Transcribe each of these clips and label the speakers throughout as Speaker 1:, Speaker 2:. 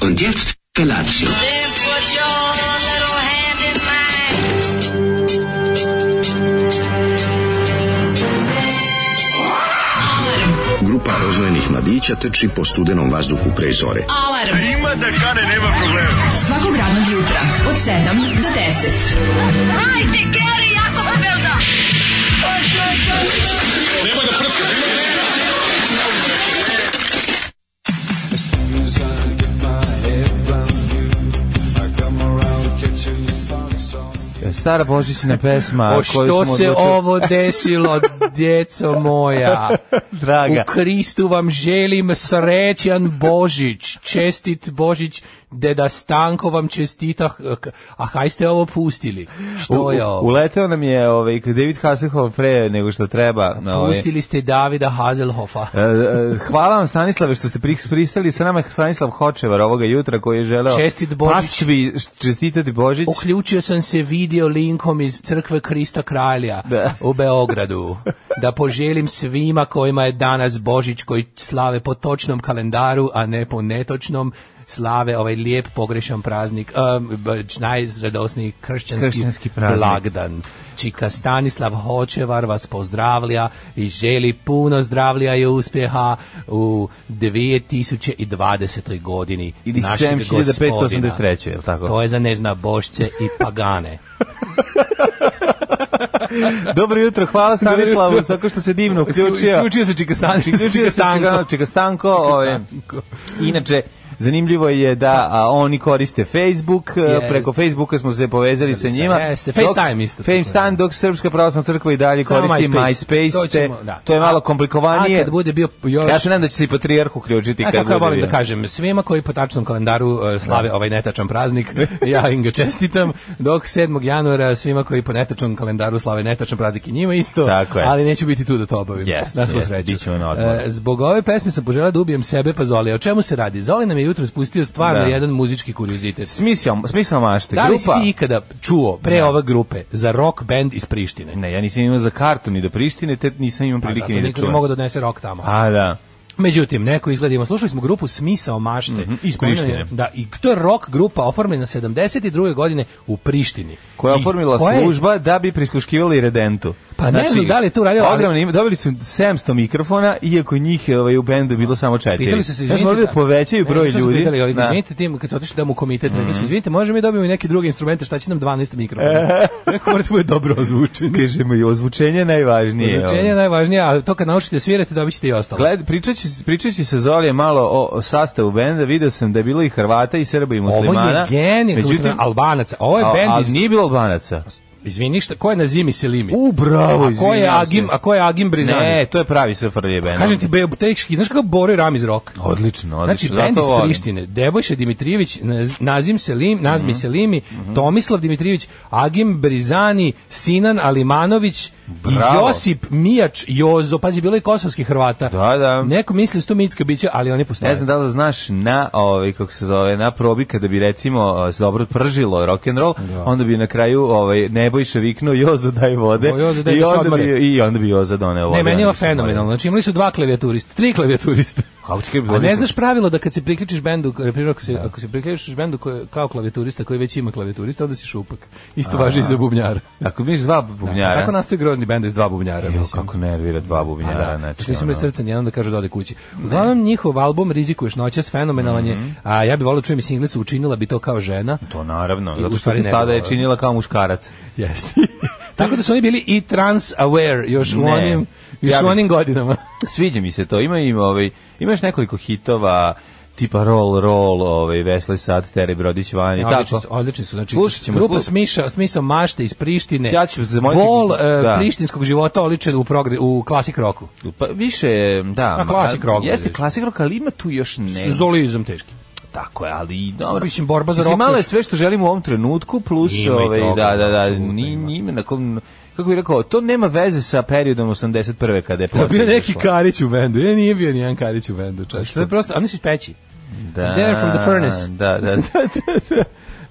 Speaker 1: Und jetzt Felatio.
Speaker 2: Then put your little hand in mine.
Speaker 3: Grupa rozvojenih mladića teči po studenom vazduhu pre zore.
Speaker 4: Alarm. A ima da kane, nema problema. Svakog radnog jutra, od 7 do 10.
Speaker 5: Stara božićna pesma
Speaker 6: O
Speaker 5: koju smo
Speaker 6: što se
Speaker 5: odlučili-
Speaker 6: ovo desilo, djeco moja?
Speaker 5: Draga.
Speaker 6: U Kristu vam želim srećan Božić. Čestit Božić, deda Stanko vam čestita. A kaj ste ovo pustili? Što je
Speaker 5: U,
Speaker 6: ovo?
Speaker 5: uleteo nam je ovaj David Hasselhoff pre nego što treba. na Ovaj.
Speaker 6: Pustili ste Davida Hazelhofa.
Speaker 5: E, e, Hvala vam Stanislave što ste pri- pristali sa nama je Stanislav Hočevar ovoga jutra koji je želeo
Speaker 6: Čestit Božić.
Speaker 5: pastvi čestitati Božić.
Speaker 6: Uključio sam se video linkom iz crkve Krista Kralja
Speaker 5: Da.
Speaker 6: u Beogradu da poželim svima kojima je danas Božić koji slave po točnom kalendaru, a ne po netočnom slave ovaj lijep pogrešan praznik, um, b- najradosniji kršćanski,
Speaker 5: Kršćanski praznik.
Speaker 6: blagdan. Čika Stanislav Hočevar vas pozdravlja i želi puno zdravlja i uspjeha u 2020. godini
Speaker 5: Ili
Speaker 6: našeg
Speaker 5: 7583,
Speaker 6: gospodina.
Speaker 5: jel tako?
Speaker 6: To je za nežna bošce i pagane.
Speaker 5: Dobro jutro, hvala Stanislavu, svako što se divno uključio.
Speaker 6: Isključio se Čika Stan-
Speaker 5: Uključio
Speaker 6: Čika
Speaker 5: se
Speaker 6: Znači, Stanko.
Speaker 5: Čika- Čika Stanko. ovaj. Inače, Zanimljivo je da a, oni koriste Facebook, e,
Speaker 6: Jeste.
Speaker 5: preko Facebooka smo se povezali sa njima.
Speaker 6: Jeste,
Speaker 5: Dok-
Speaker 6: FaceTime isto tako,
Speaker 5: FaceTime, dok Srpska pravoslavna crkva i dalje
Speaker 6: Samo
Speaker 5: koristi
Speaker 6: MySpace.
Speaker 5: MySpace,
Speaker 6: To
Speaker 5: te-
Speaker 6: ćemo, da.
Speaker 5: to je malo
Speaker 6: A-
Speaker 5: komplikovanije.
Speaker 6: a kad bude bio još-
Speaker 5: Ja se nadam da će se i patrijarh uključiti
Speaker 6: A
Speaker 5: kad
Speaker 6: kako
Speaker 5: bude.
Speaker 6: ja volim da
Speaker 5: bio.
Speaker 6: kažem, svima koji po tačnom kalendaru e, slave ovaj netačan praznik, ja im ga čestitam, dok 7. januara svima koji po netačnom kalendaru slave netačan praznik i njima isto,
Speaker 5: Tako je.
Speaker 6: ali neću biti tu da to obavim.
Speaker 5: Jeste,
Speaker 6: na svu
Speaker 5: jeste,
Speaker 6: sreću.
Speaker 5: bit ćemo na odmoru.
Speaker 6: E, Zbog ove pesme sam poželao da ubijem sebe pa Zoli. O čemu se radi? Zoli nam je jutro spustio stvarno
Speaker 5: Da.
Speaker 6: jedan muzički kuriozitet.
Speaker 5: Smisao, smisao mašte.
Speaker 6: Da li si
Speaker 5: Grupa-
Speaker 6: ti ikada čuo pre ove grupe za rock band iz Prištine?
Speaker 5: Ne, ja nisam imao za kartu ni do Prištine, te nisam imao
Speaker 6: Pa
Speaker 5: prilike
Speaker 6: zato
Speaker 5: ni da
Speaker 6: niko ne
Speaker 5: čujem.
Speaker 6: mogu da odnese rock tamo.
Speaker 5: A, da.
Speaker 6: Međutim, neko izgledimo. Slušali smo grupu Smisao mašte.
Speaker 5: Mhm, iz
Speaker 6: Koja je-
Speaker 5: Prištine.
Speaker 6: Da, i to je rock grupa oformljena 72. godine u Prištini.
Speaker 5: koja je
Speaker 6: I
Speaker 5: oformila
Speaker 6: koja je-
Speaker 5: služba da bi prisluškivali redentu.
Speaker 6: Pa ne znam da li je to uradila, ali-
Speaker 5: ogromno ime, dobili su 700 mikrofona, iako njih ovaj, u bendu je bilo samo četiri.
Speaker 6: Pitali su se,
Speaker 5: Ja
Speaker 6: izvinite.
Speaker 5: sam morali da povećaju
Speaker 6: Ne,
Speaker 5: broj
Speaker 6: što su
Speaker 5: ljudi.
Speaker 6: Pitali, ovi,
Speaker 5: Da. Mhm.
Speaker 6: izvinite, tim, kad su otišli da mu komitet, rekli su, izvinite, možemo mi dobijemo i neke druge instrumente, šta će nam 12
Speaker 5: E,
Speaker 6: mikrofona? Neko mora da bude dobro ozvučen.
Speaker 5: Kažemo i ozvučenje je ono. najvažnije. ovaj.
Speaker 6: Ozvučenje je najvažnije, a to kad naučite svirati, dobit ćete i ostalo.
Speaker 5: Gled, pričaći, pričaći sa Zolije malo o, o sastavu benda, video sam da je bilo i Hrvata i Srba i
Speaker 6: Ovo
Speaker 5: muslimana.
Speaker 6: je genij,
Speaker 5: međutim,
Speaker 6: Albanaca. Ovo je
Speaker 5: a-
Speaker 6: bend
Speaker 5: ali
Speaker 6: iz...
Speaker 5: nije bilo Albanaca.
Speaker 6: Izvini, šta, ko je na zimi Selimi?
Speaker 5: U, bravo,
Speaker 6: a ko je
Speaker 5: izvinjavam se.
Speaker 6: Agim, a ko je Agim Brizani?
Speaker 5: Ne, to je pravi sfrlje bend.
Speaker 6: Kažem ti, be, teški, znaš kako Boro i Ramiz rock?
Speaker 5: Odlično, odlično.
Speaker 6: Znači, bend
Speaker 5: zato
Speaker 6: iz
Speaker 5: volim.
Speaker 6: Prištine, Debojša Dimitrijević, Naz- Nazim Selim, Nazmi Selimi,
Speaker 5: Mhm,
Speaker 6: Tomislav Dimitrijević, Agim Brizani, Sinan Alimanović i
Speaker 5: Bravo.
Speaker 6: Josip Mijač Jozo. Pazi, bilo je i kosovskih Hrvata.
Speaker 5: Da, da.
Speaker 6: Neko misli da su to mitska bića, ali oni postoje.
Speaker 5: Ne znam da li znaš na ovaj kako se zove na probi kada bi recimo o, se dobro pržilo rock and roll, onda bi na kraju ovaj Nebojša viknuo Jozo daj vode
Speaker 6: O, Jozo, daj
Speaker 5: i
Speaker 6: da se
Speaker 5: onda
Speaker 6: odmore.
Speaker 5: bi i onda bi Jozo doneo vode.
Speaker 6: Ne, meni
Speaker 5: onda
Speaker 6: je ovo
Speaker 5: bi se odmorio.
Speaker 6: fenomenalno. Znači, imali su dva klavijaturista, tri klavijaturista.
Speaker 5: Kako ti kažem,
Speaker 6: A
Speaker 5: oni
Speaker 6: ne
Speaker 5: su-
Speaker 6: znaš pravilo da kad se priključiš bendu, na primjer, ako se, ako se priključiš bendu koji, kao klavijaturista koji već ima klavijaturista, onda si šupak. Isto važi i za bubnjara.
Speaker 5: Ako bi dva
Speaker 6: Da,
Speaker 5: bubnjara.
Speaker 6: Tako nastaju grozni bend iz dva bubnjara.
Speaker 5: Jo,
Speaker 6: mislim.
Speaker 5: kako nervira dva
Speaker 6: A
Speaker 5: bubnjara,
Speaker 6: da, pa
Speaker 5: znači.
Speaker 6: Svi su mi
Speaker 5: ono.
Speaker 6: srce nijedan da kažu da ode kući. Uglavnom, njihov album Rizikuješ noćas, fenomenalan je. A ja bih volio da čujem i singlicu, učinila bi to kao žena.
Speaker 5: Mhm. To naravno,
Speaker 6: I u
Speaker 5: zato što
Speaker 6: stvari ne bi
Speaker 5: tada je
Speaker 6: voleo.
Speaker 5: činila kao muškarac.
Speaker 6: Jeste. Tako da su oni bili i trans aware još u
Speaker 5: Ne.
Speaker 6: onim, još
Speaker 5: Ja
Speaker 6: u
Speaker 5: bi-
Speaker 6: onim godinama.
Speaker 5: Sviđa mi se to. Ima im ovaj imaš nekoliko hitova tipa roll roll, ovaj Vesli sad Tere Brodić vani,
Speaker 6: Odlični
Speaker 5: tako.
Speaker 6: su, odlični su. Znači,
Speaker 5: Slušat ćemo,
Speaker 6: grupa
Speaker 5: slušat.
Speaker 6: smiša, smisao mašte iz Prištine.
Speaker 5: Ja ću zamoliti-
Speaker 6: Bol e,
Speaker 5: da.
Speaker 6: prištinskog života oličen u, progre, u klasik roku.
Speaker 5: Pa više, je, da.
Speaker 6: Na
Speaker 5: ma-
Speaker 6: klasik rock,
Speaker 5: Jeste
Speaker 6: vidiš.
Speaker 5: klasik rock, ali ima tu još
Speaker 6: E.
Speaker 5: ne.
Speaker 6: Zolizam teški.
Speaker 5: Tako je, ali i dobro.
Speaker 6: Mislim, borba za
Speaker 5: Mislim,
Speaker 6: rock
Speaker 5: Malo je
Speaker 6: još-
Speaker 5: sve što želimo u ovom trenutku, plus,
Speaker 6: Ima i
Speaker 5: ovaj,
Speaker 6: toga,
Speaker 5: da, da, da,
Speaker 6: apsolutno
Speaker 5: ni,
Speaker 6: ima.
Speaker 5: njime na kom, kako bih rekao, to nema veze sa periodom 81. kada je
Speaker 6: Da bio
Speaker 5: počela
Speaker 6: neki
Speaker 5: izašla.
Speaker 6: Karić u bendu. E, nije bio nijedan Karić u bendu. Čač. To je prosto, a oni su iz peći.
Speaker 5: Da,
Speaker 6: They're from the furnace.
Speaker 5: Da, da, da.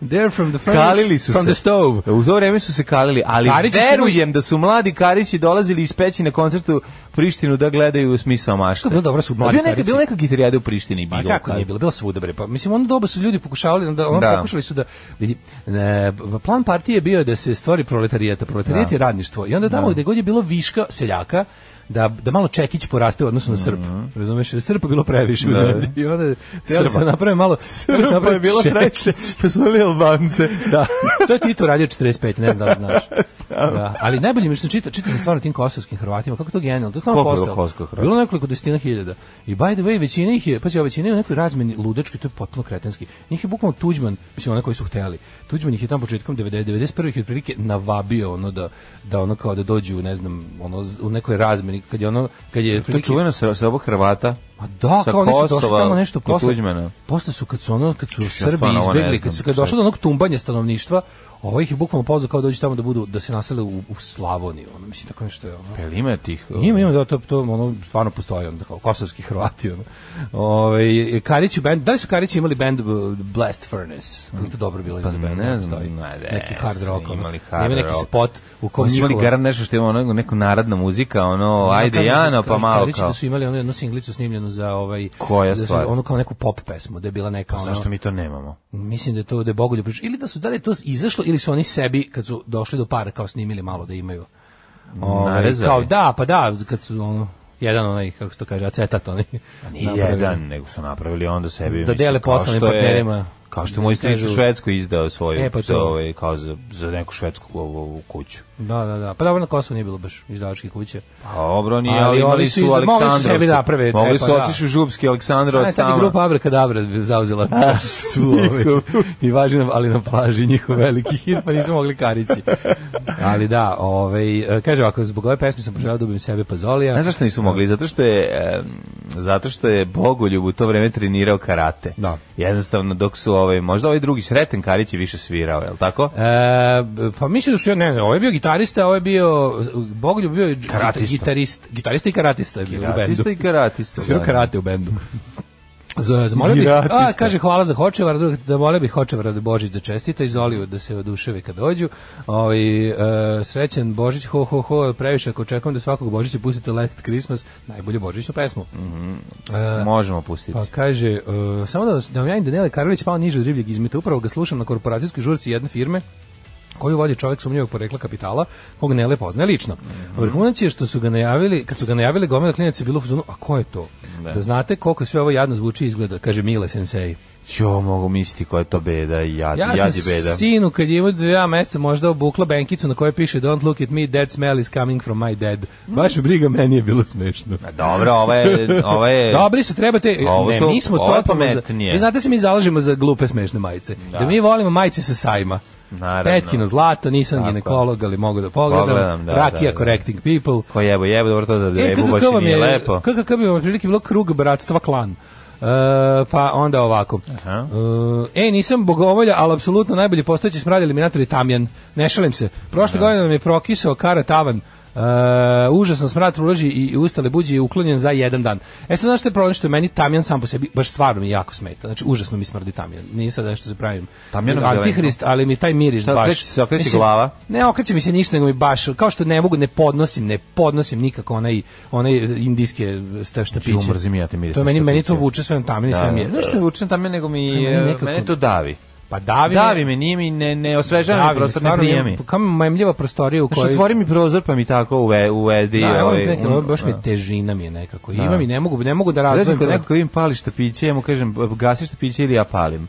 Speaker 6: They're from the furnace,
Speaker 5: Kalili su
Speaker 6: from
Speaker 5: se.
Speaker 6: the stove.
Speaker 5: U to vreme su se kalili, ali
Speaker 6: Karići su
Speaker 5: verujem da su mladi Karići dolazili iz peći na koncertu Prištinu da gledaju smisao mašte.
Speaker 6: Što je bilo dobro su mladi
Speaker 5: Bio neka,
Speaker 6: Karići.
Speaker 5: bila neka gitarijada u Prištini.
Speaker 6: Pa
Speaker 5: bilo
Speaker 6: kako
Speaker 5: kad.
Speaker 6: nije bilo, bilo svuda bre. Pa mislim ono doba su ljudi pokušavali da ono
Speaker 5: Da.
Speaker 6: pokušali su da vidi, e, plan partije bio je da se stvori proletarijat, proletarijat je radništvo. I onda tamo gdje gde god je bilo viška seljaka da da malo čekić poraste u odnosu na srp.
Speaker 5: Mhm.
Speaker 6: Razumeš, jer srpa je bilo previše u zemlji. I onda treba se
Speaker 5: Srba.
Speaker 6: naprave malo treba se
Speaker 5: Pa
Speaker 6: naprave
Speaker 5: je bilo
Speaker 6: čekić.
Speaker 5: treće, pa su bili Albance.
Speaker 6: Da. To je Tito radio 45, ne znam da li znaš. Da. Ali najbolje mi je što sam čitao, čitao sam stvarno tim kosovskim Hrvatima, kako je to genijalno, to je stvarno
Speaker 5: Koliko je bilo
Speaker 6: postalo.
Speaker 5: kosovskih Hrvata?
Speaker 6: Bilo je nekoliko desetina hiljada. I by the way, većina ih je, pa će većina je u nekoj razmeni ludački, to je potpuno kretenski. Njih je bukvalno Tuđman, mislim one koji su hteli. Tuđman ih je tamo početkom 90 91. ih je otprilike navabio ono da da ono kao da dođu, ne znam, ono z- u nekoj razmeni kad je ono kad je
Speaker 5: To je
Speaker 6: otprilike-
Speaker 5: čuveno sa, sa oba Hrvata.
Speaker 6: Ma Pa da,
Speaker 5: sa
Speaker 6: kao oni su došli
Speaker 5: Kosova
Speaker 6: tamo nešto
Speaker 5: i
Speaker 6: posle.
Speaker 5: Tuđmana.
Speaker 6: Posle su kad su ono kad su Srbi
Speaker 5: stvarno ovo ne
Speaker 6: izbegli, kad
Speaker 5: znam
Speaker 6: su kad je
Speaker 5: šta je.
Speaker 6: došlo do onog tumbanja stanovništva, ovo ih je bukvalno pozvao kao dođu tamo da budu da se nasele u, u Slavoniju, ono mislim tako nešto je ono.
Speaker 5: Pa jel ima tih?
Speaker 6: Ima, ima, da, to, to ono, stvarno postoji, onda kao kosovski Hrvati, ono. Ove, Karići band, da li su Karići imali band uh, Blast Furnace? Kako je to dobro bilo
Speaker 5: Pa
Speaker 6: za band,
Speaker 5: ne znam,
Speaker 6: postoji.
Speaker 5: ne, ne,
Speaker 6: neki hard
Speaker 5: su
Speaker 6: rock, ono.
Speaker 5: imali
Speaker 6: Da
Speaker 5: hard
Speaker 6: ima neki
Speaker 5: rock.
Speaker 6: spot u kom
Speaker 5: Oni su imali
Speaker 6: njihova-
Speaker 5: garant nešto što ima ono, neku narodna muzika, ono,
Speaker 6: Ono,
Speaker 5: ajde
Speaker 6: kažu-
Speaker 5: Jano,
Speaker 6: kažu
Speaker 5: pa malo
Speaker 6: Karići
Speaker 5: kao.
Speaker 6: Da su imali onu jednu singlicu snimljenu za ovaj
Speaker 5: Koja
Speaker 6: da su-
Speaker 5: stvar? Pa
Speaker 6: Onu kao neku pop pesmu, da je bila neka ono.
Speaker 5: Zašto mi to nemamo?
Speaker 6: Mislim da je to da je Bogoljub pričao. ili da su da li je to izašlo ili su oni sebi kad su došli do para kao snimili malo da imaju. Ovaj,
Speaker 5: Narezali.
Speaker 6: kao da, pa da, kad su ono jedan onaj kako se to kaže acetat onaj.
Speaker 5: Ni
Speaker 6: napravili.
Speaker 5: jedan, nego su napravili onda sebi.
Speaker 6: Da
Speaker 5: mislim,
Speaker 6: dele
Speaker 5: kao
Speaker 6: poslovnim
Speaker 5: što je-
Speaker 6: partnerima.
Speaker 5: Kao što je moj stric u
Speaker 6: Kažu-
Speaker 5: Švedskoj izdao svoju,
Speaker 6: E, pa
Speaker 5: za,
Speaker 6: to.
Speaker 5: ovaj, kao za, za neku švedsku ovu, ovu kuću.
Speaker 6: Da, da, da. Pa dobro na Kosovu nije bilo baš izdavačke kuće.
Speaker 5: A dobro, nije,
Speaker 6: Ali
Speaker 5: ali,
Speaker 6: ovi
Speaker 5: imali
Speaker 6: su
Speaker 5: su
Speaker 6: izda- mogli su
Speaker 5: Aleksandrovcu.
Speaker 6: sebi naprave, e,
Speaker 5: Mogli
Speaker 6: pa
Speaker 5: su
Speaker 6: da.
Speaker 5: otići u Župski Aleksandrovac
Speaker 6: A, tad je
Speaker 5: tamo.
Speaker 6: grupa Abrakadabra zauzela su ovaj, i važi nam, ali na plaži njihov veliki hit, pa nisu mogli karići. Ali da, ovaj, kaže ovako, zbog ove pesme sam poželao da ubim sebe pa Pazolija.
Speaker 5: Znaš zašto nisu mogli? Zato što je em, zato što je Bogoljub u to vreme trenirao karate.
Speaker 6: Da.
Speaker 5: Jednostavno dok su ovaj možda ovaj drugi Sreten Karić je više svirao, je l' tako?
Speaker 6: E, b- pa mislim da su, ne, ne, ovo je bio gitarista, ovo je bio, Bogoljub bio je git-
Speaker 5: Karatista.
Speaker 6: gitarist, gitarista i karatista je bio u bendu.
Speaker 5: Karatista i karatista.
Speaker 6: Svirao
Speaker 5: da.
Speaker 6: karate u bendu. Z- Zamolio bih,
Speaker 5: Giratista.
Speaker 6: a, kaže hvala za Hočevara, druga, da molio bih Hočevara da Božić da čestita i Zoliju da se oduševi kad dođu. Ovi, e, srećan Božić, ho, ho, ho, previše ako očekujem da svakog Božića pustite Last Christmas, najbolju Božićnu pesmu. E,
Speaker 5: Možemo pustiti.
Speaker 6: pa kaže, e, samo da, da vam javim Daniele Karović pao niže od ribljeg izmeta, upravo ga slušam na korporacijskoj žurci jedne firme koju vodi čovjek sumnjivog porekla kapitala, kog ne lepo poznaje lično.
Speaker 5: Mhm.
Speaker 6: Vrhunac je što su ga najavili, kad su ga najavili gomila klinaca je bilo u fazonu, a ko je to? Da. znate koliko sve ovo jadno zvuči i izgleda, kaže Mile Sensei.
Speaker 5: Jo, mogu misliti koja je to beda i jad,
Speaker 6: Ja
Speaker 5: jadi
Speaker 6: sam
Speaker 5: beda.
Speaker 6: sinu kad je imao dva meseca možda obukla benkicu na kojoj piše Don't look at me, that smell is coming from my dad. Baš me briga, meni je bilo smešno.
Speaker 5: A Dobro, ovo je... Ovo je
Speaker 6: Dobri su, trebate,
Speaker 5: Ovo
Speaker 6: ne,
Speaker 5: su-
Speaker 6: mi smo
Speaker 5: ovo je
Speaker 6: totalno za,
Speaker 5: pametnije.
Speaker 6: vi znate se mi zalažemo za glupe smešne majice, da, mi volimo majice sa sajma.
Speaker 5: Naravno.
Speaker 6: Petkino zlato, nisam
Speaker 5: Tako je.
Speaker 6: ginekolog, ali mogu da pogledam.
Speaker 5: Pogledam, da, da,
Speaker 6: Rakija
Speaker 5: da.
Speaker 6: Correcting People.
Speaker 5: Ko jebo, jebo, dobro to za
Speaker 6: E,
Speaker 5: debu, baš
Speaker 6: KKK
Speaker 5: i
Speaker 6: vam
Speaker 5: nije
Speaker 6: je,
Speaker 5: lepo.
Speaker 6: KKK bi vam otprilike bilo krug bratstva klan. E, pa onda ovako.
Speaker 5: Aha.
Speaker 6: E, ej, nisam bogovolja, ali apsolutno najbolji postojeći smrad eliminator je Tamjan. Ne šalim se. Prošle godine nam je prokisao kara tavan. E, užasan smrad uloži i ustale buđe je uklonjen za jedan dan. E sad znaš što je problem što je meni Tamjan sam po sebi baš stvarno mi jako smeta. Znači užasno mi smrdi Tamjan. Nisam da što se pravim.
Speaker 5: Tamjanom
Speaker 6: Antihrist, ali mi taj miris
Speaker 5: Šta,
Speaker 6: baš.
Speaker 5: okreće se- okreće
Speaker 6: Mislim,
Speaker 5: glava?
Speaker 6: ne okreće mi se ništa, nego mi baš, kao što ne mogu, ne podnosim, ne podnosim nikako onaj, onaj indijske sta štapiće.
Speaker 5: Ju, mrzim ja te miris
Speaker 6: to
Speaker 5: na
Speaker 6: meni, meni to
Speaker 5: štapiće.
Speaker 6: vuče sve na tamine, sve
Speaker 5: Da,
Speaker 6: mi je. eh,
Speaker 5: znaš što je učin tamo nego mi,
Speaker 6: meni
Speaker 5: e,
Speaker 6: nekako-
Speaker 5: mene to davi.
Speaker 6: Pa davi,
Speaker 5: Davi me, nije mi, ne, ne osvežava mi prostor, ne prije mi.
Speaker 6: Kao mi majemljiva prostorija u
Speaker 5: Znači,
Speaker 6: kojoj...
Speaker 5: otvori mi prozor pa mi tako uve, uvedi.
Speaker 6: Da, ovo
Speaker 5: ovaj,
Speaker 6: mi je nekako,
Speaker 5: um,
Speaker 6: ovo baš mi
Speaker 5: da.
Speaker 6: težina mi je nekako. Imam i ne mogu, ne mogu da
Speaker 5: Znači,
Speaker 6: razdvojim.
Speaker 5: kod
Speaker 6: to.
Speaker 5: nekog vidim pali štapiće, ja mu kažem, gasi štapiće ili ja palim.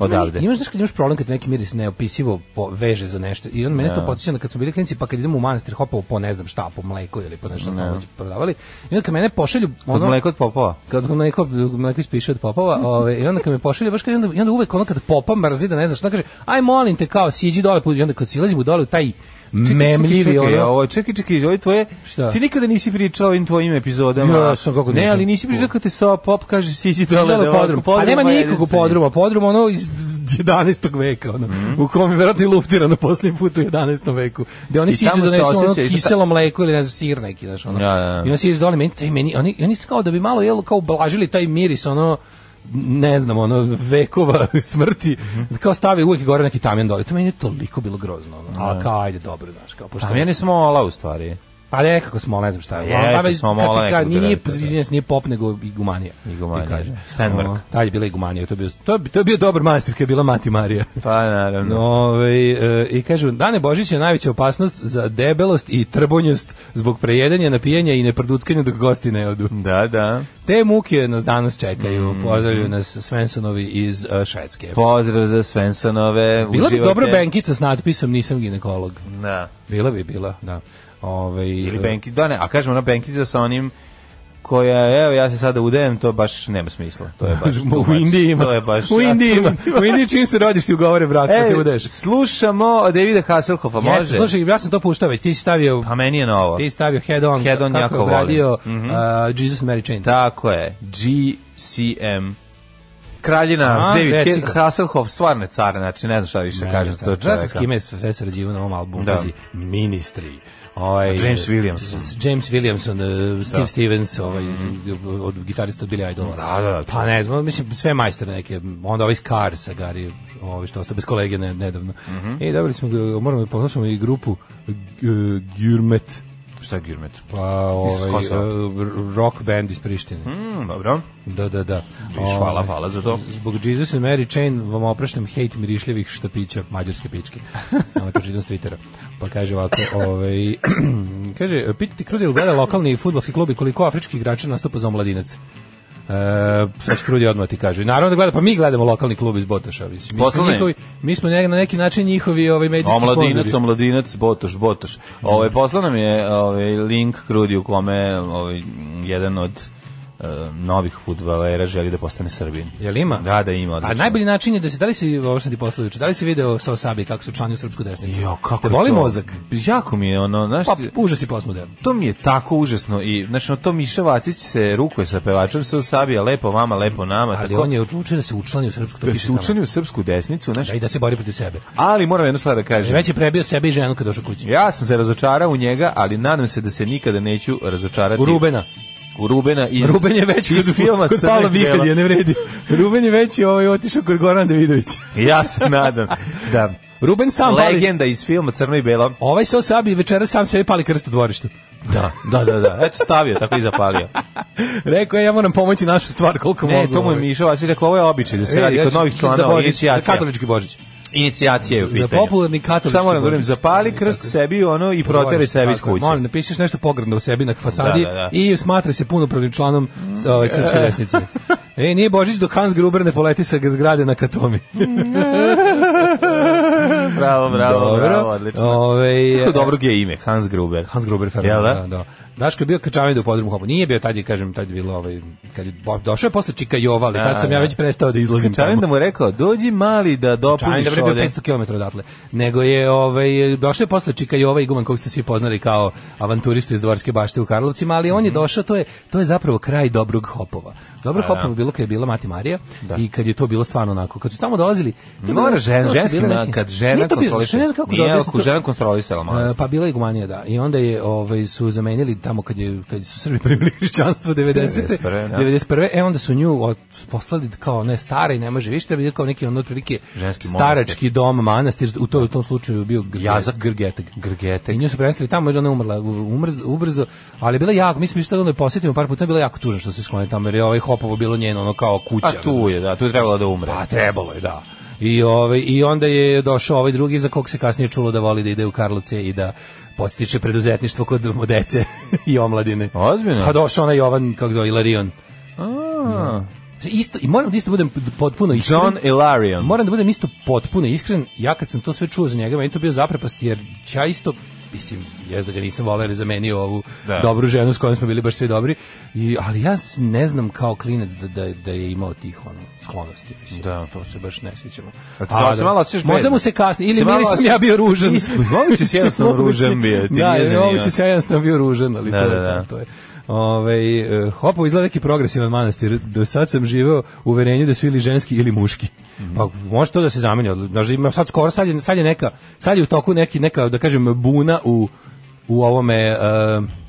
Speaker 5: Odavde.
Speaker 6: Meni- Imaš znaš kad imaš problem kad neki miris neopisivo po, veže za nešto i on mene to podsjeća na kad smo bili klinci pa kad idemo u manastir hopao po ne znam šta, po mleko ili po nešto smo već prodavali. I onda kad mene pošalju
Speaker 5: Kod
Speaker 6: ono,
Speaker 5: mleko od popova.
Speaker 6: kad mleko, mleko ispiše od popova, ove, i onda kad me pošalje, baš kad, i onda, i onda uvek ono kad popa mrzi da ne znaš, onda kaže, aj molim te kao, siđi dole, i onda kad silazim u dole u taj memljivi,
Speaker 5: čekaj,
Speaker 6: ono,
Speaker 5: ovo, čekaj, čekaj, ovo je tvoje,
Speaker 6: Šta?
Speaker 5: ti nikada nisi pričao o ovim tvojim epizodama.
Speaker 6: Ja sam, kako
Speaker 5: Ne,
Speaker 6: nisam.
Speaker 5: ali nisi pričao kad te so pop kaže siđi dole.
Speaker 6: Dole
Speaker 5: da
Speaker 6: u
Speaker 5: ovako
Speaker 6: podrum. A nema
Speaker 5: pa je
Speaker 6: nikog u
Speaker 5: jedinstven.
Speaker 6: podruma. Podrum ono iz 11. veka, ono,
Speaker 5: Mhm.
Speaker 6: u kom je verovatno i luftirano posljednji put u 11. veku. Gde oni
Speaker 5: I
Speaker 6: siđu
Speaker 5: tamo
Speaker 6: da
Speaker 5: se
Speaker 6: nesu ono
Speaker 5: osjeća i šta-
Speaker 6: kiselo mleko ili ne znam, sir neki, znaš, ono.
Speaker 5: Ja, ja, ja.
Speaker 6: I onda siđu dole, meni, taj meni, oni, oni su kao da bi malo jelo, kao ublažili taj miris, ono, ne znam, ono, vekova smrti,
Speaker 5: Mhm.
Speaker 6: kao stavi uvijek gore neki tamjan dole. To meni je toliko bilo grozno. Ono. Ali kao, ajde, dobro, znaš, kao, pošto...
Speaker 5: A meni smo ola u stvari.
Speaker 6: Pa nekako smo, ne znam šta je.
Speaker 5: Jeste,
Speaker 6: Ali, ali,
Speaker 5: smo
Speaker 6: kad ti
Speaker 5: malo
Speaker 6: ka-
Speaker 5: nekako
Speaker 6: nije, nije,
Speaker 5: terorista, da.
Speaker 6: izvinjam se, nije pop, nego igumanija.
Speaker 5: Igumanija,
Speaker 6: ti kažem.
Speaker 5: Steinberg.
Speaker 6: O, Tad je bila igumanija, to je bio, to je, to je bio dobar majster kad je bila Mati Marija.
Speaker 5: Pa naravno.
Speaker 6: Ove, e, I kažu, Dane Božić je najveća opasnost za debelost i trbonjost zbog prejedanja, napijanja i neproduckanja dok gosti ne odu.
Speaker 5: Da, da.
Speaker 6: Te muke nas danas čekaju,
Speaker 5: Mm.
Speaker 6: pozdravljaju nas Svensonovi iz e, Švedske.
Speaker 5: Pozdrav za Svensonove.
Speaker 6: Bila bi
Speaker 5: Pa, uživajte.
Speaker 6: dobra benkica s natpisom Nisam ginekolog.
Speaker 5: Da.
Speaker 6: Bila bi, bila, da. Ovaj, e, Ove,
Speaker 5: Ili benki, da ne, a kažem ona benkica sa onim koja, evo, ja se sada udajem, to baš nema smisla. To je baš too
Speaker 6: u
Speaker 5: much.
Speaker 6: Indiji ima.
Speaker 5: To je baš,
Speaker 6: u
Speaker 5: a,
Speaker 6: Indiji
Speaker 5: to-
Speaker 6: ima. U Indiji čim se rodiš ti ugovore brak, pa
Speaker 5: E,
Speaker 6: se udeš.
Speaker 5: slušamo Davida Hasselhoffa, može?
Speaker 6: Jeste, slušaj, ja sam to puštao već, ti si stavio,
Speaker 5: A meni je novo.
Speaker 6: ti si stavio head on,
Speaker 5: Head on
Speaker 6: kako
Speaker 5: jako
Speaker 6: je obradio
Speaker 5: volim. Mhm.
Speaker 6: uh, Jesus and Mary Chain.
Speaker 5: Tako je, GCM. Kraljina
Speaker 6: A,
Speaker 5: David
Speaker 6: reci
Speaker 5: He-
Speaker 6: ga.
Speaker 5: Hasselhoff, stvarno je car, znači ne znam šta više kažem to
Speaker 6: Ja sam s
Speaker 5: čoveka.
Speaker 6: kime je sve sređivo na ovom albumu,
Speaker 5: Da.
Speaker 6: da. Ministry. Ovaj,
Speaker 5: James Williamson. Mhm.
Speaker 6: s- James Williamson, eh, Steve Stevens, ovaj, iz- od gitarista od Billy Idola.
Speaker 5: Da, da, da.
Speaker 6: Pa ne znam, mislim, sve majstore neke. Onda ovaj Scar sa Gary, ovaj što ostao bez kolege ne, nedavno.
Speaker 5: Mhm.
Speaker 6: I dobili smo, ga, moramo da poslušamo i grupu eh, Gurmet,
Speaker 5: Šta je Girmet?
Speaker 6: pa ovaj,
Speaker 5: Kosova.
Speaker 6: eh, rock band iz Prištine.
Speaker 5: Mm, dobro.
Speaker 6: Da, da, da.
Speaker 5: Viš, hvala,
Speaker 6: Ovaj,
Speaker 5: hvala za to.
Speaker 6: Zbog Jesus and Mary Chain vam opraštam hejt mirišljivih štapića, mađarske pičke. Ovo to čitam s Twittera. Pa kaže ovako, ovaj, kaže, pitati Krudil gleda lokalni futbolski klub i koliko afričkih igrača nastupa za omladinac. E, sad će Krudi odmah ti kaže. Naravno da gleda, pa mi gledamo lokalni klub iz Botoša. Mislim. Mi, smo
Speaker 5: Poslovni.
Speaker 6: njihovi, mi smo ne- na neki način njihovi ovaj, medijski
Speaker 5: Omladinac,
Speaker 6: sponzori.
Speaker 5: omladinac, botoš, botoš. Ovaj poslao nam je ovaj link krudi u kome ovaj jedan od eh, novih fudbalera želi da postane Srbin.
Speaker 6: Jel ima?
Speaker 5: Da, da ima.
Speaker 6: A
Speaker 5: odlično.
Speaker 6: najbolji način je da se, da li si, ovo što sam ti poslao juče, da li si video sa Osabi kako su člani u srpsku desnicu?
Speaker 5: Jo, kako
Speaker 6: Te
Speaker 5: je
Speaker 6: boli
Speaker 5: to?
Speaker 6: mozak?
Speaker 5: Jako mi je ono, znaš,
Speaker 6: Pa,
Speaker 5: ti-
Speaker 6: užas i postmodern.
Speaker 5: to mi je tako užasno i znači ono, to Miša Vacić se rukuje sa pevačem se usabija lepo vama, lepo nama,
Speaker 6: Ali
Speaker 5: tako
Speaker 6: on je odlučio da se učlani u srpsku, to
Speaker 5: da
Speaker 6: piše
Speaker 5: se
Speaker 6: tamo.
Speaker 5: učini u srpsku desnicu, znaš.
Speaker 6: Da, i da se bori protiv sebe.
Speaker 5: Ali moram jednu stvar da kažem.
Speaker 6: Već je prebio sebe i ženu kad došao kući.
Speaker 5: Ja sam se razočarao u njega, ali nadam se da se nikada neću razočarati
Speaker 6: U Rubena.
Speaker 5: u Rubena iz,
Speaker 6: Ruben je već
Speaker 5: iz
Speaker 6: kod,
Speaker 5: filma
Speaker 6: kod
Speaker 5: Crna
Speaker 6: Pavla
Speaker 5: Gela.
Speaker 6: Vikadija, ne vredi. Ruben je već ovaj, otišao kod Gorana Davidovića.
Speaker 5: Ja se nadam da
Speaker 6: Ruben sam pali.
Speaker 5: legenda iz filma Crno i Belo.
Speaker 6: Ovaj se osabi večera sam sebi pali krst u dvorištu.
Speaker 5: Da, da, da, da. Eto stavio, tako i zapalio.
Speaker 6: Rekao je, ja moram pomoći našu stvar koliko
Speaker 5: Ne,
Speaker 6: mogu.
Speaker 5: E, to mu je
Speaker 6: ovaj.
Speaker 5: Mišo Vasić rekao, ovo je običaj da se
Speaker 6: E,
Speaker 5: radi
Speaker 6: ja
Speaker 5: kod
Speaker 6: ću-
Speaker 5: novih
Speaker 6: za
Speaker 5: članova,
Speaker 6: Božić, za
Speaker 5: inicijacija.
Speaker 6: katolički Božić.
Speaker 5: Inicijacija je u
Speaker 6: Za
Speaker 5: pitanju.
Speaker 6: popularni katolički
Speaker 5: Šta moram da uradim?
Speaker 6: Božić.
Speaker 5: Zapali krst sebi ono i proteraj
Speaker 6: Dvorište,
Speaker 5: sebi iz
Speaker 6: tako je.
Speaker 5: kuće.
Speaker 6: Molim, napišeš nešto pogrdno u sebi na fasadi
Speaker 5: Da, Mm. da, da.
Speaker 6: i smatra se punopravnim članom s- ovaj, srpske desnice. E, nije Božić dok Hans Gruber ne poleti sa zgrade na Katomi.
Speaker 5: Bravo, bravo, bravo, odlično.
Speaker 6: Ovaj,
Speaker 5: Kako dobro je ime, Hans Gruber.
Speaker 6: Hans Gruber
Speaker 5: Jel
Speaker 6: Ferrari,
Speaker 5: da?
Speaker 6: da, da. Daško je bio kačavido u podrumu hobu. Nije bio tad je, kažem, tad je bilo ovaj, kad je bo- došao je posle Čika Jova, ali tad
Speaker 5: A,
Speaker 6: sam ja
Speaker 5: da.
Speaker 6: već prestao da izlazim
Speaker 5: Čavim
Speaker 6: tamo.
Speaker 5: da mu je rekao, dođi mali da
Speaker 6: Čajan
Speaker 5: dopuniš
Speaker 6: da bio
Speaker 5: ovde.
Speaker 6: 500 km odatle. Nego je ovaj došao je posle Čika Jova i Guman kog ste svi poznali kao avanturistu iz Dvorske bašte u Karlovcima, ali on je
Speaker 5: Mhm.
Speaker 6: došao to je to je zapravo kraj dobrog hopova. Dobro
Speaker 5: Pa
Speaker 6: hopova je bilo kad je bila Mati Marija i kad je to bilo stvarno onako kad su tamo dolazili. to je bilo-
Speaker 5: Mora
Speaker 6: to
Speaker 5: žen,
Speaker 6: su
Speaker 5: ženski,
Speaker 6: bile
Speaker 5: na-
Speaker 6: neke-
Speaker 5: kad žena
Speaker 6: Nije to bilo, znaš,
Speaker 5: kontroliše.
Speaker 6: ne znam kako da
Speaker 5: Nije,
Speaker 6: objasnim
Speaker 5: ako
Speaker 6: to.
Speaker 5: žena kontrolisala malo.
Speaker 6: E, pa bila je Gumanija, da. I onda je ovaj su zamenili tamo kad je kad su Srbi primili hrišćanstvo 90.
Speaker 5: 91., da.
Speaker 6: 91. E onda su nju od, poslali kao ne stara i ne može više, treba je kao neki ono otprilike
Speaker 5: Ženski
Speaker 6: starački dom manastir u to u tom slučaju je bio Grge-
Speaker 5: Jazak.
Speaker 6: Grgetek.
Speaker 5: Grgetek.
Speaker 6: I nju su prestali tamo jer ona je umrla u- umrz, ubrzo, ali je bila jako, mi smo išli da onda je posjetimo par puta, bilo je jako tužno što su sklonili tamo jer je ovaj hopovo bilo njeno ono kao kuća.
Speaker 5: A tu
Speaker 6: razumeš?
Speaker 5: je, da, tu je trebalo da umre.
Speaker 6: Pa trebalo je, da. I, ovaj, I onda je došao ovaj drugi za kog se kasnije čulo da voli da ide u Karlovce i da podstiče preduzetništvo kod dece i omladine.
Speaker 5: Ozbiljno?
Speaker 6: Pa došao onaj Jovan, kako zove, Ilarion.
Speaker 5: A,
Speaker 6: Isto, I moram da isto budem potpuno iskren.
Speaker 5: John Ilarion.
Speaker 6: Moram da budem isto potpuno iskren, ja kad sam to sve čuo za njega, meni je to bio zaprepast, jer ja isto, mislim, jes da ga nisam volao jer je zamenio ovu
Speaker 5: Da.
Speaker 6: dobru ženu s kojom smo bili baš svi dobri, i, ali ja s- ne znam kao klinac da, da, da je imao tih ono, sklonosti, mislim,
Speaker 5: Da.
Speaker 6: to se baš ne sviđamo.
Speaker 5: A ti se malo osjećaš
Speaker 6: možda
Speaker 5: bedno.
Speaker 6: mu se kasni, ili,
Speaker 5: Se malo
Speaker 6: ili sam ja bio ružan.
Speaker 5: Ispod, moguće si jednostavno ružan bio, ti
Speaker 6: Da,
Speaker 5: nije zanimljivo.
Speaker 6: moguće si ja jednostavno bio ružan, ali
Speaker 5: Da,
Speaker 6: to,
Speaker 5: da,
Speaker 6: da,
Speaker 5: da.
Speaker 6: to, to je. Ove, hopo izgleda neki progresivan manastir. Do sad sam živeo u uverenju da su ili ženski ili muški. Pa može to da se zameni. ali, Znaš, ima sad skoro, sad je, sad je neka, sad je u toku neki, neka, da kažem, buna u, u ovome, e,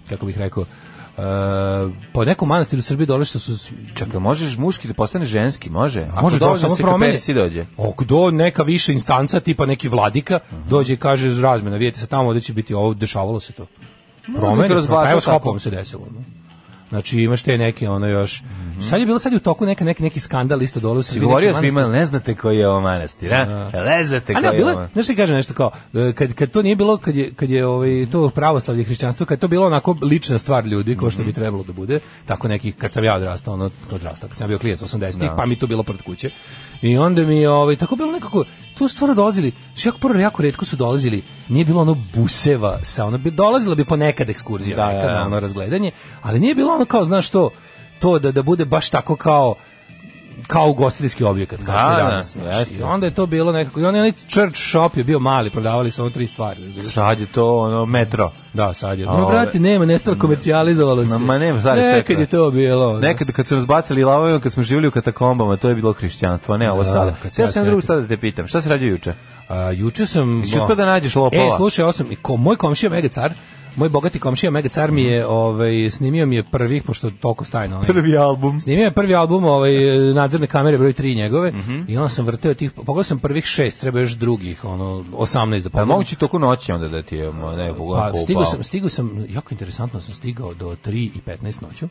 Speaker 6: kako bih rekao, e, po nekom manastiru u Srbiji dole što su...
Speaker 5: Čekaj, možeš muški da postane ženski, može? Ako
Speaker 6: može da
Speaker 5: dovoljno
Speaker 6: samo
Speaker 5: se
Speaker 6: promeni.
Speaker 5: Persi dođe.
Speaker 6: Ok, do neka viša instanca, tipa neki vladika, dođe i kaže razmena, vidite se tamo da će biti ovo, dešavalo se to. Promeni,
Speaker 5: neka razbaca
Speaker 6: pa evo s
Speaker 5: tako.
Speaker 6: Hopom se desilo. No. Znači imaš te neke ono još. Sad je bilo sad je u toku neka neki neki skandal isto dole u
Speaker 5: Si
Speaker 6: Srbiji.
Speaker 5: govorio
Speaker 6: neki
Speaker 5: svima,
Speaker 6: manastir-
Speaker 5: ne znate koji je ovo manastir, a? Ne znate
Speaker 6: A
Speaker 5: koji
Speaker 6: ne,
Speaker 5: je
Speaker 6: bilo,
Speaker 5: ovo
Speaker 6: je- znaš ti kažem nešto kao, e, kad, kad to nije bilo, kad je, kad je ovaj, to pravoslavlje i hrišćanstvo, kad je to bilo onako lična stvar ljudi, kao
Speaker 5: Mhm.
Speaker 6: što bi trebalo da bude, tako nekih, kad sam ja odrastao, ono, odrastao, kad sam ja bio klijec 80-ih, pa mi to bilo pred kuće. I onda mi, je, ovaj, tako bilo nekako, tu su stvarno dolazili, što jako prvo, jako redko su dolazili, nije bilo ono buseva sa, ono, bi, dolazila bi ponekad ekskurzija,
Speaker 5: Da, da,
Speaker 6: nekad,
Speaker 5: da.
Speaker 6: ono, razgledanje, ali nije bilo ono kao, znaš to, to da, da bude baš tako kao, kao ugostiteljski objekat, kao što
Speaker 5: Da,
Speaker 6: je
Speaker 5: da,
Speaker 6: danas. znaš.
Speaker 5: jeste.
Speaker 6: I onda je to bilo nekako, i on je onaj church shop je bio mali, prodavali su ono tri stvari. razumiješ?
Speaker 5: Sad je to ono metro.
Speaker 6: Da, sad je.
Speaker 5: A
Speaker 6: No,
Speaker 5: ove-
Speaker 6: brate, nema, nestalo komercijalizovalo se.
Speaker 5: Ma, ma nema, sad je
Speaker 6: Nekad
Speaker 5: crkva.
Speaker 6: je to bilo. ono.
Speaker 5: Nekad kad su razbacali lavove, kad smo živjeli u katakombama, to je bilo hrišćanstvo, a ne ovo
Speaker 6: Da,
Speaker 5: sada.
Speaker 6: kad se
Speaker 5: Ja
Speaker 6: ja
Speaker 5: sam drugu
Speaker 6: sjetim.
Speaker 5: sada da te pitam, šta si radio juče?
Speaker 6: A, juče sam...
Speaker 5: Jesi uspeo da nađeš lopova?
Speaker 6: E, slušaj, osam, i ko, moj komšija Megacar, moj bogati komšija Megacar mi je, ovaj, snimio mi je prvih, pošto toliko stajno. Ovaj,
Speaker 5: Prvi album.
Speaker 6: Snimio je prvi album ovaj, e, nadzorne kamere broj 3 njegove
Speaker 5: Mhm.
Speaker 6: i onda sam vrteo tih, pogledao sam prvih šest, treba još drugih, ono, 18 da
Speaker 5: Pa
Speaker 6: pogledam.
Speaker 5: moguće toku noći onda da ti je mo, ne,
Speaker 6: Pa,
Speaker 5: pa,
Speaker 6: stigao sam, stigao sam, jako interesantno sam stigao do 3 i 15 noću.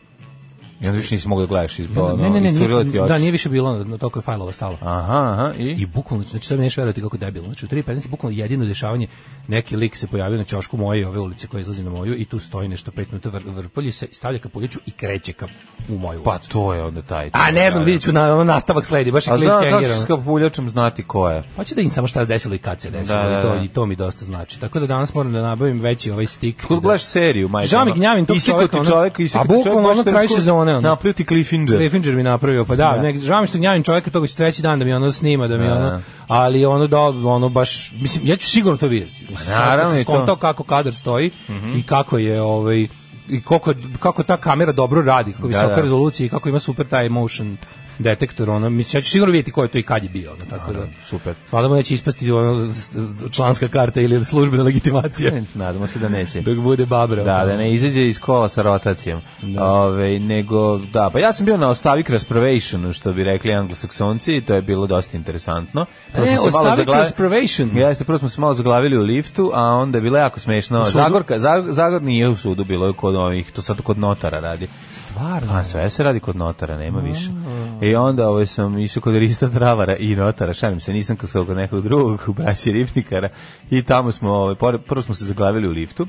Speaker 5: I onda više nisi mogao da gledaš iz
Speaker 6: I onda-
Speaker 5: ono,
Speaker 6: ne, ne, ne,
Speaker 5: iscurilo ti
Speaker 6: nije,
Speaker 5: oči.
Speaker 6: da, nije više bilo, na toliko je fajlova stalo.
Speaker 5: Aha, aha, i?
Speaker 6: I bukvalno, znači sad mi neš verovati kako je debilno. Znači u 3 i 15 je bukvalno jedino dešavanje, neki lik se pojavio na ćošku moje i ove ulice koja izlazi na moju i tu stoji nešto 5 minuta vr, vrpolji se, stavlja kapuljiću i kreće ka u moju
Speaker 5: Pa
Speaker 6: ulicu.
Speaker 5: to je onda taj.
Speaker 6: A ne znam, vidit ću na, ono, nastavak sledi, baš je
Speaker 5: A da, da
Speaker 6: cliffhanger.
Speaker 5: ćeš
Speaker 6: ono.
Speaker 5: s kapuljačom znati ko je.
Speaker 6: Hoće da im samo šta se desilo i kad se desilo
Speaker 5: Da, da,
Speaker 6: i, to,
Speaker 5: da.
Speaker 6: i to mi dosta znači. Tako da danas moram da nabavim veći ovaj stik.
Speaker 5: Kod
Speaker 6: da,
Speaker 5: gledaš seriju, majka.
Speaker 6: Žao mi gnjavim tog
Speaker 5: Isekao
Speaker 6: čoveka,
Speaker 5: ti
Speaker 6: ono-
Speaker 5: čoveka, isekao
Speaker 6: A
Speaker 5: ti čoveka,
Speaker 6: bukvalno
Speaker 5: možeš
Speaker 6: ono
Speaker 5: da
Speaker 6: kraj
Speaker 5: rekao-
Speaker 6: sezone, ono.
Speaker 5: Napravio ti cliffhanger.
Speaker 6: Cliffinger mi napravio, pa da, nek, žao mi što gnjavim čoveka, toga će treći dan da mi ono snima, da mi ono, ali ono da, ono baš, mislim, ja ću sigurno to vidjeti. Mislim, sad
Speaker 5: Pa Naravno
Speaker 6: kad sam
Speaker 5: i to. Mhm.
Speaker 6: skontao kako kadar stoji i kako je, ovaj, i koliko, kako ta kamera dobro radi, kako je visoka
Speaker 5: da.
Speaker 6: rezolucija i kako ima super taj motion detektor, ono, mislim, ja ću sigurno vidjeti ko je to i kad je bio, ono, tako da.
Speaker 5: super.
Speaker 6: Hvala mu neće ispasti ono, s- članska karta ili službena legitimacija,
Speaker 5: Nadamo se da neće.
Speaker 6: dok bude babra.
Speaker 5: Da,
Speaker 6: ono.
Speaker 5: da ne izađe iz kola sa rotacijom. Ove, nego, da, pa ja sam bio na Ostavik Raspravationu, što bi rekli anglosaksonci, i to je bilo dosta interesantno. Prvo smo
Speaker 6: E,
Speaker 5: se malo
Speaker 6: ostavi
Speaker 5: zaglavi-
Speaker 6: Crossprovation.
Speaker 5: Jeste, prvo smo se malo zaglavili u liftu, a onda je bilo jako smešno.
Speaker 6: sudu?
Speaker 5: Zagorka, Zagor, Zagor nije u sudu, bilo je kod ovih, to sad kod notara radi.
Speaker 6: Stvarno.
Speaker 5: Pa sve se radi kod notara, nema više. I onda ovaj sam išao kod Rista Travara i notara, šalim se, nisam kod, kod nekog drugog, u braći Ripnikara. I tamo smo, ovaj, pored- prvo smo se zaglavili u liftu,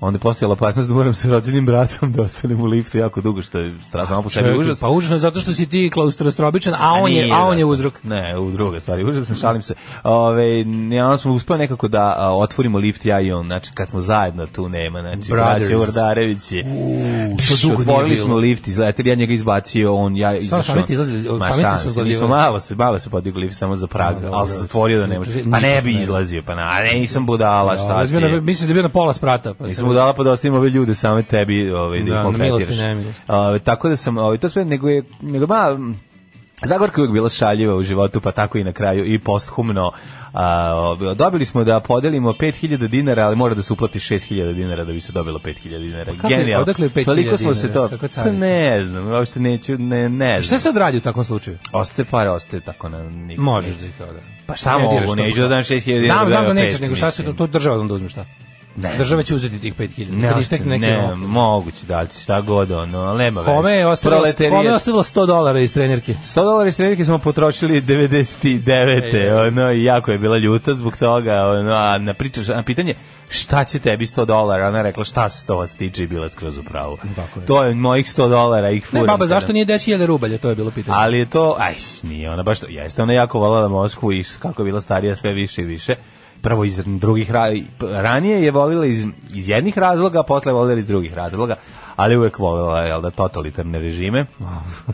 Speaker 5: onda je postojala opasnost da moram sa rođenim bratom da ostanem u liftu jako dugo, što je stra- samo po sebi
Speaker 6: Čovječe,
Speaker 5: užas.
Speaker 6: Pa užasno je zato što si ti klaustrofobičan, a on je
Speaker 5: nije,
Speaker 6: a on je
Speaker 5: da.
Speaker 6: uzrok.
Speaker 5: Ne, u druge stvari, užasno šalim se. Ove, ne, onda smo uspeli nekako da a, otvorimo lift ja i on, znači kad smo zajedno tu nema, znači
Speaker 6: Brothers.
Speaker 5: braće Urdarević je.
Speaker 6: to dugo nije
Speaker 5: Otvorili
Speaker 6: bilo.
Speaker 5: smo lift, izleteli, ja njega izbacio, on, ja izašao.
Speaker 6: sami ste izlazili,
Speaker 5: Ma,
Speaker 6: sami ste
Speaker 5: sami
Speaker 6: se
Speaker 5: ste,
Speaker 6: izlazili.
Speaker 5: nismo, malo se, malo se podigli lift samo za prag,
Speaker 6: dobro.
Speaker 5: ali sam zatvorio da ne može.
Speaker 6: Kaže,
Speaker 5: Pa ne
Speaker 6: niko
Speaker 5: bi
Speaker 6: ne.
Speaker 5: izlazio, pa na, a ne, nisam budala,
Speaker 6: Ja,
Speaker 5: šta ti
Speaker 6: razbio na-
Speaker 5: je.
Speaker 6: Mislim da je bio na pola sprata. Pa
Speaker 5: Nisam
Speaker 6: sam-
Speaker 5: budala pa da ostavim ove ljude same tebi ovaj, da,
Speaker 6: Da,
Speaker 5: da ih
Speaker 6: na milost i
Speaker 5: maltretiraš.
Speaker 6: nemilost.
Speaker 5: Ovaj, tako da sam, ovaj, to sve, nego je, nego ma, Zagorka je uvijek bila šaljiva u životu, pa tako i na kraju i posthumno. A, ovaj, dobili smo da podelimo 5000 dinara, ali mora da se uplati 6000 dinara da bi se dobilo 5000 dinara.
Speaker 6: Pa kako je-
Speaker 5: Genijalno.
Speaker 6: odakle je 5000
Speaker 5: Toliko smo se
Speaker 6: dinara?
Speaker 5: to...
Speaker 6: Kako
Speaker 5: Pa
Speaker 6: carica?
Speaker 5: ne znam, uopšte neću, ne, ne
Speaker 6: Šta
Speaker 5: znam.
Speaker 6: sad radi u takvom slučaju?
Speaker 5: Ostaje pare, ostaje tako na... Nik,
Speaker 6: Možeš da ih kao da.
Speaker 5: Pa šta mogu, neću da dam 6000 dinara,
Speaker 6: Dam,
Speaker 5: da
Speaker 6: dam da
Speaker 5: dam
Speaker 6: nećeš,
Speaker 5: pet,
Speaker 6: nego šta se to,
Speaker 5: mislim.
Speaker 6: to država vam da uzme šta?
Speaker 5: Ne znam.
Speaker 6: Država će uzeti tih 5000.
Speaker 5: Ne,
Speaker 6: Kad istekne neki
Speaker 5: ne,
Speaker 6: rok.
Speaker 5: moguće da li će šta god, ono, ali nema veze.
Speaker 6: Kome je ostavilo,
Speaker 5: Proletarijat.
Speaker 6: kome je ostavilo 100 dolara iz trenerke?
Speaker 5: 100 dolara iz trenirke smo potrošili 99.
Speaker 6: Ej,
Speaker 5: ono, i jako je bila ljuta zbog toga, ono, a na, pričaš, na pitanje šta će tebi 100 dolara, ona je rekla šta se to vas tiče i bila je skroz upravo.
Speaker 6: Tako je.
Speaker 5: To je mojih 100 dolara, ih
Speaker 6: Ne,
Speaker 5: furam
Speaker 6: baba,
Speaker 5: sada.
Speaker 6: zašto nije 10.000 rubalja? To je bilo pitanje.
Speaker 5: Ali je to, aj, nije ona baš to, jeste ona jako voljela Moskvu i kako je bila starija sve više i više. Prvo iz drugih, ra- ranije je volila iz, iz jednih razloga, a posle je volila iz drugih razloga, ali uvek volila, jel da, totalitarne režime.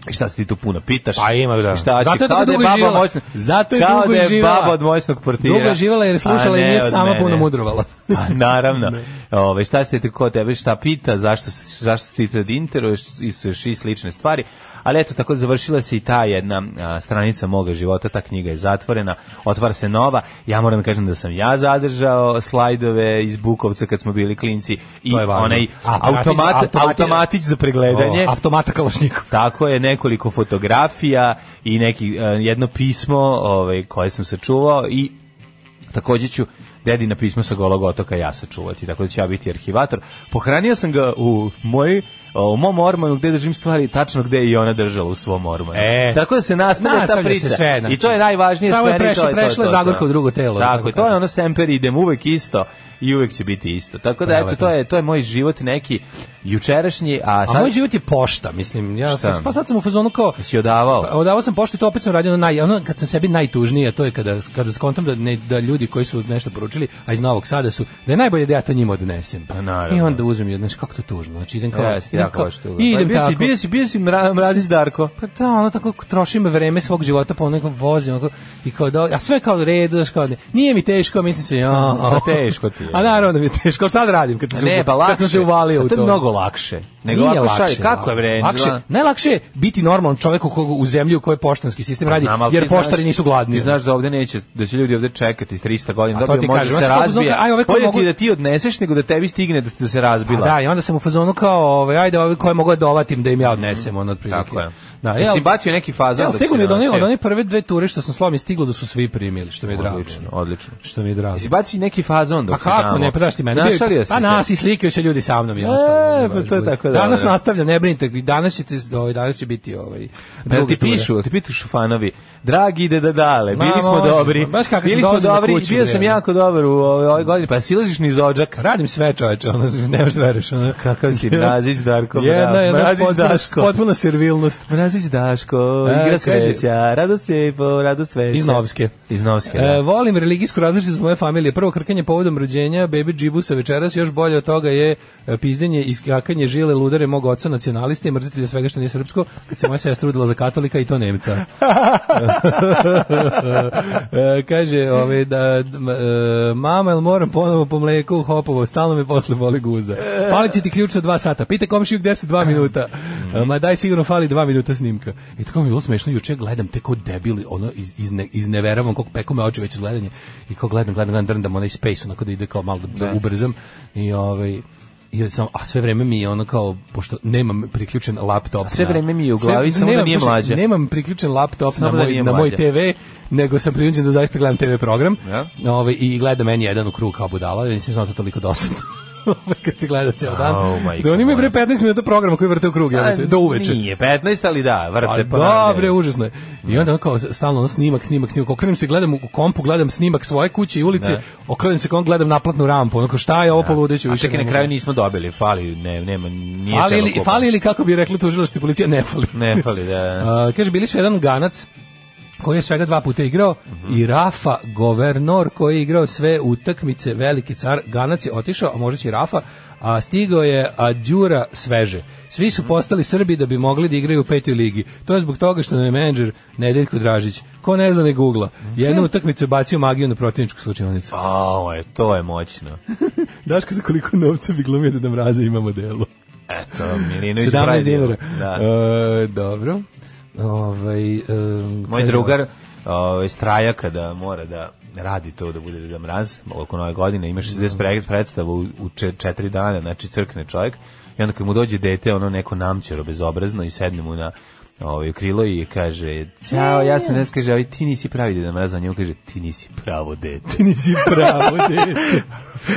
Speaker 5: I šta se ti tu puno pitaš?
Speaker 6: Pa ima, da.
Speaker 5: I Šta će,
Speaker 6: Zato je tako
Speaker 5: kao da
Speaker 6: dugo
Speaker 5: baba
Speaker 6: živjela.
Speaker 5: moćna-
Speaker 6: Zato je
Speaker 5: kao
Speaker 6: dugo
Speaker 5: da je
Speaker 6: živjela.
Speaker 5: baba od moćnog portira.
Speaker 6: Dugo je živjela jer je slušala
Speaker 5: A
Speaker 6: i
Speaker 5: ne
Speaker 6: nije
Speaker 5: od
Speaker 6: sama
Speaker 5: mene.
Speaker 6: puno mudrovala.
Speaker 5: Pa naravno. Ove, šta ste te ko tebe šta pita, zašto se- zašto se ti to interuješ i su još i slične stvari. ali eto, tako da završila se i ta jedna a, stranica moga života, ta knjiga je zatvorena, otvara se nova, ja moram da kažem da sam ja zadržao slajdove iz Bukovca kad smo bili klinci i
Speaker 6: To je važno.
Speaker 5: onaj
Speaker 6: A,
Speaker 5: automat,
Speaker 6: automati-
Speaker 5: automatić za pregledanje,
Speaker 6: O, automata Kalašnikov.
Speaker 5: tako je nekoliko fotografija i neki e, jedno pismo, ovaj koje sam sačuvao i takođe ću dedina pismo sa Golog otoka ja sačuvati, tako da ću ja biti arhivator. Pohranio sam ga u moj u mom ormanu gde držim stvari tačno gde je i ona držala u svom ormanu.
Speaker 6: E.
Speaker 5: Tako da se nastavlja ta
Speaker 6: Nastavlja
Speaker 5: priča.
Speaker 6: se sve, znači.
Speaker 5: I to je najvažnije
Speaker 6: Samo je
Speaker 5: sve.
Speaker 6: prešla- prešla Zagorka u drugo telo,
Speaker 5: Tako,
Speaker 6: tako
Speaker 5: je, to je
Speaker 6: kažem.
Speaker 5: ono semper idem uvek isto i uvek će biti isto. Tako da eto,
Speaker 6: Prelepo.
Speaker 5: to je, to je moj život neki jučerašnji, a
Speaker 6: A
Speaker 5: sad
Speaker 6: moj život je pošta, mislim. Ja
Speaker 5: Šta?
Speaker 6: sam, pa sad sam u fazonu kao,
Speaker 5: si odavao.
Speaker 6: Pa, Odavao sam poštu i to opet sam radio ono naj, ono kad sam sebi najtužnije, to je kada, kada skontam da, ne, da ljudi koji su nešto poručili, a iz Novog Sada su, da je najbolje da ja to njima odnesem.
Speaker 5: Pa naravno.
Speaker 6: I onda uzmem i odnesem, kako to tužno. Znači idem kao,
Speaker 5: Jeste,
Speaker 6: idem
Speaker 5: jako
Speaker 6: kao-
Speaker 5: baš tuga.
Speaker 6: i
Speaker 5: Pa
Speaker 6: idem
Speaker 5: bio si-
Speaker 6: tako.
Speaker 5: Bio si, bio si mra, mrazić Darko.
Speaker 6: Pa da, ono tako trošim vreme svog života po nekom vozim, onako, i kao da, a sve kao u redu, znaš, kao, ne, nije mi teško, mislim se, ja, ono.
Speaker 5: Pa teško ti je.
Speaker 6: A naravno da mi je teško, šta da radim kad sam,
Speaker 5: Ne, pa lakše.
Speaker 6: kad sam se uvalio
Speaker 5: Pa
Speaker 6: u
Speaker 5: To
Speaker 6: to?
Speaker 5: je mnogo lakše. Nego
Speaker 6: Nije
Speaker 5: ovako šalje,
Speaker 6: lakše,
Speaker 5: kako je
Speaker 6: da.
Speaker 5: bre?
Speaker 6: Lakše,
Speaker 5: dva-
Speaker 6: najlakše je biti normalan čovjek u, kogu, u zemlji u kojoj poštanski sistem radi,
Speaker 5: Pa Znam, ali ti
Speaker 6: jer
Speaker 5: znaš-
Speaker 6: poštari nisu gladni.
Speaker 5: Ti znaš da ovde neće, da će ljudi ovde čekati 300 godina,
Speaker 6: A to
Speaker 5: da bi
Speaker 6: ti
Speaker 5: može se
Speaker 6: kažem, ja sam kao
Speaker 5: razbije.
Speaker 6: uzeo, aj, ove koje
Speaker 5: Bolje ti je da
Speaker 6: mogu-
Speaker 5: ti odneseš nego da tebi stigne da, da se
Speaker 6: A
Speaker 5: razbila.
Speaker 6: da, i onda sam u fazonu kao, ovaj, ajde, ovi koje mogu da dovatim da im ja odnesem, ono, otprilike.
Speaker 5: Mhm, Tako je.
Speaker 6: Da,
Speaker 5: Jesi
Speaker 6: jel-
Speaker 5: bacio neki fazon?
Speaker 6: Jel,
Speaker 5: dok
Speaker 6: stigo
Speaker 5: si
Speaker 6: mi je od one,
Speaker 5: donosio?
Speaker 6: od one prve dve ture što sam slao mi je stiglo da su svi primili, što mi je drago.
Speaker 5: Odlično, odlično.
Speaker 6: Što mi je drago.
Speaker 5: Jesi bacio neki fazon
Speaker 6: Pa
Speaker 5: dok si
Speaker 6: kako
Speaker 5: tamo?
Speaker 6: ne, pa daš ti mene.
Speaker 5: Našalio si
Speaker 6: Pa
Speaker 5: se?
Speaker 6: nas i slikaju se ljudi sa mnom,
Speaker 5: E,
Speaker 6: jednostavno. ono, ovaj.
Speaker 5: pa to je tako dobro.
Speaker 6: Danas nastavlja, ne brinite, i danas ćete, ovaj, danas će biti ovaj,
Speaker 5: Pa jel
Speaker 6: druga
Speaker 5: ti
Speaker 6: tura.
Speaker 5: pišu, ti pišu fanovi. Dragi deda dale,
Speaker 6: Ma,
Speaker 5: bili smo
Speaker 6: može,
Speaker 5: dobri.
Speaker 6: baš kako sam
Speaker 5: bili smo
Speaker 6: dolazio
Speaker 5: dobri,
Speaker 6: kući,
Speaker 5: bio sam
Speaker 6: bre.
Speaker 5: jako dobar u ovoj ovoj godini. Pa silaziš niz odžaka.
Speaker 6: Radim sve čoveče, ono, ne možeš da veriš. Ono.
Speaker 5: Kakav si mrazić Darko,
Speaker 6: Jedna,
Speaker 5: mra-
Speaker 6: jedna
Speaker 5: mrazić
Speaker 6: potpuna,
Speaker 5: Daško.
Speaker 6: potpuna servilnost.
Speaker 5: Mrazić Pa Daško,
Speaker 6: E,
Speaker 5: igra
Speaker 6: kaže-
Speaker 5: sreća, radost je po radost veća.
Speaker 6: Iz Novske.
Speaker 5: Iz Novske,
Speaker 6: E,
Speaker 5: da.
Speaker 6: volim religijsku različitost moje familije. Prvo krkanje povodom rođenja, baby džibusa večeras, još bolje od toga je e, pizdenje i skakanje žile ludare mog oca nacionaliste i mrzitelja svega što nije srpsko, kad se moja sestra udala za katolika i to Nemca. E, kaže, ovaj, da, d- m- e, mama, jel moram ponovo po mleku u hopovo, stalno me posle boli guza. Fali će ti ključ za dva sata. Pite komšiju gde su dva minuta.
Speaker 5: Mhm.
Speaker 6: E, Ma daj sigurno fali dva minuta snimka. I tako mi je bilo smešno, juče gledam te kao debili, ono, iz, iz, ne, izneveravam, kako peku me oči već od gledanja. I kao gledam, gledam, gledam, drndam onaj space, onako da ide kao malo da, da ubrzam. I ovaj, I sam, a sve vreme mi je ono kao, pošto nemam priključen laptop. A
Speaker 5: sve vreme mi je u glavi, samo da nije mlađa.
Speaker 6: Nemam priključen laptop
Speaker 5: Samo
Speaker 6: na
Speaker 5: da
Speaker 6: moj,
Speaker 5: nije
Speaker 6: na moj
Speaker 5: mlađa.
Speaker 6: TV, nego sam prinuđen da zaista gledam TV program.
Speaker 5: Ja.
Speaker 6: Ovaj i gledam meni jedan u krug kao budala, ja nisam znao da je to toliko dosadno. Ovaj, kad se gleda ceo dan.
Speaker 5: Au, majko
Speaker 6: da oni imaju bre
Speaker 5: moja.
Speaker 6: 15 minuta programa koji vrte u krug, jel,
Speaker 5: Oh A,
Speaker 6: do uveče.
Speaker 5: pa Nije 15, ali da,
Speaker 6: Pa
Speaker 5: vrte pa.
Speaker 6: da, bre, užasno je. I onda on kao stalno ono snimak, snimak, snimak. Okrenem se, gledam u kompu, gledam snimak svoje kuće i ulice, okrenem se kom gledam naplatnu rampu. Onako, šta je ovo poludeću?
Speaker 5: A
Speaker 6: više ne
Speaker 5: čekaj, na
Speaker 6: mogu.
Speaker 5: kraju nismo dobili, fali, ne, nema, nije
Speaker 6: Fali
Speaker 5: celo
Speaker 6: ili,
Speaker 5: kupa.
Speaker 6: fali ili kako bi rekli tužilaštvo i policija, ne fali.
Speaker 5: Ne fali, da.
Speaker 6: A, kaže, bili su jedan Ganac koji je svega dva puta igrao i Rafa Governor koji je igrao sve utakmice, veliki car Ganac je otišao, a možda će i Rafa a stigao je Adjura sveže svi su postali Srbi da bi mogli da igraju u petoj ligi, to je zbog toga što nam je menadžer Nedeljko Dražić, ko ne zna ne googla jednu utakmicu je bacio magiju na protivničku slučajnicu
Speaker 5: Ao, je, e, to je moćno.
Speaker 6: Daško za koliko novca bi glumio da mraze imamo delo
Speaker 5: Eto, Milinović
Speaker 6: 17
Speaker 5: Brajdil.
Speaker 6: dinara
Speaker 5: Da.
Speaker 6: E, dobro Ovaj, em,
Speaker 5: Moj
Speaker 6: kaže
Speaker 5: drugar, ovaj straja kada mora da radi to da bude da mraz, oko nove godine ima 60 pre- predstava u, u čet- četiri dana, znači crkne čovjek. I onda kad mu dođe dete, ono neko namćero bezobrazno i sedne mu na ovaj u krilo i kaže: "Ćao, ja sam danas kaže, ali ti nisi pravi deda mraz." A njemu kaže: "Ti nisi pravo dete."
Speaker 6: Ti nisi pravo, dete.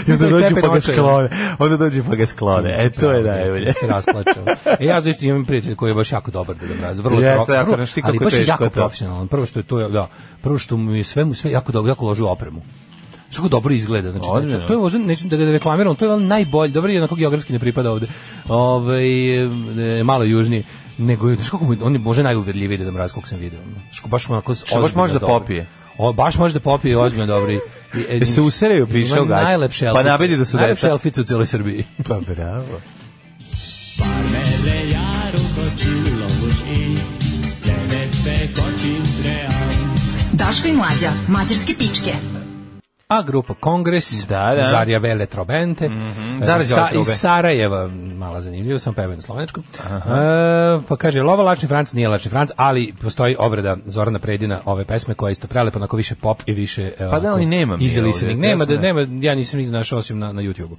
Speaker 5: I onda dođe
Speaker 6: Stepen
Speaker 5: pa ga
Speaker 6: očaja.
Speaker 5: sklone. Onda dođe pa ga sklone. E to je najbolje.
Speaker 6: se rasplačao. E, ja zaista imam prijatelja koji je baš jako dobar Deda Mraz, vrlo
Speaker 5: Jeste,
Speaker 6: pro-
Speaker 5: jako,
Speaker 6: vrlo-
Speaker 5: znaš ti kako
Speaker 6: ali
Speaker 5: je
Speaker 6: baš je
Speaker 5: teško
Speaker 6: jako
Speaker 5: to.
Speaker 6: profesionalan. Prvo što je to, da, prvo što mu je sve mu sve jako dobro, jako loži u opremu. Što kako dobro izgleda, znači
Speaker 5: Odlično.
Speaker 6: to je možda neću da ga reklamiram, ali to je on najbolji, dobro je onako geografski ne pripada ovde. Ovaj e, malo južnije nego je, znaš kako mu je- on je može najuverljiviji Deda Mraz kog sam video. Što baš onako
Speaker 5: baš
Speaker 6: ozbiljno
Speaker 5: može da
Speaker 6: dobro.
Speaker 5: popije?
Speaker 6: O, baš može da popije ozbiljno dobro. i- i-
Speaker 5: E, se usereju, piše
Speaker 6: Ima
Speaker 5: u gaći.
Speaker 6: Najlepše
Speaker 5: Pa
Speaker 6: elfice.
Speaker 5: nabedi da su
Speaker 6: Najlepše
Speaker 5: deca.
Speaker 6: elfice u celoj Srbiji.
Speaker 5: Pa bravo.
Speaker 4: Daško i mlađa, mađarske pičke.
Speaker 6: A grupa Kongres,
Speaker 5: Da, da.
Speaker 6: Zarja Vele Trobente, e,
Speaker 5: Zarja
Speaker 6: sa,
Speaker 5: Trobente.
Speaker 6: iz Sarajeva, mala zanimljivo, sam pevao na slovenačkom. E, pa kaže, lova lačni franc nije lačni franc, ali postoji obrada Zorana Predina ove pesme koja je isto prelepa, onako više pop i više... e,
Speaker 5: Pa da,
Speaker 6: onako
Speaker 5: ali nemam je
Speaker 6: Easy
Speaker 5: ovdje,
Speaker 6: listening. Nema, da,
Speaker 5: jasno je.
Speaker 6: nema, ja nisam nigdje našao osim na, na YouTube-u.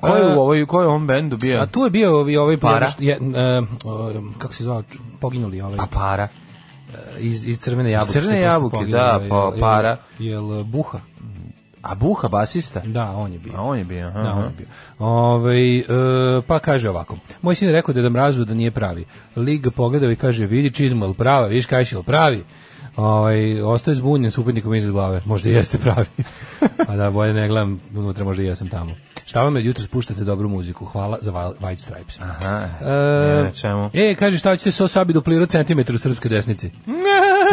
Speaker 5: Ko
Speaker 6: E,
Speaker 5: je u ovoj, ko je u ovom bendu bio?
Speaker 6: A tu je bio ovaj, ovaj
Speaker 5: Para.
Speaker 6: Je, e, o, kako se zvao, poginuli ovaj
Speaker 5: A para.
Speaker 6: iz, iz crvene jabuke.
Speaker 5: crvene
Speaker 6: što je posle
Speaker 5: jabuke,
Speaker 6: poginuo,
Speaker 5: da,
Speaker 6: jel-
Speaker 5: pa
Speaker 6: jel-
Speaker 5: para.
Speaker 6: ovaj, Jel, buha?
Speaker 5: A Buha, basista?
Speaker 6: Da, on je bio.
Speaker 5: A on je bio, aha.
Speaker 6: Da, on je bio. Ovaj, e, pa kaže ovako. Moj sin je rekao da mrazu da nije pravi. Lig ga pogledao i kaže, vidi čizmu, jel prava, vidiš kaj je pravi. Ovaj, ostaje zbunjen s upitnikom iz glave. Možda i jeste pravi. A da, bolje ne gledam unutra, možda i ja sam tamo. Šta vam je jutro spuštate dobru muziku? Hvala za Wa- White Stripes.
Speaker 5: Aha,
Speaker 6: E,
Speaker 5: Ah, ne, na čemu.
Speaker 6: E, kaže, šta ćete so sabi duplirati centimetru u srpskoj desnici?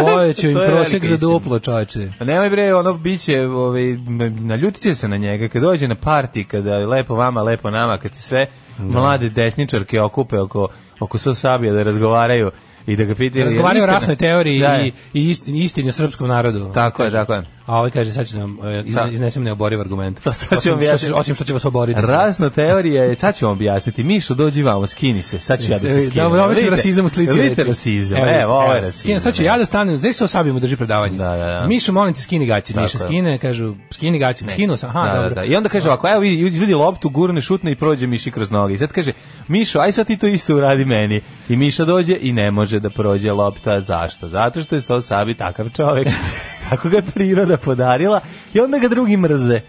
Speaker 6: Poveću im
Speaker 5: To je
Speaker 6: prosek
Speaker 5: velika
Speaker 6: za
Speaker 5: istina.
Speaker 6: duplo, čovječe.
Speaker 5: Pa nemoj bre, ono biće, ovaj, m- naljutit će se na njega, kad dođe na parti, kada je lepo vama, lepo nama, kad se sve mlade desničarke okupe oko, oko Sosabija da razgovaraju i da ga pitaju... "Jel
Speaker 6: Razgovaraju o
Speaker 5: istina?"
Speaker 6: rasnoj teoriji
Speaker 5: Da,
Speaker 6: i, i istini, istini o srpskom narodu.
Speaker 5: Tako je, tako je.
Speaker 6: A ovaj kaže, sad ću nam e, izne-
Speaker 5: Da.
Speaker 6: iznesem neoboriv argument.
Speaker 5: Pa sad ću
Speaker 6: osim,
Speaker 5: vam
Speaker 6: što,
Speaker 5: objasniti.
Speaker 6: će- osim što će vas oboriti.
Speaker 5: Rasna teorija je, sad ću vam objasniti, Mišo, dođi vamo, skini se, sad ću ja da se skinem.
Speaker 6: Dobro, ovo je
Speaker 5: Vidite-
Speaker 6: rasizam u slici.
Speaker 5: Vidite
Speaker 6: reči.
Speaker 5: rasizam, evo, ovo je
Speaker 6: evo, skinem,
Speaker 5: rasizam.
Speaker 6: Sad ću ja da stanem, gde se osabijemo drži predavanje.
Speaker 5: Da, da, da.
Speaker 6: Mišo, molim te, skini gaće. Miša,
Speaker 5: Tako je.
Speaker 6: skine, kažu, skini gaće. Skinuo sam, aha,
Speaker 5: da,
Speaker 6: dobro.
Speaker 5: da, da. I onda kaže ovako, evo vidi, vidi loptu, gurne, šutne i prođe Miši kroz noge. I sad kaže, Mišo, aj sad ti to isto uradi meni. I Miša dođe i ne može da prođe lopta. Zašto? Zato što je Sto Sabi takav čovjek. Tako ga je priroda podarila i onda ga drugi mrze.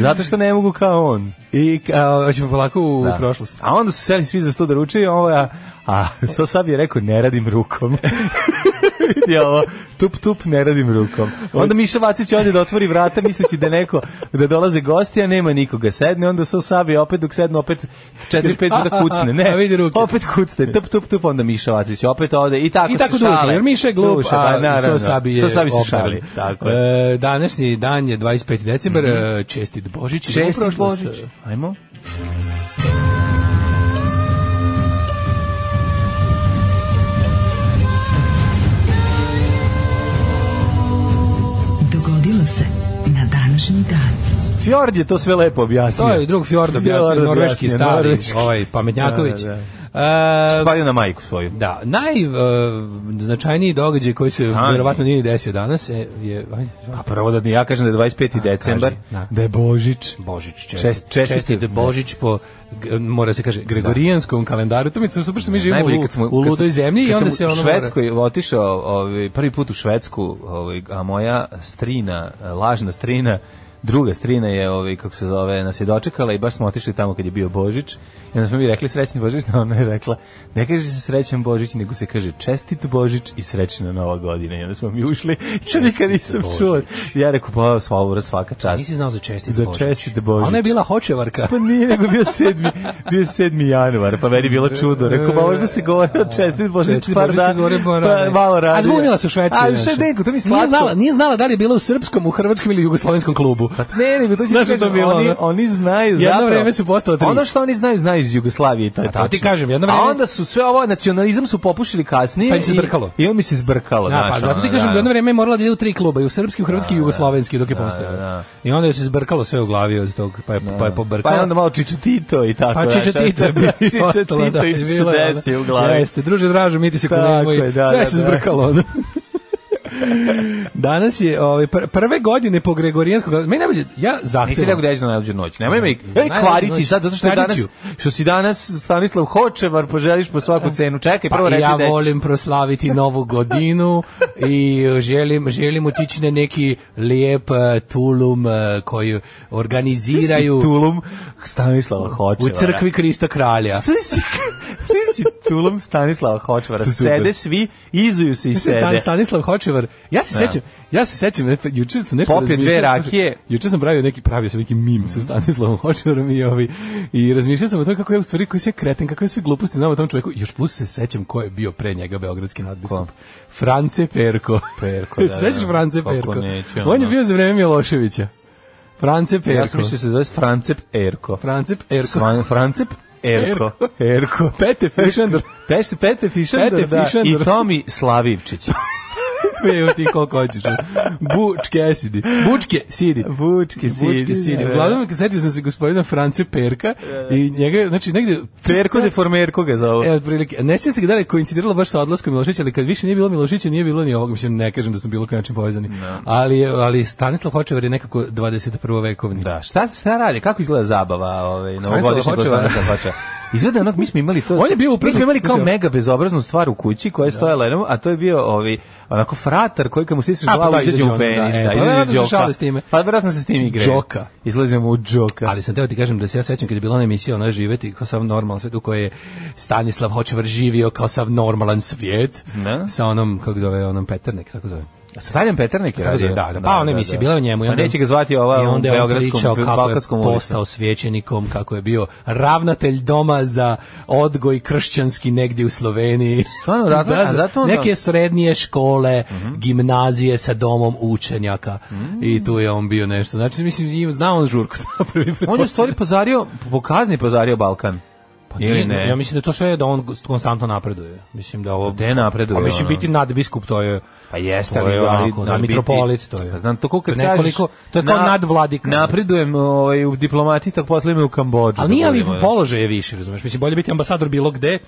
Speaker 5: Zato što ne mogu kao on.
Speaker 6: I a, hoćemo polako u,
Speaker 5: Da.
Speaker 6: u prošlost.
Speaker 5: A onda su seli svi za sto da ručaju, a ovo ja, a so sad je rekao, ne radim rukom. Vidi ovo, tup tup, ne radim rukom. Onda Miša Vacić ode da otvori vrata, misleći da je neko, da dolaze gosti, a nema nikoga. Sedne, onda so sabi opet, dok sedne, opet četiri, pet puta kucne. Ne,
Speaker 6: A vidi ruke.
Speaker 5: opet kucne, tup tup tup, onda Miša Vacić opet ode i tako
Speaker 6: I tako
Speaker 5: se
Speaker 6: dugo,
Speaker 5: šale.
Speaker 6: jer Miša je glup,
Speaker 5: Duša, pa,
Speaker 6: a
Speaker 5: naravno.
Speaker 6: Sosabi je
Speaker 5: Sosabi se
Speaker 6: obdaran.
Speaker 5: šali. Tako je. Mhm.
Speaker 6: E, današnji dan je 25. decembar, e, čestit Božić. idemo u
Speaker 5: Čestit
Speaker 6: prošlost.
Speaker 5: Božić. Ajmo.
Speaker 4: Dogodilo se na današnji dan.
Speaker 5: Fjord je to sve lepo objasnio.
Speaker 6: To je drug Fjord objasnio,
Speaker 5: Fjord
Speaker 6: norveški
Speaker 5: objasnio,
Speaker 6: stari,
Speaker 5: norveški.
Speaker 6: ovaj Pametnjaković.
Speaker 5: Da,
Speaker 6: E,
Speaker 5: Spalio na majku svoju.
Speaker 6: Da, najznačajniji događaj koji se
Speaker 5: Stani.
Speaker 6: verovatno nije ni desio danas je, je ajde,
Speaker 5: A Pa prvo da ja kažem da je 25. decembar,
Speaker 6: da.
Speaker 5: da je Božić.
Speaker 6: Božić, čestit,
Speaker 5: Čest-
Speaker 6: čestit,
Speaker 5: čestit-
Speaker 6: Božić po g- mora se kaže gregorijanskom kalendaru. To mi se super što mi živimo
Speaker 5: Najbolje
Speaker 6: u,
Speaker 5: kad smo
Speaker 6: u
Speaker 5: kad
Speaker 6: ludoj
Speaker 5: sam-
Speaker 6: zemlji i
Speaker 5: kad
Speaker 6: onda
Speaker 5: sam
Speaker 6: se ono
Speaker 5: u Švedskoj otišao ovaj prvi put u Švedsku, ovaj a moja strina, lažna strina Druga strina je, ovaj, kako se zove, nas je dočekala i baš smo otišli tamo kad je bio Božić. I onda smo mi rekli srećni Božić, a ona je rekla, ne kaže se srećan Božić, nego se kaže čestit Božić i srećna Nova godina. I onda smo mi ušli, ja nikad nisam
Speaker 6: Božić.
Speaker 5: čuo. Ja rekao, pa sva svaka
Speaker 6: mora.
Speaker 5: čast.
Speaker 6: Nisi znao za čestit
Speaker 5: Za
Speaker 6: Božić.
Speaker 5: čestit Božić.
Speaker 6: Ona je bila hočevarka.
Speaker 5: Pa nije, nego bio 7. bio 7. januar, pa meni bilo čudo. Rekao, pa možda se govori o čestit Božić
Speaker 6: Čestit
Speaker 5: par
Speaker 6: Božić se
Speaker 5: dana,
Speaker 6: govori,
Speaker 5: pa
Speaker 6: pa, da.
Speaker 5: malo razvija.
Speaker 6: A zbunila se u Švedskoj.
Speaker 5: A
Speaker 6: znaš.
Speaker 5: šta nego, to mi slatko.
Speaker 6: Nije znala, nije znala da li je bila u srpskom, u hrvatskom ili jugoslovenskom klubu.
Speaker 5: Ne, nego to ću
Speaker 6: Znaš
Speaker 5: ti
Speaker 6: šta je to
Speaker 5: kažem,
Speaker 6: bilo,
Speaker 5: oni,
Speaker 6: ono?
Speaker 5: oni znaju
Speaker 6: Jedno
Speaker 5: zapravo.
Speaker 6: vreme su postala tri.
Speaker 5: Ono što oni znaju, znaju iz Jugoslavije, to je
Speaker 6: A to
Speaker 5: tačno.
Speaker 6: ti kažem, jedno vreme-
Speaker 5: A onda su sve ovo, nacionalizam su popušili kasnije.
Speaker 6: Pa im se
Speaker 5: i-
Speaker 6: zbrkalo.
Speaker 5: I on mi se zbrkalo.
Speaker 6: Da,
Speaker 5: znaš,
Speaker 6: pa zato ti
Speaker 5: ono,
Speaker 6: kažem da
Speaker 5: da.
Speaker 6: jedno vreme je morala da ide u tri kluba, i u srpski, u hrvatski i jugoslovenski dok je postojao. I onda joj se zbrkalo sve u glavi od tog, pa je, pa je
Speaker 5: Pa
Speaker 6: pobrkalo.
Speaker 5: je onda malo Čiče Tito i tako.
Speaker 6: Pa
Speaker 5: znaš,
Speaker 6: Čiče Tito je bio
Speaker 5: Čiče
Speaker 6: ostalo,
Speaker 5: Tito
Speaker 6: da,
Speaker 5: im se
Speaker 6: bilo je ono.
Speaker 5: desi u glavi.
Speaker 6: Jeste, druže draže, mi ti se
Speaker 5: Tako
Speaker 6: kunemo i
Speaker 5: je, da,
Speaker 6: sve
Speaker 5: da,
Speaker 6: se
Speaker 5: da.
Speaker 6: zbrkalo. ono. Danas je ovaj, pr- prve godine po Gregorijanskom kalendaru. Meni najbolje, ja zahtijevam.
Speaker 5: Nisi rekao da jeđeš na najluđu noć. Nemoj me
Speaker 6: Za
Speaker 5: ej,
Speaker 6: najluđu
Speaker 5: kvariti
Speaker 6: noć.
Speaker 5: sad, zato što je danas,
Speaker 6: Tradiciju.
Speaker 5: što si danas Stanislav Hočevar, poželiš po svaku cenu. Čekaj, prvo
Speaker 6: Pa
Speaker 5: reci
Speaker 6: ja
Speaker 5: da ćeš.
Speaker 6: volim proslaviti novu godinu i želim, želim otići na neki lijep eh, tulum eh, koji
Speaker 5: Ti si
Speaker 6: organiziraju
Speaker 5: tulum Stanislava
Speaker 6: u
Speaker 5: Hočevara.
Speaker 6: crkvi Krista Kralja.
Speaker 5: Sve si, sve si tulum Stanislava Hočevara.
Speaker 6: To je super.
Speaker 5: Sede svi, izuju se i
Speaker 6: Dan
Speaker 5: sede.
Speaker 6: Stanislav Hočevar. Ja se sećam, ja se sećam, ne, juče sam nešto
Speaker 5: Popio dve
Speaker 6: razmišljao, znači,
Speaker 5: rakije.
Speaker 6: Juče sam pravio neki pravio sam neki mim sa Stanislavom Hočevarom i ovi i razmišljao sam o tome kako je u stvari koji se kreten, kako je sve gluposti znamo o tom čoveku. Još plus se sećam ko je bio pre njega beogradski nadbiskup. France Perko.
Speaker 5: Perko, da, da.
Speaker 6: Sećaš France
Speaker 5: Kako
Speaker 6: Perko?
Speaker 5: neću,
Speaker 6: On je
Speaker 5: ono.
Speaker 6: bio za vreme Miloševića. France Perko.
Speaker 5: Ja sam mislio da se zove Francep Erko.
Speaker 6: France Perko.
Speaker 5: Svan- Francep Erko. Erko.
Speaker 6: Pete Fischender.
Speaker 5: Pete, Pete Fišender,
Speaker 6: Pete
Speaker 5: da, i
Speaker 6: Fišender.
Speaker 5: Tomi Slavivčić.
Speaker 6: smeju ti koliko hoćeš. ono. Bučke sidi. Bučke sidi.
Speaker 5: Bučke sidi,
Speaker 6: Bučke sidi.
Speaker 5: da, da.
Speaker 6: E, Uglavnom, setio sam se gospodina France Perka i njega, znači, negde...
Speaker 5: Perko de Formerko ga zove.
Speaker 6: E, otprilike. Ne sjećam se da li je koincidiralo baš sa odlaskom Milošića, ali kad više nije bilo Milošića, nije bilo ni ovog. Mislim, ne kažem da smo bilo koji način povezani. Ali, je- ali Stanislav Hočevar je nekako 21. vekovni.
Speaker 5: Da, šta, šta radi? Kako izgleda zabava ovaj, novogodišnja kod
Speaker 6: Hočeva.
Speaker 5: Stanislava Hočeva? Izgleda onog, mi smo imali to...
Speaker 6: On je bio upravo-
Speaker 5: Mi smo imali kao
Speaker 6: mislim-
Speaker 5: mega bezobraznu stvar u kući koja je stojala jednom, a to je bio ovaj, onako fratar koji kad mu sisneš
Speaker 6: A, pa
Speaker 5: glavu
Speaker 6: da,
Speaker 5: izađe
Speaker 6: izađe
Speaker 5: mu
Speaker 6: on, da,
Speaker 5: penis. Da,
Speaker 6: e, pa
Speaker 5: izađe
Speaker 6: verovatno se
Speaker 5: đoka.
Speaker 6: šale s time.
Speaker 5: Pa vjerojatno se s tim igre.
Speaker 6: Đoka.
Speaker 5: Izlazi mu u džoka.
Speaker 6: Ali sam teo ti kažem da se ja sećam kad je bila ona emisija ona živeti kao sav normalan svijet u kojoj je Stanislav Hočevar živio kao sav normalan svijet
Speaker 5: Ne.
Speaker 6: sa onom, kako zove, onom Peternek, tako zove.
Speaker 5: Stavljam Peternik je
Speaker 6: Tako
Speaker 5: radio.
Speaker 6: zove, da, da, pa ona emisija bila je o njemu. i
Speaker 5: Pa
Speaker 6: onda-
Speaker 5: neće ga zvati ova
Speaker 6: I
Speaker 5: u
Speaker 6: onda je on pričao
Speaker 5: Beogradskom,
Speaker 6: kako je
Speaker 5: Balkanskom ulicu.
Speaker 6: postao svećenikom, kako je bio ravnatelj doma za odgoj kršćanski negdje u Sloveniji.
Speaker 5: Stvarno, odatle? A zato onda- Mhm.
Speaker 6: Neke srednje škole, gimnazije sa domom učenjaka.
Speaker 5: Mm.
Speaker 6: I tu je on bio nešto. Znači, mislim, znao on žurku.
Speaker 5: On je u stvari pozario, po kazni pozario Balkan.
Speaker 6: Pa
Speaker 5: Ili
Speaker 6: nije,
Speaker 5: ne? Pa
Speaker 6: Ja mislim da to sve je da on konstantno napreduje. Mislim da ovo...
Speaker 5: Gde napreduje
Speaker 6: A Pa mislim
Speaker 5: ono?
Speaker 6: biti nadbiskup, to je...
Speaker 5: Pa jeste,
Speaker 6: to
Speaker 5: ali,
Speaker 6: je
Speaker 5: ali,
Speaker 6: onako, da,
Speaker 5: ali biti-
Speaker 6: mitropolit, to je.
Speaker 5: Pa znam, to kako kad kažeš...
Speaker 6: Nekoliko- to je kao nadvladika.
Speaker 5: Napredujem ovaj, u diplomati, tako posle ime u Kambođu.
Speaker 6: Ali nije ali
Speaker 5: Da budemo,
Speaker 6: položaj je više, razumeš? Mislim, bolje biti ambasador bilo gde,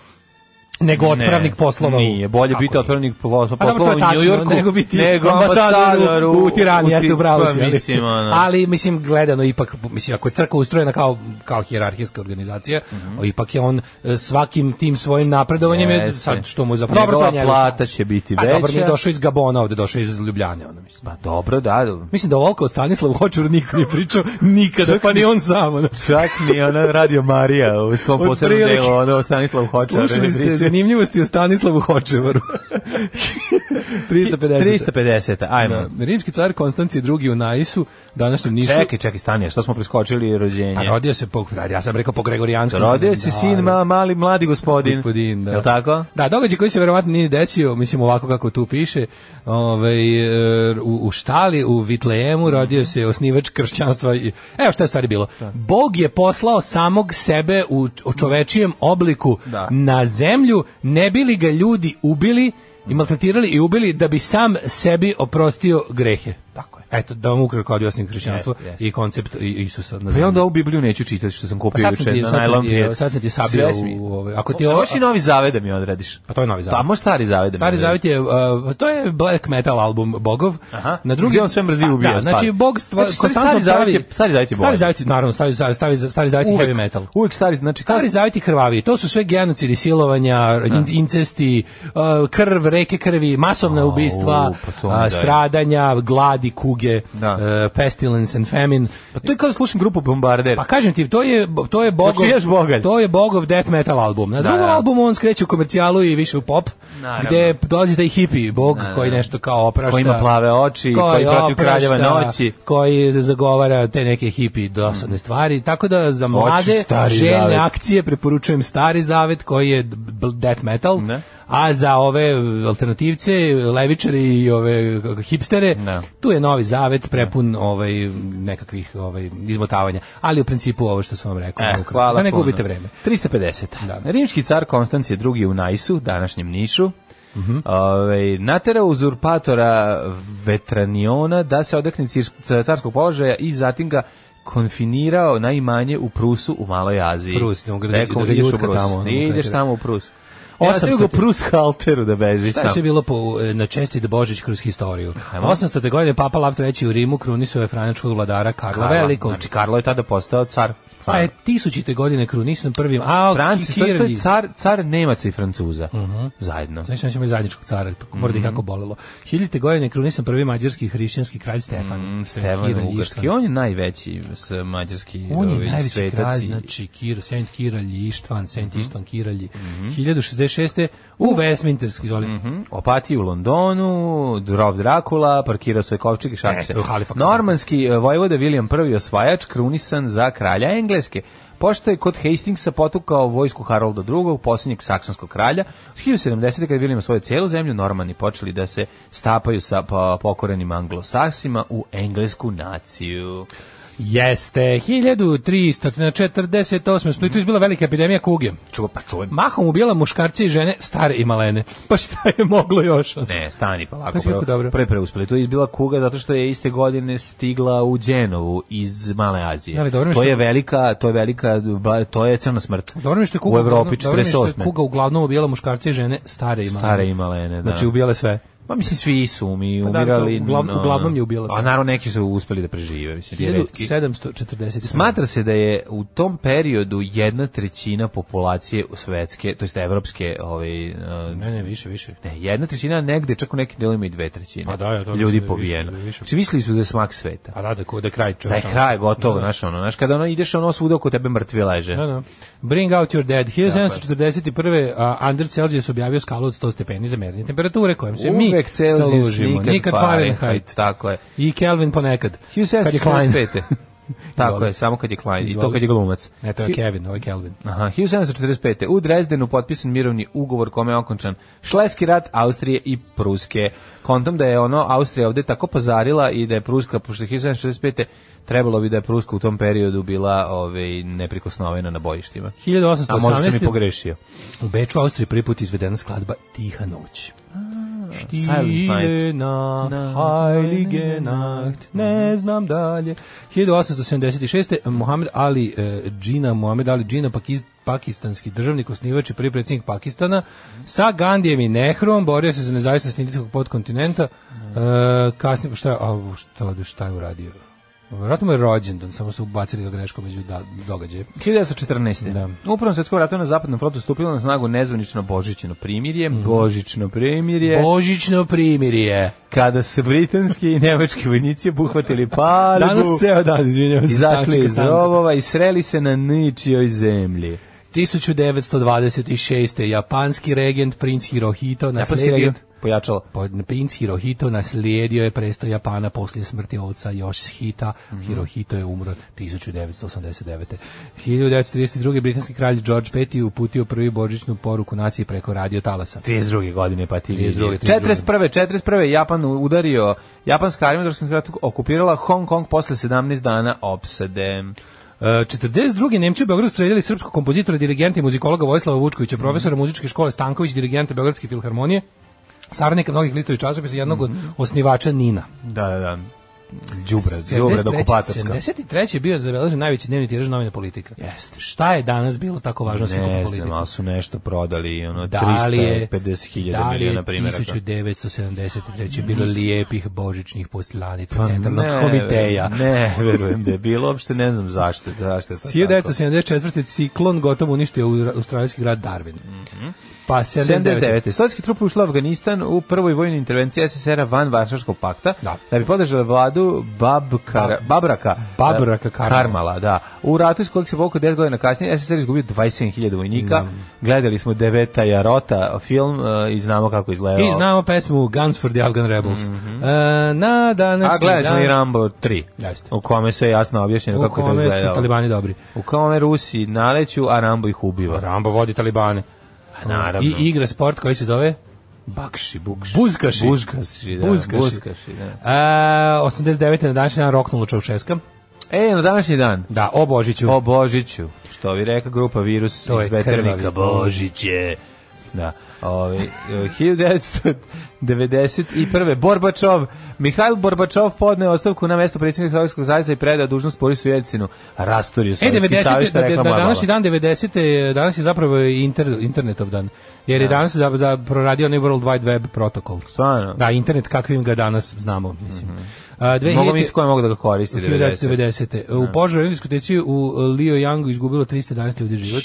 Speaker 6: nego
Speaker 5: ne.
Speaker 6: otpravnik poslova. u-
Speaker 5: Nije, bolje
Speaker 6: Tako
Speaker 5: biti
Speaker 6: je.
Speaker 5: otpravnik poslo-
Speaker 6: Pa dobro, to
Speaker 5: poslova
Speaker 6: je
Speaker 5: u
Speaker 6: tačno,
Speaker 5: New Yorku
Speaker 6: nego biti ambasador u, u Tirani, jeste u pravu
Speaker 5: pa
Speaker 6: si, ali-
Speaker 5: mislim, ono.
Speaker 6: ali mislim gledano ipak mislim ako je crkva ustrojena kao kao hijerarhijska organizacija, ipak je on e, svakim tim svojim napredovanjem je
Speaker 5: Mhm. Jeste.
Speaker 6: sad što mu je zapravo
Speaker 5: Njegova
Speaker 6: to je njegov-
Speaker 5: plata će biti
Speaker 6: A dobro, nije
Speaker 5: veća.
Speaker 6: došao iz Gabona, ovde došao iz Ljubljane, ono mislim.
Speaker 5: Pa dobro, da, da.
Speaker 6: Mislim da ovako o Stanislavu Hočeru niko nije pričao nikada, pa ni on sam. ono.
Speaker 5: Čak ni ona radio Marija u svom
Speaker 6: Od
Speaker 5: posebnom
Speaker 6: prilike.
Speaker 5: delu, ono Stanislav Hočar. ono,
Speaker 6: Slušali ste
Speaker 5: priče.
Speaker 6: zanimljivosti o Stanislavu Hočevaru. 350.
Speaker 5: 350. Ajmo.
Speaker 6: Da. Rimski car Konstancije II u Naisu, današnjem Nišu.
Speaker 5: Čekaj, čekaj, stani, a što smo preskočili rođenje?
Speaker 6: A rodio se po, da, ja sam rekao po Gregorijanskom.
Speaker 5: Rodio si sin,
Speaker 6: Pa da,
Speaker 5: ma, mali, mladi gospodin.
Speaker 6: Gospodin, da.
Speaker 5: Jel tako?
Speaker 6: Da, događaj koji se verovatno nije desio, mislim ovako kako tu piše, ovaj, e, u, u štali, u Vitlejemu rodio se osnivač kršćanstva. i- Evo šta je u stvari bilo. Bog je poslao samog sebe u č- u čovečijem obliku
Speaker 5: Da.
Speaker 6: na zemlju, ne bi li ga ljudi ubili i maltretirali i ubili da bi sam sebi oprostio grehe. Tako je. Eto, da vam ukratko objasnim kršćanstvo
Speaker 5: Jeste, jeste.
Speaker 6: i koncept i- Isusa. na
Speaker 5: Pa ja
Speaker 6: zemlji.
Speaker 5: onda ovu Bibliju neću čitati što sam
Speaker 6: Pa
Speaker 5: kupio
Speaker 6: sad sam
Speaker 5: juče
Speaker 6: ti,
Speaker 5: na
Speaker 6: sad sam
Speaker 5: najlon
Speaker 6: ti-
Speaker 5: pijac.
Speaker 6: sad sam ti sabio
Speaker 5: Sve smi-
Speaker 6: u- u ove- ako ti
Speaker 5: O,
Speaker 6: ovo-
Speaker 5: možeš i novi zavede mi odradiš.
Speaker 6: Pa to je novi
Speaker 5: Pa
Speaker 6: zavet.
Speaker 5: možeš stari zavede. mi
Speaker 6: Stari
Speaker 5: odradiš.
Speaker 6: zavet je, uh, to je black metal album Bogov.
Speaker 5: Aha.
Speaker 6: Na drugi
Speaker 5: Gdje on sve mrzi i ubija,
Speaker 6: Da,
Speaker 5: spada.
Speaker 6: znači Bog stva,
Speaker 5: Znači, stari-
Speaker 6: konstantno
Speaker 5: stari zavet
Speaker 6: pravi-
Speaker 5: je- stari zavet je bolji.
Speaker 6: Stari zavet je, naravno, stari zavet, stari, stari zavet je
Speaker 5: Uvek-
Speaker 6: heavy metal.
Speaker 5: Uvek stari, znači
Speaker 6: Stari zavet je krvavi. To su sve genocidi, silovanja, in- incesti, uh, krv, reke krvi, masovna
Speaker 5: Au,
Speaker 6: ubistva,
Speaker 5: pa to
Speaker 6: uh,
Speaker 5: onda je.
Speaker 6: stradanja, gladi, kuge,
Speaker 5: Da.
Speaker 6: uh, pestilence and famine.
Speaker 5: Pa to je kao da slušam grupu Bombarder.
Speaker 6: Pa kažem ti, to je to je bogov.
Speaker 5: Znači, ješ bogalj.
Speaker 6: To je bogov death metal album. Na
Speaker 5: Da,
Speaker 6: drugom
Speaker 5: da.
Speaker 6: albumu on skreće u komercijalu i više u pop,
Speaker 5: Naravno.
Speaker 6: gde dolazi taj hippie bog
Speaker 5: Da, da.
Speaker 6: koji nešto kao oprašta.
Speaker 5: Koji ima plave oči, koji protiv kraljeva noći.
Speaker 6: Koji zagovara te neke hippie dosadne stvari. Tako da za mlade
Speaker 5: Stari
Speaker 6: željne
Speaker 5: zavet.
Speaker 6: akcije preporučujem Stari zavet koji je b- b- death metal.
Speaker 5: Ne.
Speaker 6: A za ove e, alternativce, levičare i ove kako, hipstere,
Speaker 5: Ne.
Speaker 6: tu je novi zavet prepun ovaj nekakvih ovaj izmotavanja, ali u principu ovo što sam vam rekao,
Speaker 5: E,
Speaker 6: ukratko.
Speaker 5: hvala
Speaker 6: da ne
Speaker 5: puno.
Speaker 6: gubite vreme.
Speaker 5: 350.
Speaker 6: Da.
Speaker 5: Rimski car Konstancije II. u Najsu, današnjem Nišu,
Speaker 6: Mhm.
Speaker 5: ovaj, naterao uzurpatora Vetraniona da se odrekne cir- carskog položaja i zatim ga konfinirao najmanje u Prusu u Maloj Aziji.
Speaker 6: Prus, da ga-
Speaker 5: Rekao mu,
Speaker 6: da ga
Speaker 5: ideš u
Speaker 6: jutka
Speaker 5: Prus.
Speaker 6: tamo, ono,
Speaker 5: Ne ideš
Speaker 6: znači.
Speaker 5: tamo u Prus. Ja,
Speaker 6: 800.
Speaker 5: nego Prus halteru da beži
Speaker 6: Šta je sve
Speaker 5: sam.
Speaker 6: bilo po, e, na česti da Božić kroz historiju? 800. godine Papa Lav III u Rimu krunisao je franačkog vladara Karla,
Speaker 5: Karla.
Speaker 6: Velikog.
Speaker 5: Znači, Karlo je tada postao car.
Speaker 6: pa je tisućite godine krunisan prvim, a
Speaker 5: Francis, to je, to je
Speaker 6: Kirgi.
Speaker 5: car, car Nemaca i Francuza. Zajedno.
Speaker 6: Mhm. Znaš da ćemo i zajedničkog cara, pa mora da
Speaker 5: Mhm.
Speaker 6: ih jako bolelo. Hiljite godine krunisan prvi mađarski hrišćanski kralj Stefan.
Speaker 5: Mhm, Stefan
Speaker 6: Kiran
Speaker 5: Ugarski,
Speaker 6: Ištvan.
Speaker 5: on je najveći s mađarski
Speaker 6: On je
Speaker 5: ovaj,
Speaker 6: najveći
Speaker 5: svetac
Speaker 6: kralj,
Speaker 5: i- Mhm.
Speaker 6: znači Kir, Saint Kiralj, Ištvan, Saint Ištvan Kiralji. 1066. u Westminsterski, izvoli.
Speaker 5: Uh. Mhm. Opatiji u Londonu, Drov Drakula, parkirao svoj kovčeg i šalim
Speaker 6: Ne,
Speaker 5: se.
Speaker 6: to je Halifax.
Speaker 5: Normanski eh, vojvoda William I osvajač, krunisan za kralja Engleske. Pošto je kod Hastingsa potukao vojsku Harolda II, posljednjeg saksonskog kralja, od 1070. kada je William svoju cijelu zemlju, Normani počeli da se stapaju sa pa, pokorenim anglosaksima u englesku naciju.
Speaker 6: Jeste, 1348. U Splitu je bila velika epidemija kuge.
Speaker 5: Čuva, pa čuva.
Speaker 6: Mahom ubijala muškarce i žene, stare i malene. Pa šta je moglo još? ono?
Speaker 5: Ne, stani pa lako.
Speaker 6: To si jako dobro.
Speaker 5: Pre preuspeli. To je bila kuga zato što je iste godine stigla u Dženovu iz Male Azije.
Speaker 6: Ali dobro mi je
Speaker 5: to
Speaker 6: što-
Speaker 5: je velika, to je velika, ba- to je crna smrt.
Speaker 6: Dobro mi je što je kuga,
Speaker 5: u Evropi
Speaker 6: uglavnom- dobro mi je što je
Speaker 5: 48.
Speaker 6: kuga uglavnom ubijala muškarce i žene, stare i malene.
Speaker 5: Stare i malene, da.
Speaker 6: Znači ubijale sve.
Speaker 5: Pa mislim svi su mi
Speaker 6: da,
Speaker 5: umirali.
Speaker 6: uglavnom-
Speaker 5: no,
Speaker 6: uglavnom je ubila
Speaker 5: A
Speaker 6: sve.
Speaker 5: naravno neki su uspeli da prežive, mislim, ti retki.
Speaker 6: 1740.
Speaker 5: Smatra se da je u tom periodu jedna trećina populacije u svetske, to jest evropske, ovaj, eh,
Speaker 6: Ne, ne, više, više.
Speaker 5: Ne, jedna trećina negde, čak u nekim delovima i dve trećine.
Speaker 6: Pa da, ja to mislim da
Speaker 5: Ljudi
Speaker 6: je
Speaker 5: pobijeno.
Speaker 6: više, da je više.
Speaker 5: Znači, mislili su da je smak sveta.
Speaker 6: A da, da, ko- da je kraj
Speaker 5: Da
Speaker 6: čovječa.
Speaker 5: je kraj gotovo, znaš, ono, znaš, kada ono ideš, ono svuda oko tebe mrtvi leže.
Speaker 6: Da, da. Bring out your dead. 1741. a, Under Celsius objavio skalu od 100 stepeni za merenje temperature kojom se mi
Speaker 5: Uvek Celsius,
Speaker 6: salužimo. Nikad Fahrenheit.
Speaker 5: Tako je.
Speaker 6: I Kelvin ponekad. Kad je Klein.
Speaker 5: 1745. Tako
Speaker 6: Izvoli.
Speaker 5: je, samo kad je Klein, i to
Speaker 6: Izvoli.
Speaker 5: kad je glumac.
Speaker 6: Ne, to je Kevin, ovo je Kelvin.
Speaker 5: Aha, 1745. U Drezdenu potpisan mirovni ugovor kome je okončan Šleski rat Austrije i Pruske. Kontom da je ono Austrija ovde tako pozarila i da je Pruska, pošto je 1745. trebalo bi da je Pruska u tom periodu bila ovaj, neprikosnovena na bojištima. A možda sam i
Speaker 6: 1818.
Speaker 5: pogrešio.
Speaker 6: U Beču, Austriji, prvi put izvedena skladba Tiha noć.
Speaker 5: Silent
Speaker 6: Stille
Speaker 5: Night.
Speaker 6: Nacht,
Speaker 5: Na- Mhm.
Speaker 6: Heilige Nacht, ne znam dalje. 1876. Mohamed Ali eh, Džina, Mohamed Ali Džina, pakiz, pakistanski državnik, osnivač i prvi predsjednik Pakistana,
Speaker 5: Mhm.
Speaker 6: sa Gandijem i Nehrom borio se za nezavisnost indijskog podkontinenta. Eh,
Speaker 5: Mhm.
Speaker 6: kasnije, šta, je- a, šta, šta je uradio? Vratno mu je rođendan, samo su ubacili ga greškom među da, događaje.
Speaker 5: 1914. Da. U Prvom svetskom ratu na Zapadnom frontu stupilo na snagu nezvanično Božićno primirje. Božićno primirje.
Speaker 6: Božićno primirje.
Speaker 5: kada su britanski i nemački vojnici obuhvatili palibu.
Speaker 6: Danas ceo dan, izvinjavam se.
Speaker 5: izašli
Speaker 6: tačka
Speaker 5: iz
Speaker 6: tanka.
Speaker 5: rovova i sreli se na ničijoj zemlji.
Speaker 6: 1926. japanski regent princ Hirohito
Speaker 5: Japanski
Speaker 6: nasledio
Speaker 5: regent pojačalo.
Speaker 6: Pod- Princ Hirohito naslijedio je presto Japana poslije smrti oca Yoshihita.
Speaker 5: Mhm.
Speaker 6: Hirohito je umro 1989. 1932. britanski kralj George V uputio prvi božićnu poruku naciji preko radio talasa.
Speaker 5: 32. godine pa ti
Speaker 6: 32.,
Speaker 5: vidi.
Speaker 6: 32..
Speaker 5: 41. 41. Japan udario, japanska armija u drugom svjetskom ratu okupirala Hong Kong posle 17 dana opsade.
Speaker 6: E, 42. Nemci u Beogradu streljali srpskog kompozitora, dirigenta i muzikologa Vojislava Vučkovića, profesora muzičke škole Stanković, dirigenta Beogradske filharmonije, saradnika mnogih listovi časopisa, i jednog od
Speaker 5: Mhm.
Speaker 6: osnivača Nina.
Speaker 5: Da, da, da. Đubra, đubra do
Speaker 6: 73.
Speaker 5: okupatorska.
Speaker 6: 73. je bio zabeležen najveći dnevni tiraž novina politika.
Speaker 5: Jeste.
Speaker 6: Šta je danas bilo tako važno sve
Speaker 5: Ne
Speaker 6: politika?
Speaker 5: znam, ali su nešto prodali, ono,
Speaker 6: Da li je,
Speaker 5: 350.000
Speaker 6: da li je
Speaker 5: miliona primjeraka.
Speaker 6: 1973. bilo lijepih božićnih poslanica
Speaker 5: Pa
Speaker 6: centralnog
Speaker 5: ne,
Speaker 6: komiteja.
Speaker 5: Ne, verujem da je bilo, uopšte ne znam zašto, zašto je to Pa tako.
Speaker 6: 1974. ciklon gotovo uništio u- australijski grad Darwin.
Speaker 5: Mhm.
Speaker 6: Pa 79.
Speaker 5: 79. Sovjetske trupe ušle u Afganistan u prvoj vojnoj intervenciji SSR-a van Varšavskog pakta
Speaker 6: Da.
Speaker 5: bi podržala vladu Babkara, Babraka,
Speaker 6: Babraka
Speaker 5: eh,
Speaker 6: Karmala.
Speaker 5: Karmala, da. U ratu iz kojeg se volko 10 godina kasnije SSR izgubio 27.000 vojnika.
Speaker 6: Mm.
Speaker 5: Gledali smo Deveta Jarota film eh, i znamo kako izgledao.
Speaker 6: I znamo pesmu Guns for the Afghan Rebels. E, na današnji
Speaker 5: Mhm. A gledali smo
Speaker 6: dan-
Speaker 5: i Rambo 3,
Speaker 6: Jeste.
Speaker 5: u kome se jasno objašnjeno
Speaker 6: u
Speaker 5: kako je to
Speaker 6: kome su
Speaker 5: izgledalo.
Speaker 6: talibani dobri.
Speaker 5: U kome Rusi naleću, a Rambo ih ubiva.
Speaker 6: Rambo vodi talibane.
Speaker 5: naravno.
Speaker 6: Pa I igra sport koji se zove
Speaker 5: Bakši, bukši.
Speaker 6: Buzkaši.
Speaker 5: Buzkaši, da.
Speaker 6: Buzkaši.
Speaker 5: Buzkaši, da.
Speaker 6: E, 89. na današnji dan roknula Čaušeska.
Speaker 5: E, na današnji dan.
Speaker 6: Da, o Božiću.
Speaker 5: O Pa Božiću, što vi reka grupa Virus
Speaker 6: To je
Speaker 5: iz Veternika.
Speaker 6: krvavi
Speaker 5: Božić je. Da, ovi, e, 1991. Borbačov, Mihajl Borbačov podneo ostavku na mesto predsjednika Sovjetskog saveza i predao dužnost Borisu Jelcinu. Rastorio
Speaker 6: E,
Speaker 5: Sovjetski savez,
Speaker 6: 90,
Speaker 5: što
Speaker 6: da,
Speaker 5: je
Speaker 6: da,
Speaker 5: rekla Mladova.
Speaker 6: današnji dan 90. je- danas je zapravo i inter, internetov dan. Jer je danas za, za proradio onaj World Wide Web protokol.
Speaker 5: Stvarno? Mhm.
Speaker 6: Da, internet kakvim ga danas znamo, mislim. A,
Speaker 5: Mogu
Speaker 6: 2000
Speaker 5: mi s kojim mogu da ga koristi 90.
Speaker 6: 1990. U požaru jedne diskoteci u Lio Yangu izgubilo 311 ljudi život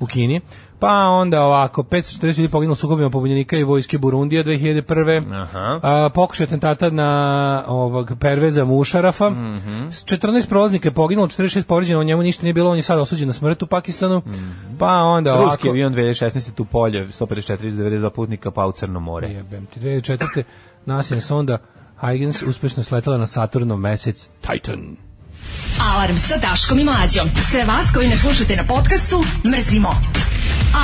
Speaker 6: u Kini. Pa onda ovako, 540 ljudi poginulo u sukobima pobunjenika i vojske Burundija 2001.
Speaker 5: Aha.
Speaker 6: A, pokušaj atentata na ovog Perveza Mušarafa. Mm
Speaker 5: Mhm.
Speaker 6: 14 proznika je poginulo, 46 povrijeđeno, o njemu ništa nije bilo, on je sad osuđen na smrt u Pakistanu. Pa onda ovako...
Speaker 5: Mhm. Ruski avion 2016. tu polje, 154 iz 92 putnika, pa u Crno more.
Speaker 6: Jebem ti, 2004. nasilna sonda Huygens uspešno sletela na Saturnov mesec Titan.
Speaker 4: Alarm sa Daškom i Mlađom. Sve vas koji ne slušate na podcastu, mrzimo.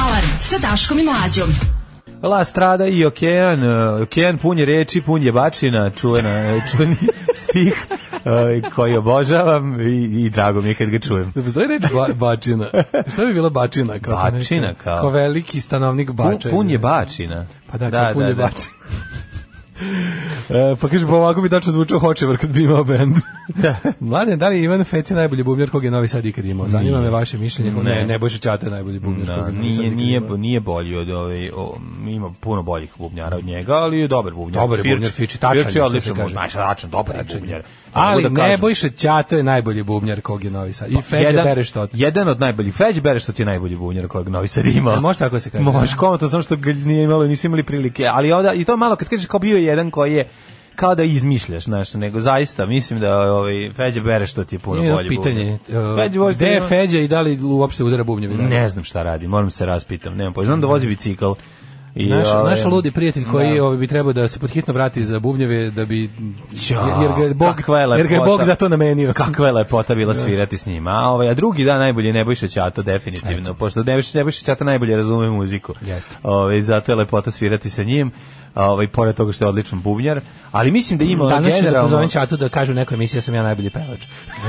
Speaker 4: Alarm sa Daškom i Mlađom.
Speaker 5: La Strada i Okean, e, Okean pun je reči, pun je bačina, čuvena, e, čuveni stih ovaj, koji obožavam i, i drago mi je kad ga čujem.
Speaker 6: Da postoji reč ba, bačina. Šta bi bila bačina? Kao to nešto?
Speaker 5: Bačina kao-
Speaker 6: Kao veliki stanovnik
Speaker 5: Pun,
Speaker 6: bača.
Speaker 5: pun je bačina.
Speaker 6: Pa da, da pun je bačina. E, pa kaže, pa ovako bi tačno zvučao Hočevar kad bi imao bend. Da. Mladen, da li je Ivan Feci najbolji bubnjar kog je Novi Sad ikad imao? Zanima me vaše mišljenje. Ne, ne,
Speaker 5: Ne.
Speaker 6: ne Bože Čata je najbolji bubnjar kog
Speaker 5: Da,
Speaker 6: je Novi Sad
Speaker 5: nije,
Speaker 6: ikad
Speaker 5: nije,
Speaker 6: imao.
Speaker 5: nije bolji od ove, o, ima puno boljih bubnjara od njega, ali je dobar bubnjar.
Speaker 6: Dobar je bubnjar, Firči, tačan je,
Speaker 5: Firči
Speaker 6: što
Speaker 5: je
Speaker 6: se
Speaker 5: odličan,
Speaker 6: kaže.
Speaker 5: znaš, tačan, dobar je
Speaker 6: Tačan je.
Speaker 5: bubnjar.
Speaker 6: Ali
Speaker 5: Mogu da kažem. Pa
Speaker 6: Nebojša Ćato je najbolji bubnjar kog je Novi Sad. I Feđa
Speaker 5: jedan,
Speaker 6: Bereštot.
Speaker 5: Jedan od najboljih. Feđe Bereštot je najbolji bubnjar kojeg Novi Sad ima.
Speaker 6: E, može tako se kaže,
Speaker 5: Može,
Speaker 6: da?
Speaker 5: komo to samo što ga nije imalo, nisu imali prilike. Ali onda, i to malo kad kažeš kao bio je jedan koji je kao da izmišljaš, znaš, nego zaista mislim da ovaj Feđe Bereštot je puno
Speaker 6: Nije
Speaker 5: bolji.
Speaker 6: pitanje.
Speaker 5: bubnjar.
Speaker 6: e,
Speaker 5: Feđe Bereštot
Speaker 6: Gde je
Speaker 5: ima-
Speaker 6: Feđa i da li uopšte udara bubnjevi?
Speaker 5: Ne znam šta radi, moram se raspitam, nemam pojma. Znam da vozi bicikl. I,
Speaker 6: Naš,
Speaker 5: ovaj,
Speaker 6: naš ludi prijatelj koji
Speaker 5: da.
Speaker 6: ovaj, bi trebao da se podhitno vrati za bubnjeve da bi
Speaker 5: Ja,
Speaker 6: jer ga je Bog
Speaker 5: kakva je
Speaker 6: jer ga je Bog
Speaker 5: lepota.
Speaker 6: za to namenio.
Speaker 5: Kakva je lepota bila svirati s njima. A, ovaj, a drugi dan najbolje je Nebojša Ćato, definitivno. Pošto Nebojša, Nebojša Ćato najbolje razume muziku.
Speaker 6: Jeste.
Speaker 5: Ovaj, zato je lepota svirati sa njim. Ovaj, pored toga što je odličan bubnjar. Ali mislim da ima
Speaker 6: Danas ću da
Speaker 5: generalno...
Speaker 6: pozovem Čatu da kaže u nekoj emisiji da sam ja najbolji pevač.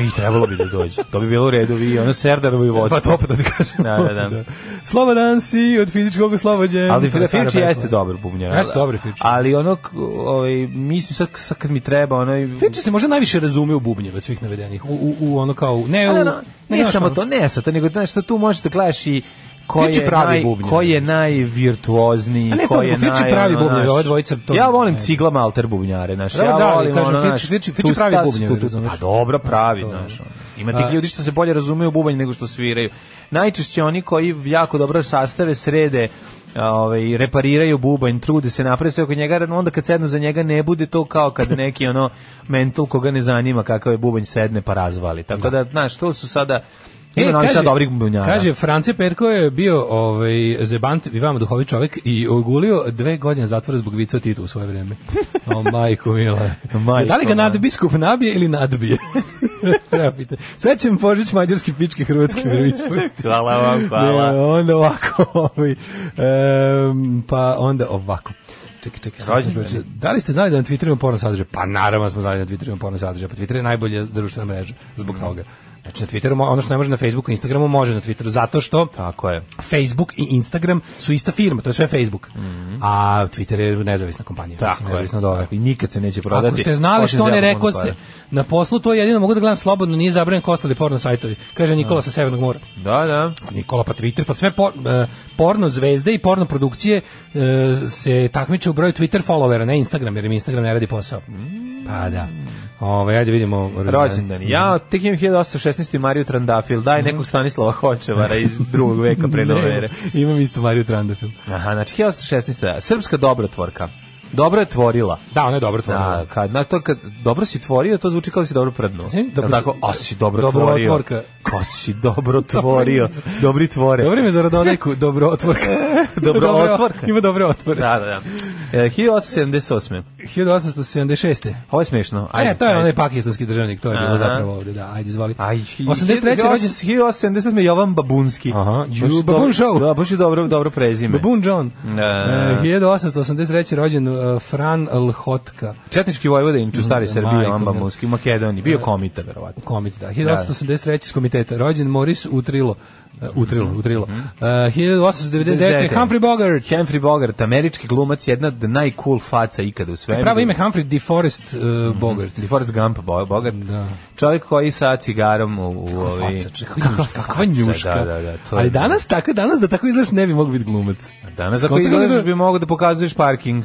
Speaker 5: I trebalo bi da dođe. To bi bilo u redu. I ono Serdarovo i vodstvo.
Speaker 6: Pa opet da ti kažem.
Speaker 5: Da, da, da.
Speaker 6: Slobodan si od fizičkog oslobođen.
Speaker 5: Ali
Speaker 6: To je stara
Speaker 5: Firči
Speaker 6: pesma.
Speaker 5: jeste dobar bubnjar.
Speaker 6: Jeste dobar Firči.
Speaker 5: Ali ono, k- ovaj, mislim sad, sad kad mi treba, ono...
Speaker 6: Finči se možda najviše razume u bubnjeve od svih navedenih. U, u, u ono kao, u- ne u...
Speaker 5: Ne, ne, ne,
Speaker 6: znaš,
Speaker 5: samo
Speaker 6: ono-
Speaker 5: to, ne sa to, nego znaš što tu možete gledaš i ko
Speaker 6: Fiči
Speaker 5: je,
Speaker 6: pravi
Speaker 5: naj,
Speaker 6: bubnjar.
Speaker 5: ko je najvirtuozni,
Speaker 6: A ne,
Speaker 5: ko
Speaker 6: to
Speaker 5: je
Speaker 6: nego Fiči
Speaker 5: naj...
Speaker 6: pravi
Speaker 5: ono,
Speaker 6: bubnjar,
Speaker 5: znaš,
Speaker 6: ova dvojica to-
Speaker 5: Ja volim
Speaker 6: ne.
Speaker 5: cigla malter bubnjare, znaš,
Speaker 6: Dobro,
Speaker 5: ja
Speaker 6: da, ali
Speaker 5: volim
Speaker 6: kažem,
Speaker 5: ono,
Speaker 6: Fiči-
Speaker 5: znaš,
Speaker 6: Fiči- Fiči
Speaker 5: tu
Speaker 6: pravi
Speaker 5: stas-
Speaker 6: bubnjar,
Speaker 5: tu- tu-
Speaker 6: razumeš?
Speaker 5: Pa dobro, pravi,
Speaker 6: to je.
Speaker 5: znaš. ono. Ima
Speaker 6: A-
Speaker 5: tih ljudi što se bolje razumeju u bubanj nego što sviraju. Najčešće oni koji jako dobro sastave srede a, ovaj repariraju bubanj, trude se naprave sve oko njega, jer onda kad sednu za njega ne bude to kao kad neki ono mental koga ne zanima kakav je bubanj sedne pa razvali. Tako da, znaš, to su sada
Speaker 6: E,
Speaker 5: ima nam
Speaker 6: kaže-
Speaker 5: sad dobrih bubnjara.
Speaker 6: Kaže, France Perko je bio ovaj, zebant i vama duhovi čovjek i ogulio dve godine zatvora zbog vica o Titu u svoje vreme. O, majko mila.
Speaker 5: Majko
Speaker 6: da li
Speaker 5: moja.
Speaker 6: ga nadbiskup nabije ili nadbije? Treba pitati. Sad će mi Božić mađarski pički hrvatski vervispust.
Speaker 5: Hvala vam, hvala.
Speaker 6: E, onda ovako, ovaj, em, pa onda ovako. Čekaj, čekaj, sad sam
Speaker 5: Rođendan.
Speaker 6: pročitao. da li ste znali da na Twitteru ima porno sadržaj? Pa naravno smo znali da na Twitteru ima porno sadržaj, pa Twitter je najbolja društvena mreža
Speaker 5: Mm.
Speaker 6: zbog toga. Znači na Twitteru, mo- ono što ne može na Facebooku i Instagramu, može na Twitteru, zato što
Speaker 5: Tako je.
Speaker 6: Facebook i Instagram su ista firma, to je sve Facebook. A Twitter je nezavisna kompanija.
Speaker 5: Mhm. Tako
Speaker 6: mislim,
Speaker 5: je.
Speaker 6: nezavisna od ove.
Speaker 5: Tako, I nikad se neće prodati.
Speaker 6: Ako ste znali
Speaker 5: Hoće
Speaker 6: što ne
Speaker 5: zjebamo
Speaker 6: rekao
Speaker 5: ono pare.
Speaker 6: ste, na poslu to jedino mogu da gledam slobodno, nije zabranjen kostali porno sajtovi, kaže Nikola sa Severnog mora.
Speaker 5: Da, da.
Speaker 6: Nikola pa Twitter, pa sve por, e, porno zvezde i porno produkcije e, se takmiče u broju Twitter followera, ne Instagram, jer im Instagram ne radi posao. Pa da. Ove, ajde vidimo.
Speaker 5: Rođendan. Ja tek imam 1816. i Mariju Trandafil.
Speaker 6: Mhm.
Speaker 5: Daj nekog Stanislava Hočevara iz drugog veka pre nove ere.
Speaker 6: Imam isto Mariju Trandafil.
Speaker 5: Aha, znači 1816. Srpska dobrotvorka. Dobro je tvorila.
Speaker 6: Da, ona je dobro tvorila.
Speaker 5: Da, kad, na to kad dobro si tvorio, to zvuči kao da si dobro prdnuo.
Speaker 6: Znači, dobro-
Speaker 5: Jel tako, a si dobro,
Speaker 6: Dobro
Speaker 5: tvorio.
Speaker 6: otvorka.
Speaker 5: Ko si dobro tvorio. Dobri tvore.
Speaker 6: Dobro ime za Radonajku, dobro otvorka.
Speaker 5: Dobro otvorka.
Speaker 6: Ima dobro otvore.
Speaker 5: Da, da, da. E, 1878.
Speaker 6: 1876.
Speaker 5: Ovo je smešno.
Speaker 6: Ajde,
Speaker 5: Ajde,
Speaker 6: e, to je
Speaker 5: ajde.
Speaker 6: onaj pakistanski državnik, to je bilo
Speaker 5: Aha.
Speaker 6: zapravo ovde, da, ajde, izvoli.
Speaker 5: Aj,
Speaker 6: 83. rođen
Speaker 5: 1877 je Jovan Babunski.
Speaker 6: Aha, ju,
Speaker 5: Baš
Speaker 6: Babun
Speaker 5: dobro-
Speaker 6: Show.
Speaker 5: Da, baš je dobro, dobro prezime.
Speaker 6: Babun John.
Speaker 5: Da, da, da.
Speaker 6: E, 1883. rođen e, Fran Lhotka.
Speaker 5: Četnički vojvodin u stari
Speaker 6: Mm, Da,
Speaker 5: Srbiji,
Speaker 6: majko,
Speaker 5: on
Speaker 6: da.
Speaker 5: Babunski, u Makedoniji. Bio komita, verovatno.
Speaker 6: komit, da. 1883. iz komiteta. Rođen Moris Utrilo. E,
Speaker 5: Mhm.
Speaker 6: Utrilo, Utrilo. E, 1899. Humphrey Bogart.
Speaker 5: Humphrey Bogart, američki glumac, jedna od najcool faca ikada u svemiru.
Speaker 6: E, Pravo ime Humphrey DeForest e,
Speaker 5: Mhm.
Speaker 6: Bogart.
Speaker 5: Ili Forrest Gump, Bo- Bogart.
Speaker 6: Da.
Speaker 5: Čovjek koji sa cigarom u, u ovi...
Speaker 6: Faca, čekaj, kakva, kakva njuška.
Speaker 5: Da, da, da, to je-
Speaker 6: Ali danas tako, danas da tako izgledaš ne bi mogu biti glumac.
Speaker 5: Danas ako
Speaker 6: Skontali da-
Speaker 5: izgledaš bi mogo da pokazuješ parking.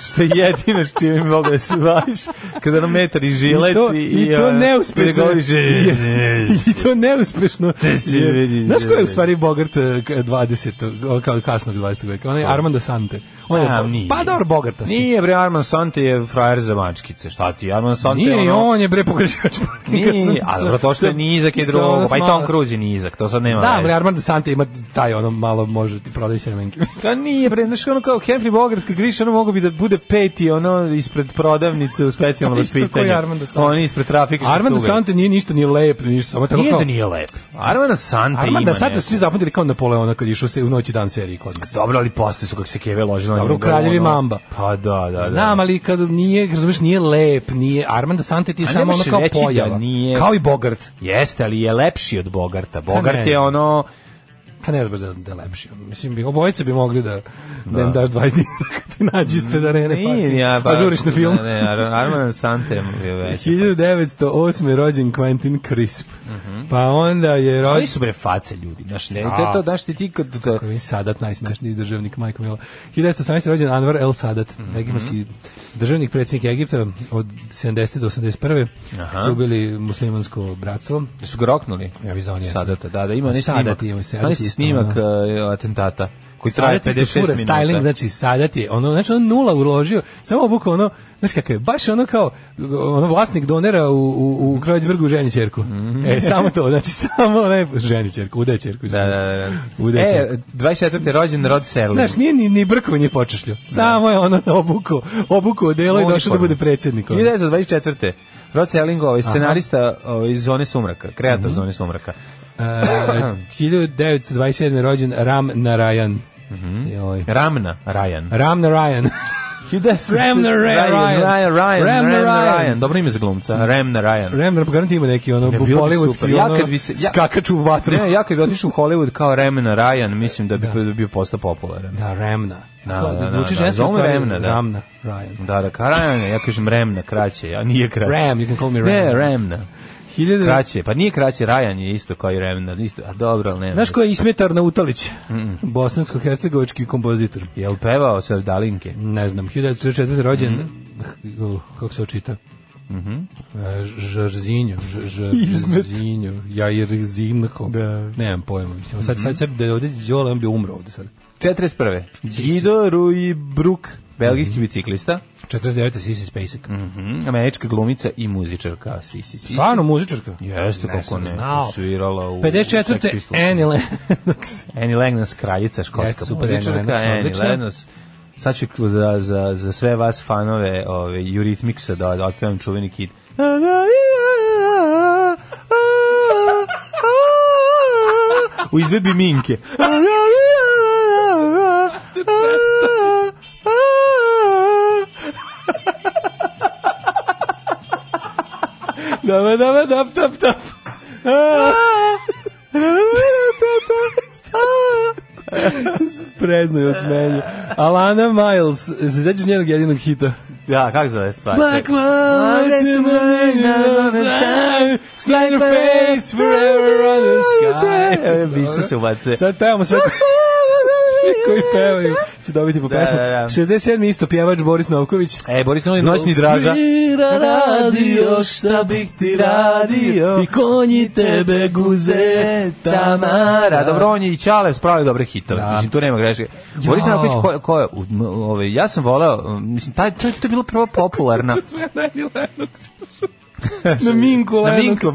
Speaker 5: što je jedino što mi mogu da se baviš kada na metar i žilet
Speaker 6: I to-
Speaker 5: i,
Speaker 6: i to
Speaker 5: ono,
Speaker 6: neuspešno.
Speaker 5: i da govoriš, "E, e, e."
Speaker 6: I to neuspešno.
Speaker 5: Te si
Speaker 6: Jer-
Speaker 5: vidi-
Speaker 6: Znaš ko je u stvari Bogart e, k- 20. kao kasnog 20. veka? Onaj Armando Sante. On je,
Speaker 5: A,
Speaker 6: Bo-
Speaker 5: nije.
Speaker 6: pa dobro Bogartasti.
Speaker 5: Nije bre Arman Sante je frajer za mačkice. Šta ti Arman Sante
Speaker 6: Nije,
Speaker 5: je ono...
Speaker 6: on je bre pogrešivač parkinga.
Speaker 5: Nije, ali bro, to što je nizak je drugo, pa i Tom Cruise je nizak, to sad nema
Speaker 6: Znam, ali
Speaker 5: veze.
Speaker 6: Armand Sante ima taj ono malo može ti prodaje semenke.
Speaker 5: Pa nije, bre, znaš, ono kao Henry Bogart, kad griš, ono mogu bi da bude peti ono ispred prodavnice u specijalnom
Speaker 6: Isto ko i
Speaker 5: vaspitanju.
Speaker 6: Armando Sante.
Speaker 5: Oni ispred trafike. ispred
Speaker 6: Armand
Speaker 5: cuga.
Speaker 6: Sante nije ništa ni lep, ni ništa, samo tako
Speaker 5: Nije
Speaker 6: kao...
Speaker 5: da nije lep. Armanda Sante ima
Speaker 6: Armand da sad
Speaker 5: nešto.
Speaker 6: svi zapamtili kao Napoleona kad je išao se u noći dan seriji kod nas.
Speaker 5: Dobro, ali posle su kak se keve ložila.
Speaker 6: Dobro, u Kraljevi Mamba.
Speaker 5: Pa da, da, da.
Speaker 6: Znam, ali kad nije, razumeš, nije lep, nije Armand Sante ti je
Speaker 5: A ne
Speaker 6: samo ono
Speaker 5: možeš
Speaker 6: kao
Speaker 5: reći da
Speaker 6: pojava.
Speaker 5: nije-
Speaker 6: Kao i Bogart.
Speaker 5: Jeste, ali je lepši od Bogarta. Bogart
Speaker 6: ne.
Speaker 5: je ono...
Speaker 6: Pa ne znam da, da je lepši. Mislim, bi, obojice bi mogli da, da. im daš 20 dinara kad te nađi ispred arene.
Speaker 5: Mm, Nije, ja,
Speaker 6: pa, a žuriš na film.
Speaker 5: Ne, pa. ne, Ar- Armand Sante je već.
Speaker 6: 1908. je rođen Quentin Crisp.
Speaker 5: Mhm.
Speaker 6: Pa onda je
Speaker 5: Oni
Speaker 6: rođen...
Speaker 5: su bre face ljudi, znaš, ne, to je to, znaš ti ti kad... kad-
Speaker 6: Koji je Sadat najsmešniji državnik Majko Milo. 1918. rođen Anwar El Sadat,
Speaker 5: Mhm.
Speaker 6: egipatski državnik predsjednik Egipta od 70. do 81. Aha. su ubili muslimansko bratstvo.
Speaker 5: Su ga roknuli?
Speaker 6: Ja mislim da on jeste.
Speaker 5: Sadata, da, da, ima onaj
Speaker 6: Sadat
Speaker 5: snimak.
Speaker 6: ima Pa se,
Speaker 5: Onaj
Speaker 6: isto, ono.
Speaker 5: snimak e, atentata koji traje
Speaker 6: Sadat isto
Speaker 5: 56
Speaker 6: fura
Speaker 5: minuta.
Speaker 6: styling, znači Sadat je, ono, znači on nula uložio, samo obuka ono, znaš kakav je, baš ono kao, ono vlasnik donera u, u, u Kreuzbergu ženi čerku. E, samo to, znači samo, ne, ženi čerku, ude čerku.
Speaker 5: Mhm. Da, da, da. da.
Speaker 6: Ude
Speaker 5: E,
Speaker 6: čerku.
Speaker 5: 24. rođen Rod Serling.
Speaker 6: Znaš, nije ni, ni brkovanje počešlju. Samo je ono obuko, obuko odelo i došao da bude predsjednik. ono.
Speaker 5: 1924. Rod Serling, ovaj scenarista ovaj, iz Zone sumraka, kreator
Speaker 6: Mhm.
Speaker 5: Zone sumraka.
Speaker 6: E, 1927. je rođen Ram Narayan.
Speaker 5: Mhm.
Speaker 6: Joj.
Speaker 5: Ramna Ryan.
Speaker 6: Ram Narayan. Ramna Ra-
Speaker 5: Ryan, Ryan, Ryan,
Speaker 6: Ramna
Speaker 5: Ramna
Speaker 6: Ryan.
Speaker 5: Ryan. Dobro ime za glumca. Ramna Ryan.
Speaker 6: Ram Narayan, garanti ima neki
Speaker 5: Ne,
Speaker 6: ono,
Speaker 5: bilo bi super.
Speaker 6: bollywoodski
Speaker 5: Ja
Speaker 6: ono,
Speaker 5: kad bi se- ja-
Speaker 6: skakač u vatru.
Speaker 5: Ne, ja kad bi otišao u Hollywood kao Ramna Ryan, mislim da bi da. bio postao popularan.
Speaker 6: Da, Remna.
Speaker 5: Da,
Speaker 6: To
Speaker 5: da, da,
Speaker 6: Zvuči
Speaker 5: da,
Speaker 6: ženski,
Speaker 5: zovu
Speaker 6: u stvari
Speaker 5: Remna, da.
Speaker 6: Ramna, Ryan.
Speaker 5: Da, da, kao Ryan, ja kažem Remna, kraće, a nije kraće.
Speaker 6: Ram, you can call me Ram.
Speaker 5: Ne, Remna.
Speaker 6: Hiljadu-
Speaker 5: Kraće, pa nije kraće, Ryan je isto kao i Remna, isto, a dobro, ali ne.
Speaker 6: Znaš ko je Ismetar Nautalić? Bosansko-hercegovički kompozitor.
Speaker 5: Jel pevao sa Dalinke?
Speaker 6: Ne znam, 1944. rođen, H- uh, kako se očita? Mhm. Žarzinjo, Ž- Žarzinjo, Jair Zinho.
Speaker 5: Da.
Speaker 6: Nemam pojma. Mislim, sad, sad, sad, da je ovdje Đola, on bi umro ovdje sad.
Speaker 5: 41. Guido Rui Brook, belgijski biciklista,
Speaker 6: 49. Sisi Spacek. Mm.
Speaker 5: mhm, američka glumica i muzičarka. Si, si, si.
Speaker 6: Stvarno muzičarka?
Speaker 5: Jeste, kako
Speaker 6: sam
Speaker 5: ne.
Speaker 6: znao.
Speaker 5: Svirala u... Sex
Speaker 6: 54.
Speaker 5: Pistols.
Speaker 6: Annie Lennox.
Speaker 5: Annie Lennox, kraljica škotska
Speaker 6: Jeste, super, Annie
Speaker 5: muzičarka.
Speaker 6: Lennox,
Speaker 5: Annie
Speaker 6: odlična.
Speaker 5: Lennox. Sad ću za, za, za sve vas fanove ove, Eurythmicsa da, da otpevam čuveni kid. U izvedbi Minke.
Speaker 6: Dava, dava, dap, tap, tap. Prezno je od meni. Alana Miles, se sjećaš njenog jedinog hita?
Speaker 5: Da, kako zove stvar?
Speaker 6: Black light in the night, sky in your face forever on the
Speaker 5: E,
Speaker 6: sky.
Speaker 5: Bisa se ubace.
Speaker 6: Sad pevamo sve, svi koji pevaju će dobiti po
Speaker 5: Da,
Speaker 6: pesmu.
Speaker 5: da, da.
Speaker 6: 67. isto pjevač Boris Novković.
Speaker 5: E, Boris Novi, noćni draža.
Speaker 6: Svira radio, šta bih ti radio, i konji tebe guze, Tamara.
Speaker 5: Dobro, on je i Ćalev spravio dobre hitove.
Speaker 6: Da.
Speaker 5: Mislim, tu nema greške. Boris Naković, ko, ko je, u- m- ove, ja sam volao, m, mislim, taj, to, je- to je bila prva popularna.
Speaker 6: Na Minku
Speaker 5: Na
Speaker 6: Lennox.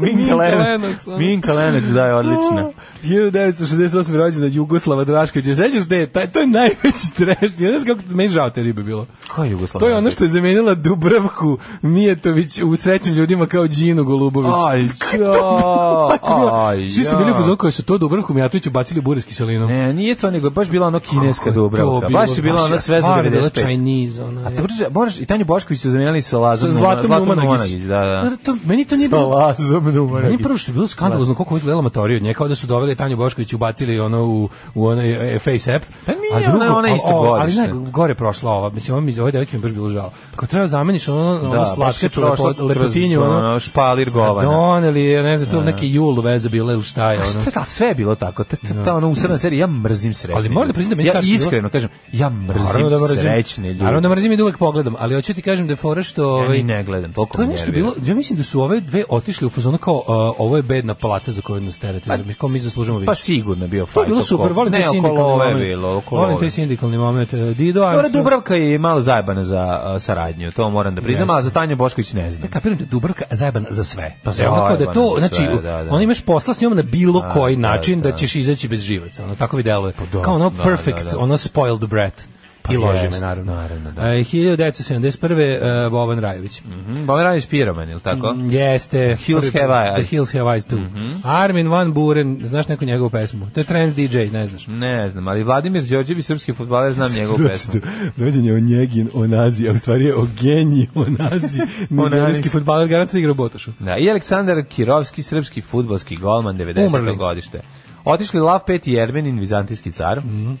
Speaker 5: Minko, Minka Lennox.
Speaker 6: ono.
Speaker 5: Minka Lennox, da, je odlična.
Speaker 6: 1968. rođena Jugoslava Drašković. Ja sećaš da je, taj, to je najveći trash. Ja znaš kako meni žao te ribe bilo.
Speaker 5: Ko je Jugoslav?
Speaker 6: To je ono što je zamenila Dubravku Mijetović u srećnim ljudima kao Đinu Golubović.
Speaker 5: Aj, ja, aj,
Speaker 6: Svi su bili u fazonu koji su to Dubravku Mijatoviću bacili u bure s kiselinom.
Speaker 5: Ne, nije to, nego je baš bila ono kineska
Speaker 6: Kako je to
Speaker 5: Dubravka.
Speaker 6: bilo?
Speaker 5: Baš je bila ona sve za
Speaker 6: stvarno je bila
Speaker 5: 95.
Speaker 6: Chinese, ono,
Speaker 5: A
Speaker 6: je.
Speaker 5: te brže, Boraš Pa i Tanju Bošković su zamenjali sa
Speaker 6: Sa
Speaker 5: Lazom
Speaker 6: Zlatom
Speaker 5: Numa-
Speaker 6: Numanagić.
Speaker 5: da, da.
Speaker 6: Znaš, to- Meni to nije
Speaker 5: Sa
Speaker 6: bilo
Speaker 5: Lazom
Speaker 6: Meni
Speaker 5: Numanagić.
Speaker 6: prvo što je bilo skandalozno koliko je izgledala amatorija od nje, kao da su doveli Tanju Bošković i ubacili ono u, u onaj e, face app.
Speaker 5: Pa nije, ona je- ona je
Speaker 6: a-
Speaker 5: isto
Speaker 6: o, Ali
Speaker 5: godište.
Speaker 6: ne, gore je prošla ova, mislim, ovo mi iz ove devojke mi je baš bilo žao. Ako treba zameniš ono, ono da,
Speaker 5: baš je
Speaker 6: slatkaču,
Speaker 5: prošla
Speaker 6: lepo,
Speaker 5: kroz,
Speaker 6: lepotinju, ono,
Speaker 5: špalir govana. Pa
Speaker 6: doneli, je, ne znam, to neki jul veze bila ili šta je, ono.
Speaker 5: Šta, ta, sve je bilo tako. Ta, ta, ono, ta ona usrna serija, ja mrzim srećne.
Speaker 6: Ali moram da priznam, meni
Speaker 5: ja
Speaker 6: kažem, bilo-
Speaker 5: iskreno kažem, ja mrzim,
Speaker 6: Naravno mrzim.
Speaker 5: srećne ljude.
Speaker 6: Naravno da mrzim i da uvek pogledam, ali hoću ti kažem da je fora što...
Speaker 5: Ja
Speaker 6: Ovaj,
Speaker 5: ni ne gledam, toliko
Speaker 6: To je
Speaker 5: me
Speaker 6: nešto
Speaker 5: nervira.
Speaker 6: bilo, ja mislim da su ove dve otišle u fazonu kao a, ovo je bedna plata za koju nas terete, da mi- kao mi zaslužujemo više.
Speaker 5: Pa sigurno je bio fajt.
Speaker 6: To je bilo
Speaker 5: oko-
Speaker 6: super, volim taj
Speaker 5: ne,
Speaker 6: sindikalni
Speaker 5: oko
Speaker 6: moment.
Speaker 5: love je bilo, oko
Speaker 6: volim
Speaker 5: love.
Speaker 6: taj sindikalni moment. E, Dido
Speaker 5: Dobra,
Speaker 6: Armstrong.
Speaker 5: Dubravka je malo zajebana za a, saradnju, to moram da priznam, a za Tanju Bošković ne znam.
Speaker 6: Ja kapiram da je Dubravka zajebana za sve. Pa
Speaker 5: za
Speaker 6: ono kao da je to,
Speaker 5: zajebana za
Speaker 6: znači,
Speaker 5: sve, da, da.
Speaker 6: ono imaš posla s njom na bilo koji
Speaker 5: da,
Speaker 6: način da,
Speaker 5: da. Pa
Speaker 6: ćeš izaći bez živaca, ono tako mi deluje. Kao ono
Speaker 5: da,
Speaker 6: perfect,
Speaker 5: da, da.
Speaker 6: ono spoiled brat. I lože
Speaker 5: jest,
Speaker 6: me, naravno.
Speaker 5: naravno, da.
Speaker 6: E, 1971. e, Boban Rajović. Mm,
Speaker 5: Mhm, Boban Rajović piroman, je li
Speaker 6: Mhm.
Speaker 5: tako?
Speaker 6: Jeste.
Speaker 5: Hills
Speaker 6: prvi-
Speaker 5: Have Eyes. Mhm.
Speaker 6: The Hills Have Eyes too. Armin Van Buren, znaš neku njegovu pesmu? To je trans DJ, ne znaš.
Speaker 5: Ne znam, ali Vladimir Đorđević, srpski futbaler, znam njegovu pesmu.
Speaker 6: Rođen je o Njegin, o Nazi, a u stvari je o geniji, o Nazi. Nigerijski futbaler garanta igra u Botošu.
Speaker 5: Da, i Aleksandar Kirovski, srpski futbolski golman 90.
Speaker 6: Umrli.
Speaker 5: godište. Otišli Lav V i Ermenin, vizantijski car.
Speaker 6: Mm.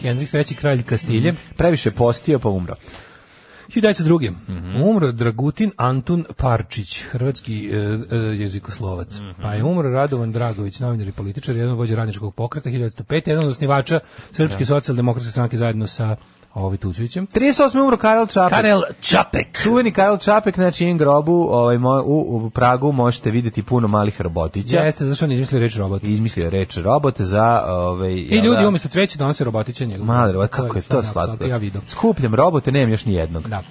Speaker 6: Henrik III. kralj Kastilje.
Speaker 5: Previše postio pa umro.
Speaker 6: 1902. Umro Dragutin Antun Parčić, hrvatski e, e, jezikoslovac. Pa je umro Radovan Dragović, novinar i političar, jedan od vođa radničkog pokreta 1905, jedan od osnivača Srpske socijaldemokratske stranke zajedno sa ovaj Tucovićem.
Speaker 5: 38. umro Karel Čapek.
Speaker 6: Karel Čapek.
Speaker 5: Čuveni Karel Čapek, na čijem grobu ovaj, mo- u, u Pragu možete vidjeti puno malih robotića.
Speaker 6: Jeste, zašto on je izmislio reč robot.
Speaker 5: I Izmislio je reč robot za... Ovaj,
Speaker 6: I ljudi umjesto cveće donose robotića njegov.
Speaker 5: Mali robot, kako je to slatko.
Speaker 6: Ja vidim.
Speaker 5: Skupljam robote, nemam još ni jednog.
Speaker 6: Da.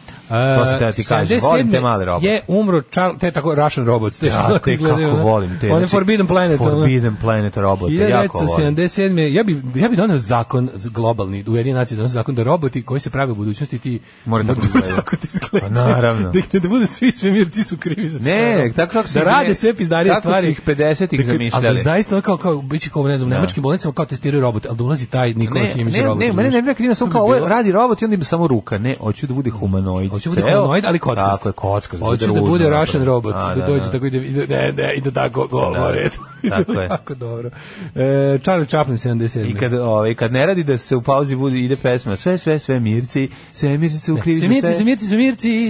Speaker 5: To se kada ti kaže,
Speaker 6: 77.
Speaker 5: volim te male robote.
Speaker 6: Je umro Charles, te tako Russian robots, te što
Speaker 5: Ja,
Speaker 6: tako
Speaker 5: te kako
Speaker 6: izgledaju. ono.
Speaker 5: volim te.
Speaker 6: On je
Speaker 5: znači,
Speaker 6: Forbidden Planet. ono.
Speaker 5: Forbidden Planet robote, jako volim.
Speaker 6: 1977. Ja bi, ja bi donio zakon globalni, u jedini naciji donio zakon da roboti koji se prave u budućnosti ti
Speaker 5: Mora tako da izgledaju.
Speaker 6: tako da izgledaju.
Speaker 5: Pa naravno.
Speaker 6: Da ih ne budu svi svemirci su krivi za sve. ono.
Speaker 5: Ne, tako kako su
Speaker 6: Da
Speaker 5: ih-
Speaker 6: rade sve pizdarije
Speaker 5: tako su
Speaker 6: stvari.
Speaker 5: ih 50-ih
Speaker 6: Dakle,
Speaker 5: zamišljali.
Speaker 6: Ali zaista ono kao, kao, bit će kao, ne znam, u nemačkim bolnicama kao testiraju robot, ali da ulazi taj Nikola
Speaker 5: Ne, ne,
Speaker 6: Simić
Speaker 5: ne,
Speaker 6: robot.
Speaker 5: ne, mene
Speaker 6: razumiješ?
Speaker 5: ne bi nekad imao samo
Speaker 6: To bi
Speaker 5: kao, ovo
Speaker 6: bilo-
Speaker 5: je- radi robot i onda bi samo ruka. Ne, hoću da bude humanoid.
Speaker 6: Hoće da bude
Speaker 5: ceo.
Speaker 6: humanoid, ali kockast.
Speaker 5: Tako je, kockast.
Speaker 6: Hoće da
Speaker 5: rudno
Speaker 6: bude
Speaker 5: napravljen.
Speaker 6: Russian robot,
Speaker 5: A,
Speaker 6: da dođe tako i da, i da- ne, ne, i da tako govore.
Speaker 5: Da, tako je.
Speaker 6: Tako dobro. E, Charlie Chaplin, 77.
Speaker 5: I kad, ovaj, kad ne radi da se u pauzi bude, ide pesma sve, sve, sve mirci, sve mirci su krivi za sve.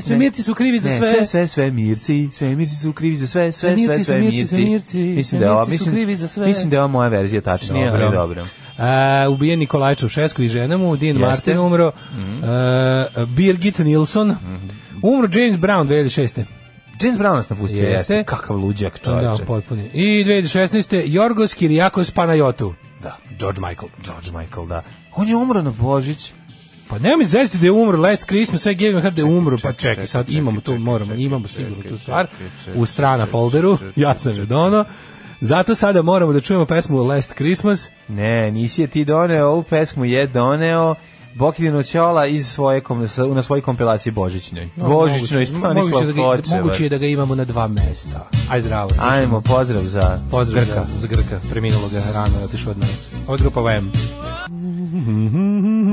Speaker 6: Svemirci, svemirci, svemirci, svemirci su krivi za
Speaker 5: Ne,
Speaker 6: sve.
Speaker 5: sve, sve, sve mirci, sve mirci su krivi za sve, sve,
Speaker 6: Svemirci,
Speaker 5: sve, sve
Speaker 6: svemirci,
Speaker 5: mirci.
Speaker 6: svemirci,
Speaker 5: mislim da je ova,
Speaker 6: svemirci su
Speaker 5: mislim,
Speaker 6: krivi za sve.
Speaker 5: mislim da je ova moja verzija tačnija,
Speaker 6: Dobro.
Speaker 5: ali dobro.
Speaker 6: E, ubijen Nikolaj Čaušesku i žena mu, Dean
Speaker 5: Jeste. Mhm.
Speaker 6: Martin umro, e, Birgit Nilsson, umro James Brown 2006.
Speaker 5: James Brown nas napustio,
Speaker 6: Jeste.
Speaker 5: jeste. Kakav luđak
Speaker 6: Da,
Speaker 5: čovječe.
Speaker 6: potpuni. I 2016. Jorgos Kirijakos Panayotu.
Speaker 5: Da.
Speaker 6: George Michael.
Speaker 5: George Michael, da. On je umro na Božić.
Speaker 6: Pa nema mi zesti da je umro Last Christmas, sve Gavin Hart da je umro, pa
Speaker 5: čekaj,
Speaker 6: čekaj, sad
Speaker 5: čekaj,
Speaker 6: imamo tu,
Speaker 5: čekaj,
Speaker 6: moramo,
Speaker 5: čekaj,
Speaker 6: imamo sigurno
Speaker 5: čekaj,
Speaker 6: tu stvar,
Speaker 5: čekaj, čekaj,
Speaker 6: u strana folderu, ja sam je dono, zato sada moramo da čujemo pesmu Last Christmas,
Speaker 5: Ne, nisi je ti doneo, ovu pesmu je doneo Bokidino Ćola iz svoje, kom- sa- na svojoj kompilaciji Božićnoj. Božićnoj
Speaker 6: Moguće-
Speaker 5: Stanislav
Speaker 6: moguće da ga-
Speaker 5: Kočevar.
Speaker 6: Moguće je da ga imamo na dva mesta. Aj zdravo.
Speaker 5: Ajmo, pozdrav za
Speaker 6: Pozdrav
Speaker 5: Grka.
Speaker 6: Za, za Grka, preminulo ga rano, je otišao od nas. Ovo je grupa VM.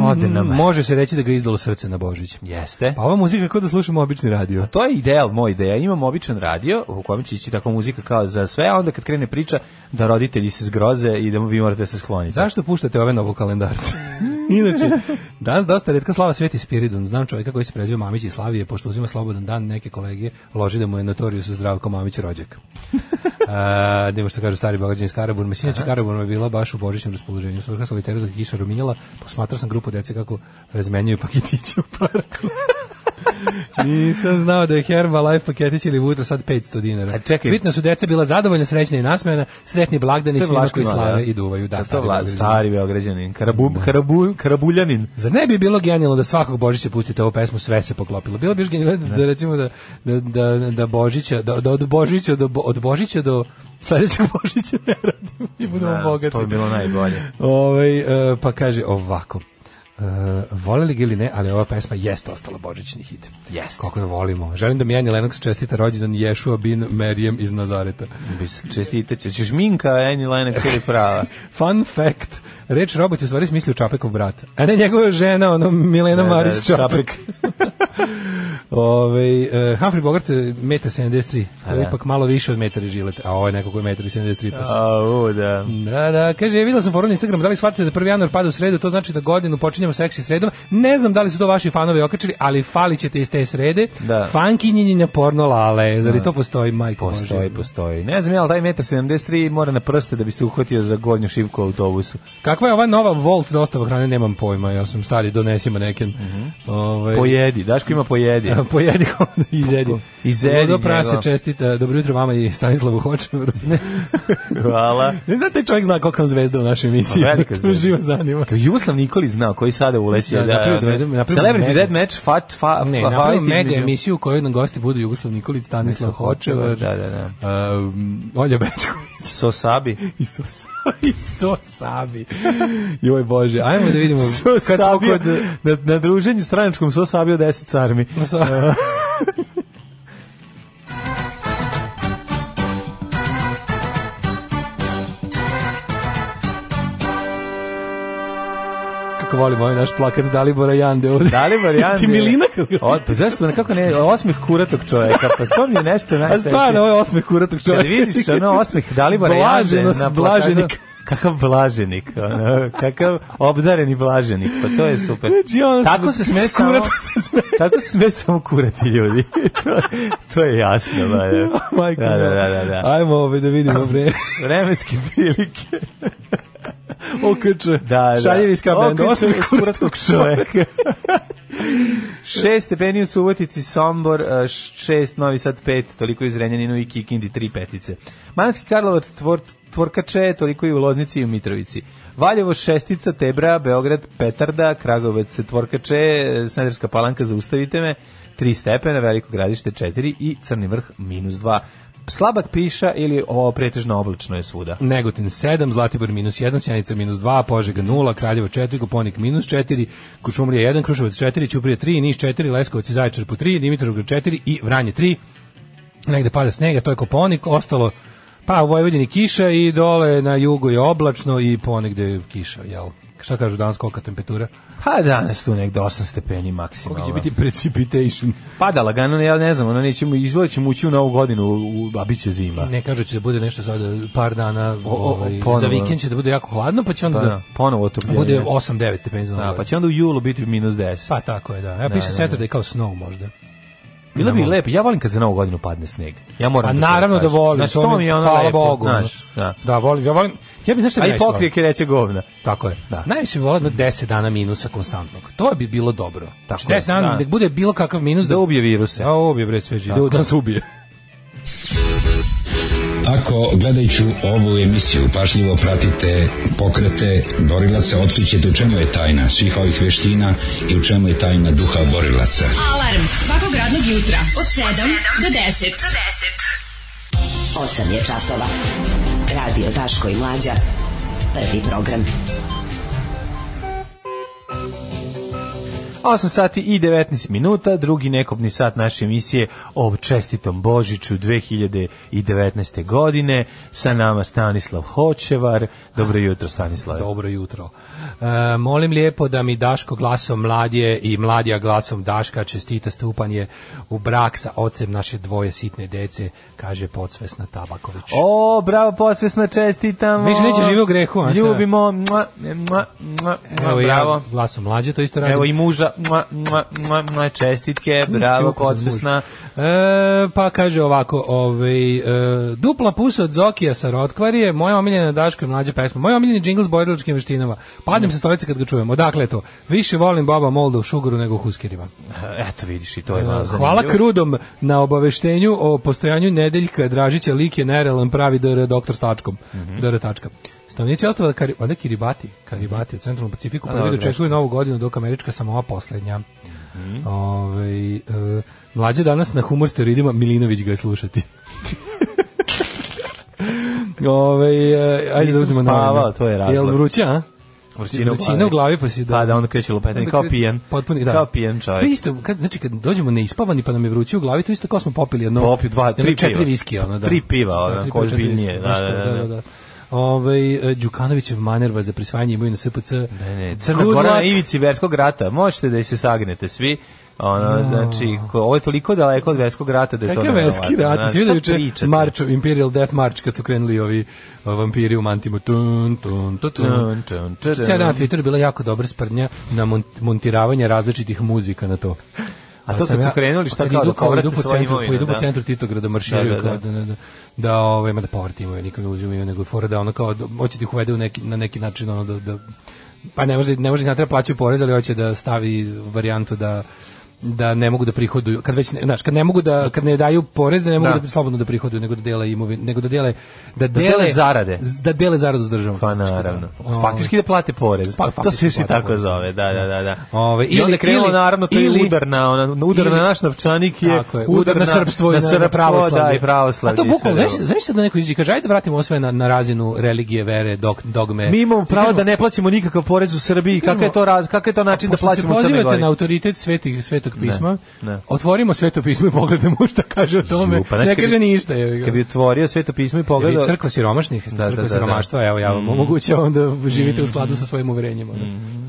Speaker 5: Ode na me.
Speaker 6: Može se reći da ga je izdalo srce na Božić.
Speaker 5: Jeste.
Speaker 6: Pa ova muzika je kao da slušamo obični radio.
Speaker 5: To je ideal moj ideja. Imam običan radio u kojem će ići tako muzika kao za sve, a onda kad krene priča da roditelji se zgroze i da vi morate da se skloniti.
Speaker 6: Zašto puštate ove novo kalendarce? Inače, danas dosta redka slava Sveti Spiridon. Znam čovjeka koji se preziva Mamić i Slavije, pošto uzima slobodan dan, neke kolege loži da mu je notoriju sa zdravko Mamić rođak. A, da ima što kažu stari bogađan iz Karaburma. Sinoć Karaburma je bila baš u božićnom raspoloženju. Svrha sam litera dok je kiša ruminjala, posmatrao sam grupu dece kako razmenjuju paketiće u parku. Nisam znao da je Herbalife paketić ili vutra sad 500 dinara.
Speaker 5: A čekaj.
Speaker 6: Bitno su deca bila zadovoljna, srećna i nasmejana, sretni blagdani
Speaker 5: To je
Speaker 6: svima koji
Speaker 5: Vlaški mali,
Speaker 6: slave
Speaker 5: da?
Speaker 6: i duvaju. Da,
Speaker 5: To je
Speaker 6: stari
Speaker 5: Vla-
Speaker 6: Beograđani.
Speaker 5: stari Beograđanin. Karabu, karabu, karabuljanin.
Speaker 6: Zar ne bi bilo genijalno da svakog Božića pustite ovu pesmu sve se poklopilo? Bilo bi još genijalno da, da recimo da, da, da, da Božića, da, da od Božića do, Bo- od Božića do sledećeg Božića ne radimo i budemo
Speaker 5: Da,
Speaker 6: bogati.
Speaker 5: to je bilo najbolje.
Speaker 6: Ovaj, e, pa kaže ovako. E, voleli ga ili ne, ali ova pesma jeste ostala božićni hit.
Speaker 5: Jeste.
Speaker 6: Kako je volimo. Želim da mi Jani Lennox čestita rođendan Ješua bin Merijem iz Nazareta.
Speaker 5: Čestite će. Češ Minka, Annie Lennox ili prava.
Speaker 6: Fun fact, reč robot je u stvari smislio Čapekov brat, a ne njegova žena, ono Milena
Speaker 5: Da, da,
Speaker 6: Marić Čapek. Ove, Humphrey Bogart, 1,73 m, to je
Speaker 5: da.
Speaker 6: ipak malo više od metara žilete, a ovo je neko koji je 1,73 m.
Speaker 5: A, u, da.
Speaker 6: Da, da, kaže, videla sam forum na Instagramu, da li shvatate da 1. januar pada u sredu, to znači da godinu počinjemo seksi sredom. Ne znam da li su to vaši fanovi okačili, ali falit ćete iz te srede.
Speaker 5: Da.
Speaker 6: Funkinjenjenja porno lale, zar i to postoji, majko Božja?
Speaker 5: Postoji, postoji. Ne znam, jel taj metar 73 mora na prste da bi se uhvatio za gornju šivku u autobusu.
Speaker 6: Kakva je ova nova Volt dostava hrane, nemam pojma, ja sam stari, donesimo neken. Ovaj,
Speaker 5: Pojedi, Daško ima Pojedi.
Speaker 6: Pojedi ga onda i izedi.
Speaker 5: Izedi
Speaker 6: Ludo
Speaker 5: njega.
Speaker 6: prase čestita. Dobro jutro vama i Stanislavu Hočevaru.
Speaker 5: Hvala.
Speaker 6: Ne znam, taj čovjek zna koliko je on zvezda u našoj emisiji.
Speaker 5: Pa, velika
Speaker 6: To me
Speaker 5: zvezda.
Speaker 6: živo zanima.
Speaker 5: Kao Jugoslav Nikolić znao koji sada uleće.
Speaker 6: Da,
Speaker 5: Da,
Speaker 6: napravio-
Speaker 5: da,
Speaker 6: napravio- napravio
Speaker 5: Celebrity
Speaker 6: mega-
Speaker 5: Dead Match, Fat, fa,
Speaker 6: Ne,
Speaker 5: fa-
Speaker 6: napravio
Speaker 5: fight
Speaker 6: mega
Speaker 5: između-
Speaker 6: emisiju u kojoj nam gosti budu Jugoslav Nikolić, Stanislav
Speaker 5: Stanislav
Speaker 6: Hočevar,
Speaker 5: Hočevar, da, da, da.
Speaker 6: um, Olja Bečković
Speaker 5: Sosabi.
Speaker 6: i Sosa, i Sosabi. Joj Bože, ajmo da vidimo. kad smo
Speaker 5: Sosabi,
Speaker 6: kod-
Speaker 5: na, na druženju stranačkom Sosabi od 10 carmi.
Speaker 6: Sa- Kako volim ovaj naš plakat Dalibora Jande ovde.
Speaker 5: Da li varijante?
Speaker 6: Ti Milina kako-
Speaker 5: O, pa zašto, na kako ne, osmeh kuratog čoveka, pa to mi je nešto
Speaker 6: A
Speaker 5: najsvetlije.
Speaker 6: stvarno, ovo je osmeh kuratog
Speaker 5: Kad
Speaker 6: čovjeka.
Speaker 5: vidiš ono osmeh Dalibora Jande
Speaker 6: Blaženost,
Speaker 5: na plakatu-
Speaker 6: blaženik.
Speaker 5: Kakav blaženik, ono, kakav obdareni blaženik, pa to je super.
Speaker 6: Znači, ono,
Speaker 5: tako se sme
Speaker 6: s
Speaker 5: samo,
Speaker 6: kuratom se sme.
Speaker 5: tako se sme samo kurati ljudi. to, to je jasno, ba,
Speaker 6: Majko
Speaker 5: da, da, da, da, da.
Speaker 6: Ajmo ovaj da vidimo bre.
Speaker 5: Vremenske prilike.
Speaker 6: Okrče.
Speaker 5: Da, da.
Speaker 6: Šaljevi ska bend.
Speaker 5: Okreće
Speaker 6: Osmeh kuratog čovjeka.
Speaker 5: Šest stepeni u Subotici, Sombor, e, šest, Novi Sad pet, toliko i u Zrenjaninu i Kikindi tri petice. Manatski Karlovac, tvor, Tvorkače, toliko i u Loznici i u Mitrovici. Valjevo šestica, Tebra, Beograd, Petarda, Kragovec, Tvorkače, e, Smederska palanka, zaustavite me, tri stepena, Veliko gradište četiri i Crni vrh minus dva. Slabak piša ili o, pretežno oblačno je svuda.
Speaker 6: Negotin 7, Zlatibor minus 1, Sjenica minus 2, Požega 0, Kraljevo 4, Koponik minus 4, Kučumlija 1, Kruševac 4, Ćuprija 3, Niš 4, Leskovac i Zaječar po 3, Dimitrovgrad 4 i Vranje 3. Negde pada snega, to je Koponik, ostalo pa u Vojvodini kiša i dole na jugu je oblačno i ponegde kiša, jel? Šta kažu danas, kolika temperatura?
Speaker 5: Pa danas tu negde 8 stepeni maksimalno.
Speaker 6: Koliko će biti precipitation?
Speaker 5: Pada lagano, ja ne znam, ono nećemo izleći ući u novu godinu, u, u, a bit će zima.
Speaker 6: Ne kažu će da bude nešto sada par dana,
Speaker 5: O, o,
Speaker 6: ovaj, za
Speaker 5: ponovo.
Speaker 6: vikend će da bude jako hladno, pa će onda
Speaker 5: Pa,
Speaker 6: da
Speaker 5: da, ponovo otopljenje.
Speaker 6: bude 8-9 stepeni za
Speaker 5: Da,
Speaker 6: novu
Speaker 5: pa će onda u julu biti minus 10.
Speaker 6: Pa tako je, da. Ja pišem
Speaker 5: da,
Speaker 6: Saturday kao snow možda.
Speaker 5: Bilo bi lepo, ja volim kad za novu godinu padne sneg. Ja moram
Speaker 6: A
Speaker 5: to
Speaker 6: naravno da
Speaker 5: kažem.
Speaker 6: volim,
Speaker 5: Znaš,
Speaker 6: to
Speaker 5: to mi je ono
Speaker 6: hvala
Speaker 5: lepo,
Speaker 6: Bogu.
Speaker 5: znaš,
Speaker 6: da.
Speaker 5: da.
Speaker 6: da, volim, ja volim. Ja bi znaš šta bi
Speaker 5: A i
Speaker 6: najviše volao?
Speaker 5: pokrijek je reće govna.
Speaker 6: Tako je. Da.
Speaker 5: Da.
Speaker 6: Najviše bi volao jedno 10 dana minusa konstantnog. To bi bilo dobro.
Speaker 5: Tako
Speaker 6: Znači, 10
Speaker 5: je,
Speaker 6: dana,
Speaker 5: da.
Speaker 6: nek bude bilo kakav minus
Speaker 5: Da ubije viruse.
Speaker 6: A ubije bre sve živo. Da nas ubije.
Speaker 1: Ako gledajuću ovu emisiju pažljivo pratite pokrete borilaca, otkrićete u čemu je tajna svih ovih veština i u čemu je tajna duha borilaca.
Speaker 4: Alarm svakog radnog jutra od 7 do 10.
Speaker 7: 8 je časova. Radio Daško i Mlađa. Prvi program.
Speaker 5: 8 sati i 19 minuta, drugi nekobni sat naše emisije o čestitom Božiću 2019. godine. Sa nama Stanislav Hočevar. Dobro jutro, Stanislav.
Speaker 6: Dobro jutro. E, molim lijepo da mi Daško glasom mladje i mladija glasom Daška čestita stupanje u brak sa ocem naše dvoje sitne dece, kaže podsvesna Tabaković.
Speaker 5: O, bravo, podsvesno čestitamo.
Speaker 6: Više neće žive u grehu, a šta?
Speaker 5: Ljubimo, mua, mua, mua,
Speaker 6: Evo
Speaker 5: bravo.
Speaker 6: ja glasom mlađe to isto radim.
Speaker 5: Evo i muža, mua, mua, mua, mua, čestitke, bravo,
Speaker 6: Kako sam
Speaker 5: podsvesna.
Speaker 6: muž. E, pa kaže ovako, ovaj, e, dupla pusa od Zokija sa Rotkvarije, moja omiljena Daško i mlađa pesma, moja omiljena džingl s borilačkim veštinama, padnem sa stolice kad ga čujem, odakle je to? Više volim Baba Molda u Šugoru nego u Huskerima.
Speaker 5: Eh, Eto, vidiš i to je malo
Speaker 6: Hvala
Speaker 5: Pa zanimljivo.
Speaker 6: Krudom na obaveštenju o postojanju Nedeljka Dražića, lik je nerealan pravi dr. doktor Stačkom.
Speaker 5: Mhm.
Speaker 6: Dr. Tačka. Stanovnici ostava Kari, onda Kiribati, Karibati u centralnom Pacifiku prvi
Speaker 5: dobro,
Speaker 6: dočekuju novu godinu dok američka samoa poslednja.
Speaker 5: Mhm.
Speaker 6: Ovaj, e, mlađe danas na humor steroidima, Milinović ga je slušati. Ovaj, e, ajde
Speaker 5: Nisam
Speaker 6: da uzmemo novine.
Speaker 5: spavao, to je razlog.
Speaker 6: Jel vruće, a?
Speaker 5: Vrućina u
Speaker 6: u
Speaker 5: glavi.
Speaker 6: glavi pa si da.
Speaker 5: Pa da, onda kreće lupetanje,
Speaker 6: Onda
Speaker 5: kao
Speaker 6: kreće
Speaker 5: pijen.
Speaker 6: Potpuni, da.
Speaker 5: Kao pijen
Speaker 6: To je
Speaker 5: čovjek.
Speaker 6: isto, kad, znači kad dođemo neispavani pa nam je vruće u glavi, to je isto kao smo popili jedno...
Speaker 5: Popi dva,
Speaker 6: jedno
Speaker 5: tri
Speaker 6: četiri
Speaker 5: piva.
Speaker 6: viski, ono, da.
Speaker 5: Tri piva, ono,
Speaker 6: tri
Speaker 5: ko
Speaker 6: piva, četiri
Speaker 5: ozbiljnije, da,
Speaker 6: viski, nešto,
Speaker 5: da, da.
Speaker 6: da, da. Ovaj e, Đukanovićev manerva za prisvajanje imaju na SPC.
Speaker 5: Ne, ne, Crna
Speaker 6: Good
Speaker 5: Gora na
Speaker 6: luck.
Speaker 5: ivici verskog rata. Možete da se sagnete svi. Ono, znači, ko- ovo je toliko daleko od verskog rata da je to
Speaker 6: Kakav verski
Speaker 5: neverovatno,
Speaker 6: rat,
Speaker 5: znaš,
Speaker 6: svi vidio
Speaker 5: šta
Speaker 6: juče
Speaker 5: pričate?
Speaker 6: Marčov, Imperial Death March, kad su krenuli ovi uh, vampiri u Mantimu. Tun, tun, tun, tun.
Speaker 5: Tun, tun, tun, tun.
Speaker 6: Cijel dan na Twitteru bila jako dobra sprnja na mon- montiravanje različitih muzika na to.
Speaker 5: A to
Speaker 6: sam
Speaker 5: kad su krenuli, šta
Speaker 6: kad
Speaker 5: kao,
Speaker 6: idu
Speaker 5: da povrate
Speaker 6: idu po
Speaker 5: svoje
Speaker 6: centru,
Speaker 5: imovine,
Speaker 6: pa idu po
Speaker 5: da.
Speaker 6: centru Titograda marširaju
Speaker 5: Da, da,
Speaker 6: kao
Speaker 5: da.
Speaker 6: da, da, da, da, ovaj, ma da povrati imovine, nikom ne uzimaju, nego fora da ono kao, da, hoće da ih uvede u neki, na neki način, ono da, da pa ne može, ne može, ne treba plaćaju porez, ali hoće da stavi varijantu da da ne mogu da prihoduju kad već ne, znaš kad ne mogu da kad ne daju porez da ne mogu da,
Speaker 5: Da.
Speaker 6: slobodno da prihoduju nego da dele imovinu nego da dele da dele,
Speaker 5: dele zarade.
Speaker 6: z- da dele zaradu s državom
Speaker 5: Pa naravno.
Speaker 6: Ovaj.
Speaker 5: Faktički da plate porez.
Speaker 6: Pa,
Speaker 5: to
Speaker 6: faktički
Speaker 5: se još i
Speaker 6: plate
Speaker 5: tako
Speaker 6: porez.
Speaker 5: zove, da, da, da. da.
Speaker 6: Ove,
Speaker 5: I onda
Speaker 6: ili-
Speaker 5: je krenulo,
Speaker 6: ili-
Speaker 5: naravno, to je
Speaker 6: ili-
Speaker 5: udar na, ona, udar
Speaker 6: ili-
Speaker 5: na naš novčanik je,
Speaker 6: Tako je, udar na srpstvo i na, na
Speaker 5: srpstvo,
Speaker 6: pravoslavlje.
Speaker 5: Da, i pravoslavlje.
Speaker 6: A to
Speaker 5: i sve
Speaker 6: bukvalno,
Speaker 5: drugo.
Speaker 6: znaš, znaš sad da neko izađe i kaže, ajde da vratimo ovo sve na, na razinu religije, vere, dog, dogme.
Speaker 5: Mi imamo pravo
Speaker 6: Kažemo,
Speaker 5: da ne plaćamo nikakav porez u Srbiji. Kakav je to raz, kakav je to način da
Speaker 6: ono- pošto
Speaker 5: plaćamo u
Speaker 6: se
Speaker 5: Crnoj
Speaker 6: pozivate
Speaker 5: Gori?
Speaker 6: na autoritet svetih, svetog pisma,
Speaker 5: ne.
Speaker 6: otvorimo sveto pismo i pogledamo šta kaže o tome.
Speaker 5: Ju, pa znaš
Speaker 6: ne
Speaker 5: kad bi-
Speaker 6: kaže ništa. Je,
Speaker 5: Kad bi otvorio sveto pismo i
Speaker 6: Jel
Speaker 5: pogledao...
Speaker 6: vi crkva siromašnih, jeste
Speaker 5: Da, da,
Speaker 6: crkva
Speaker 5: da, Mm. da.
Speaker 6: siromaštva, evo ja vam omogućavam da živite u skladu sa svojim uverenjima. da.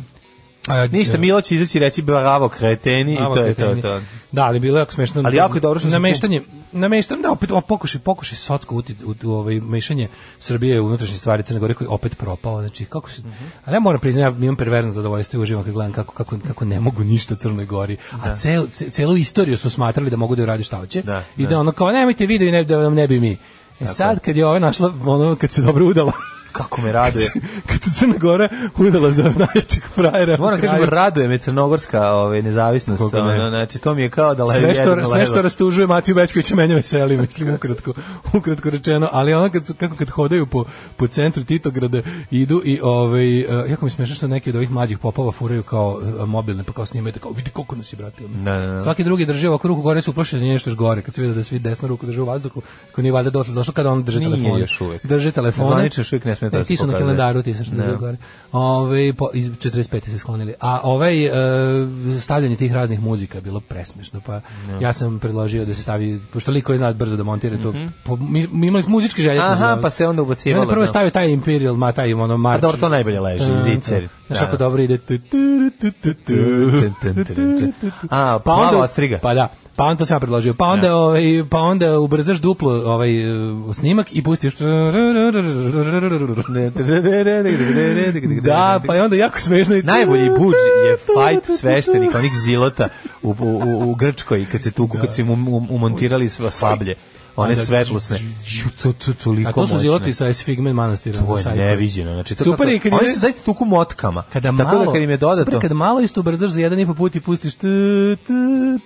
Speaker 6: A,
Speaker 5: Mm. Ništa, Milo će izaći i reći bravo kreteni i to je to. to.
Speaker 6: Da, ali bilo je jako smešno.
Speaker 5: Ali jako je dobro što su-
Speaker 6: nameštanje, nameštanje, da, opet o, pokušaj, pokušaj socko uti, u, u ovaj mešanje Srbije u unutrašnje stvari Crne Gore koji je opet propao, znači kako se Ali ja moram priznati, ja imam perverzno zadovoljstvo i uživam kad gledam kako kako kako ne mogu ništa Crnoj Gori, a ceo ce- celu istoriju su smatrali da mogu da urade šta hoće
Speaker 5: Da,
Speaker 6: i da, ono kao nemojte vi da vi ne, da vam ne bi mi. E sad kad je ova našla ono kad se dobro udala
Speaker 5: Kako me raduje.
Speaker 6: kad se Crna Gora udala za najjačeg frajera. u
Speaker 5: Moram
Speaker 6: kraju.
Speaker 5: kažem, raduje me crnogorska ovaj, nezavisnost.
Speaker 6: Kako ne?
Speaker 5: Ono, znači, to mi je kao da levi
Speaker 6: sve što,
Speaker 5: jedno
Speaker 6: sve
Speaker 5: levo.
Speaker 6: što rastužuje Matiju Bećkovića mene veseli, mislim, ukratko, ukratko rečeno, ali ono kad, su, kako kad hodaju po, po centru Titograda, idu i, ovaj, eh, jako mi je smiješno što neki od ovih mlađih popova furaju kao eh, mobilne, pa kao snimaju, da kao vidi koliko nas je vratio.
Speaker 5: Da, da, da.
Speaker 6: Svaki drugi drži ovako ruku gore, su uplašeni da nije nešto još gore, kad se vidi da svi desnu ruku drže u vazduhu, ko nije valjda došlo, došlo kada on drži
Speaker 5: Nije
Speaker 6: telefon.
Speaker 5: još uvek.
Speaker 6: Drži telefon.
Speaker 5: Zvanično još uvek ne smeta da se
Speaker 6: Ti su na
Speaker 5: pokazuje.
Speaker 6: kalendaru, ti su što
Speaker 5: Ne.
Speaker 6: drži gore. Ove, po, iz 45. se sklonili. A ovaj e, stavljanje tih raznih muzika je bilo presmešno. Pa ja sam predložio da se stavi, pošto liko je zna brzo da montira to. po- mi, mi imali smo muzičke želje. smo
Speaker 5: Mhm. Aha,
Speaker 6: za-
Speaker 5: pa se onda ubacivalo,
Speaker 6: Mene Prvo
Speaker 5: da.
Speaker 6: stavio taj Imperial, ma taj ono marč.
Speaker 5: A dobro, to najbolje leži,
Speaker 6: Ta, ta.
Speaker 5: zicer.
Speaker 6: Znaš
Speaker 5: Da.
Speaker 6: kako dobro ide. tu, tu, tu, tu, tu,
Speaker 5: Tun, tun, tun, tun. A,
Speaker 6: pa
Speaker 5: plava
Speaker 6: onda
Speaker 5: ostriga.
Speaker 6: Pa da, pa onda to sam ja predložio. Pa onda ovaj pa onda ubrzaš duplo ovaj e, snimak i pustiš Da, pa je onda jako smešno. i-
Speaker 5: Najbolji buđ je fajt sveštenika, onih zilota u, u, u, u Grčkoj, kad se tuku, kad su im um- um- umontirali sve slablje, one svetlosne. Ju, to, to, toliko
Speaker 6: A to su
Speaker 5: moćne.
Speaker 6: ziloti sa Esfigmen manastira.
Speaker 5: To je
Speaker 6: Sajko.
Speaker 5: neviđeno. Znači, to
Speaker 6: Super
Speaker 5: kako-
Speaker 6: je kad im
Speaker 5: Oni
Speaker 6: je-
Speaker 5: se zaista tuku motkama.
Speaker 6: Kada
Speaker 5: Tako
Speaker 6: malo,
Speaker 5: da kad im je
Speaker 6: super
Speaker 5: dodato...
Speaker 6: kada malo isto ubrzaš za jedan i po put i pustiš tu, tu,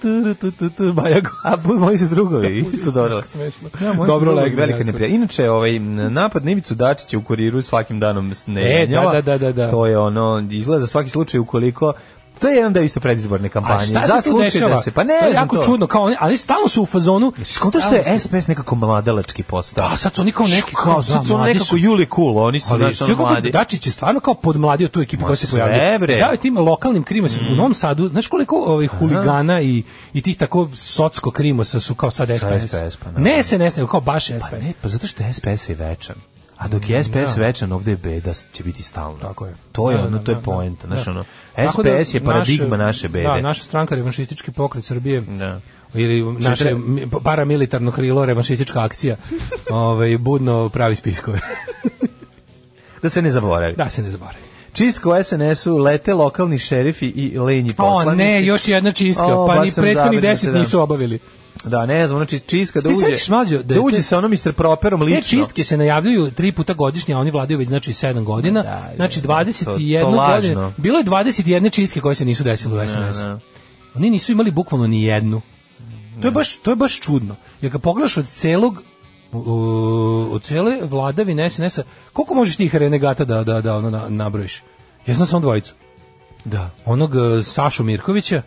Speaker 6: tu, tu, tu, tu, bajagu.
Speaker 5: A bu- moji su drugovi, isto dobro.
Speaker 6: Smešno.
Speaker 5: Ja, moji su
Speaker 6: Dobro
Speaker 5: drugovi,
Speaker 6: legne,
Speaker 5: Velika
Speaker 6: jako.
Speaker 5: neprijatelj. Inače, ovaj, n- napad na Ivicu Dačića u kuriru svakim danom s- ne
Speaker 6: E,
Speaker 5: jenjava.
Speaker 6: da, da, da, da, da.
Speaker 5: To je ono, izgleda za svaki slučaj ukoliko... To je jedan deo isto predizborne kampanje.
Speaker 6: A šta
Speaker 5: Za
Speaker 6: se tu
Speaker 5: slučaj
Speaker 6: dešava?
Speaker 5: Da se, pa ne
Speaker 6: to je
Speaker 5: znam
Speaker 6: jako
Speaker 5: to.
Speaker 6: čudno, kao oni, ali stalno su u fazonu.
Speaker 5: Skonto što je
Speaker 6: stalno su-
Speaker 5: SPS nekako mladalački postao.
Speaker 6: A sad su oni kao neki
Speaker 5: Kao, sad su
Speaker 6: da,
Speaker 5: ono
Speaker 6: mladi
Speaker 5: nekako Juli Cool, oni su
Speaker 6: Ali
Speaker 5: znaš, ono
Speaker 6: što
Speaker 5: mladi.
Speaker 6: kako Dačić Pa je stvarno kao podmladio tu ekipu
Speaker 5: Ma Mm.
Speaker 6: koja se
Speaker 5: sve,
Speaker 6: pojavila.
Speaker 5: bre.
Speaker 6: Da, tim lokalnim krimom u Novom Sadu, znaš koliko ovih huligana i i tih tako socsko krimosa su kao sad SPS.
Speaker 5: SPS, pa naravno.
Speaker 6: ne se ne nego kao baš SPS.
Speaker 5: Pa ne, pa zato što je SPS je večan. A dok je SPS večan, ovde je beda će biti stalno.
Speaker 6: Mm, Tako je.
Speaker 5: To je
Speaker 6: Da,
Speaker 5: ono,
Speaker 6: da,
Speaker 5: to je
Speaker 6: da,
Speaker 5: poenta,
Speaker 6: da.
Speaker 5: znaš ono.
Speaker 6: Tako da
Speaker 5: SPS je paradigma naše bede.
Speaker 6: Da, naša stranka revanšistički pokret Srbije.
Speaker 5: Da.
Speaker 6: Ili naše
Speaker 5: treba-
Speaker 6: mi- paramilitarno krilo revanšistička akcija. ovaj budno pravi spiskove.
Speaker 5: Da se ne zaboravi.
Speaker 6: da se ne zaboravi.
Speaker 5: Čistka u SNS-u lete lokalni šerifi i lenji poslanici.
Speaker 6: O ne, još jedna čistka,
Speaker 5: O,
Speaker 6: pa
Speaker 5: baš
Speaker 6: ni
Speaker 5: sam
Speaker 6: prethodnih
Speaker 5: zabrinut,
Speaker 6: 10
Speaker 5: da.
Speaker 6: nisu obavili.
Speaker 5: Da, ne znam, ono čist- čistka da
Speaker 6: Ti se
Speaker 5: uđe,
Speaker 6: sećaš, mlađo, da
Speaker 5: da,
Speaker 6: je
Speaker 5: uđe
Speaker 6: te-
Speaker 5: sa onom Mr. Properom
Speaker 6: Te
Speaker 5: lično.
Speaker 6: čistke se najavljuju tri puta godišnje, a oni vladaju već znači 7 godina.
Speaker 5: Da, da,
Speaker 6: znači
Speaker 5: da,
Speaker 6: 21
Speaker 5: to- to lažno.
Speaker 6: godine. Bilo je 21 čistke koje se nisu desile u SNS.
Speaker 5: da.
Speaker 6: Oni nisu imali bukvalno ni jednu. To je baš to je baš čudno. Jer kad pogledaš od celog u- od cele vladavine SNS-a, koliko možeš tih renegata da da da ono na, nabrojiš? Ja znam samo dvojicu.
Speaker 5: Da.
Speaker 6: Onog eh, Sašu Mirkovića.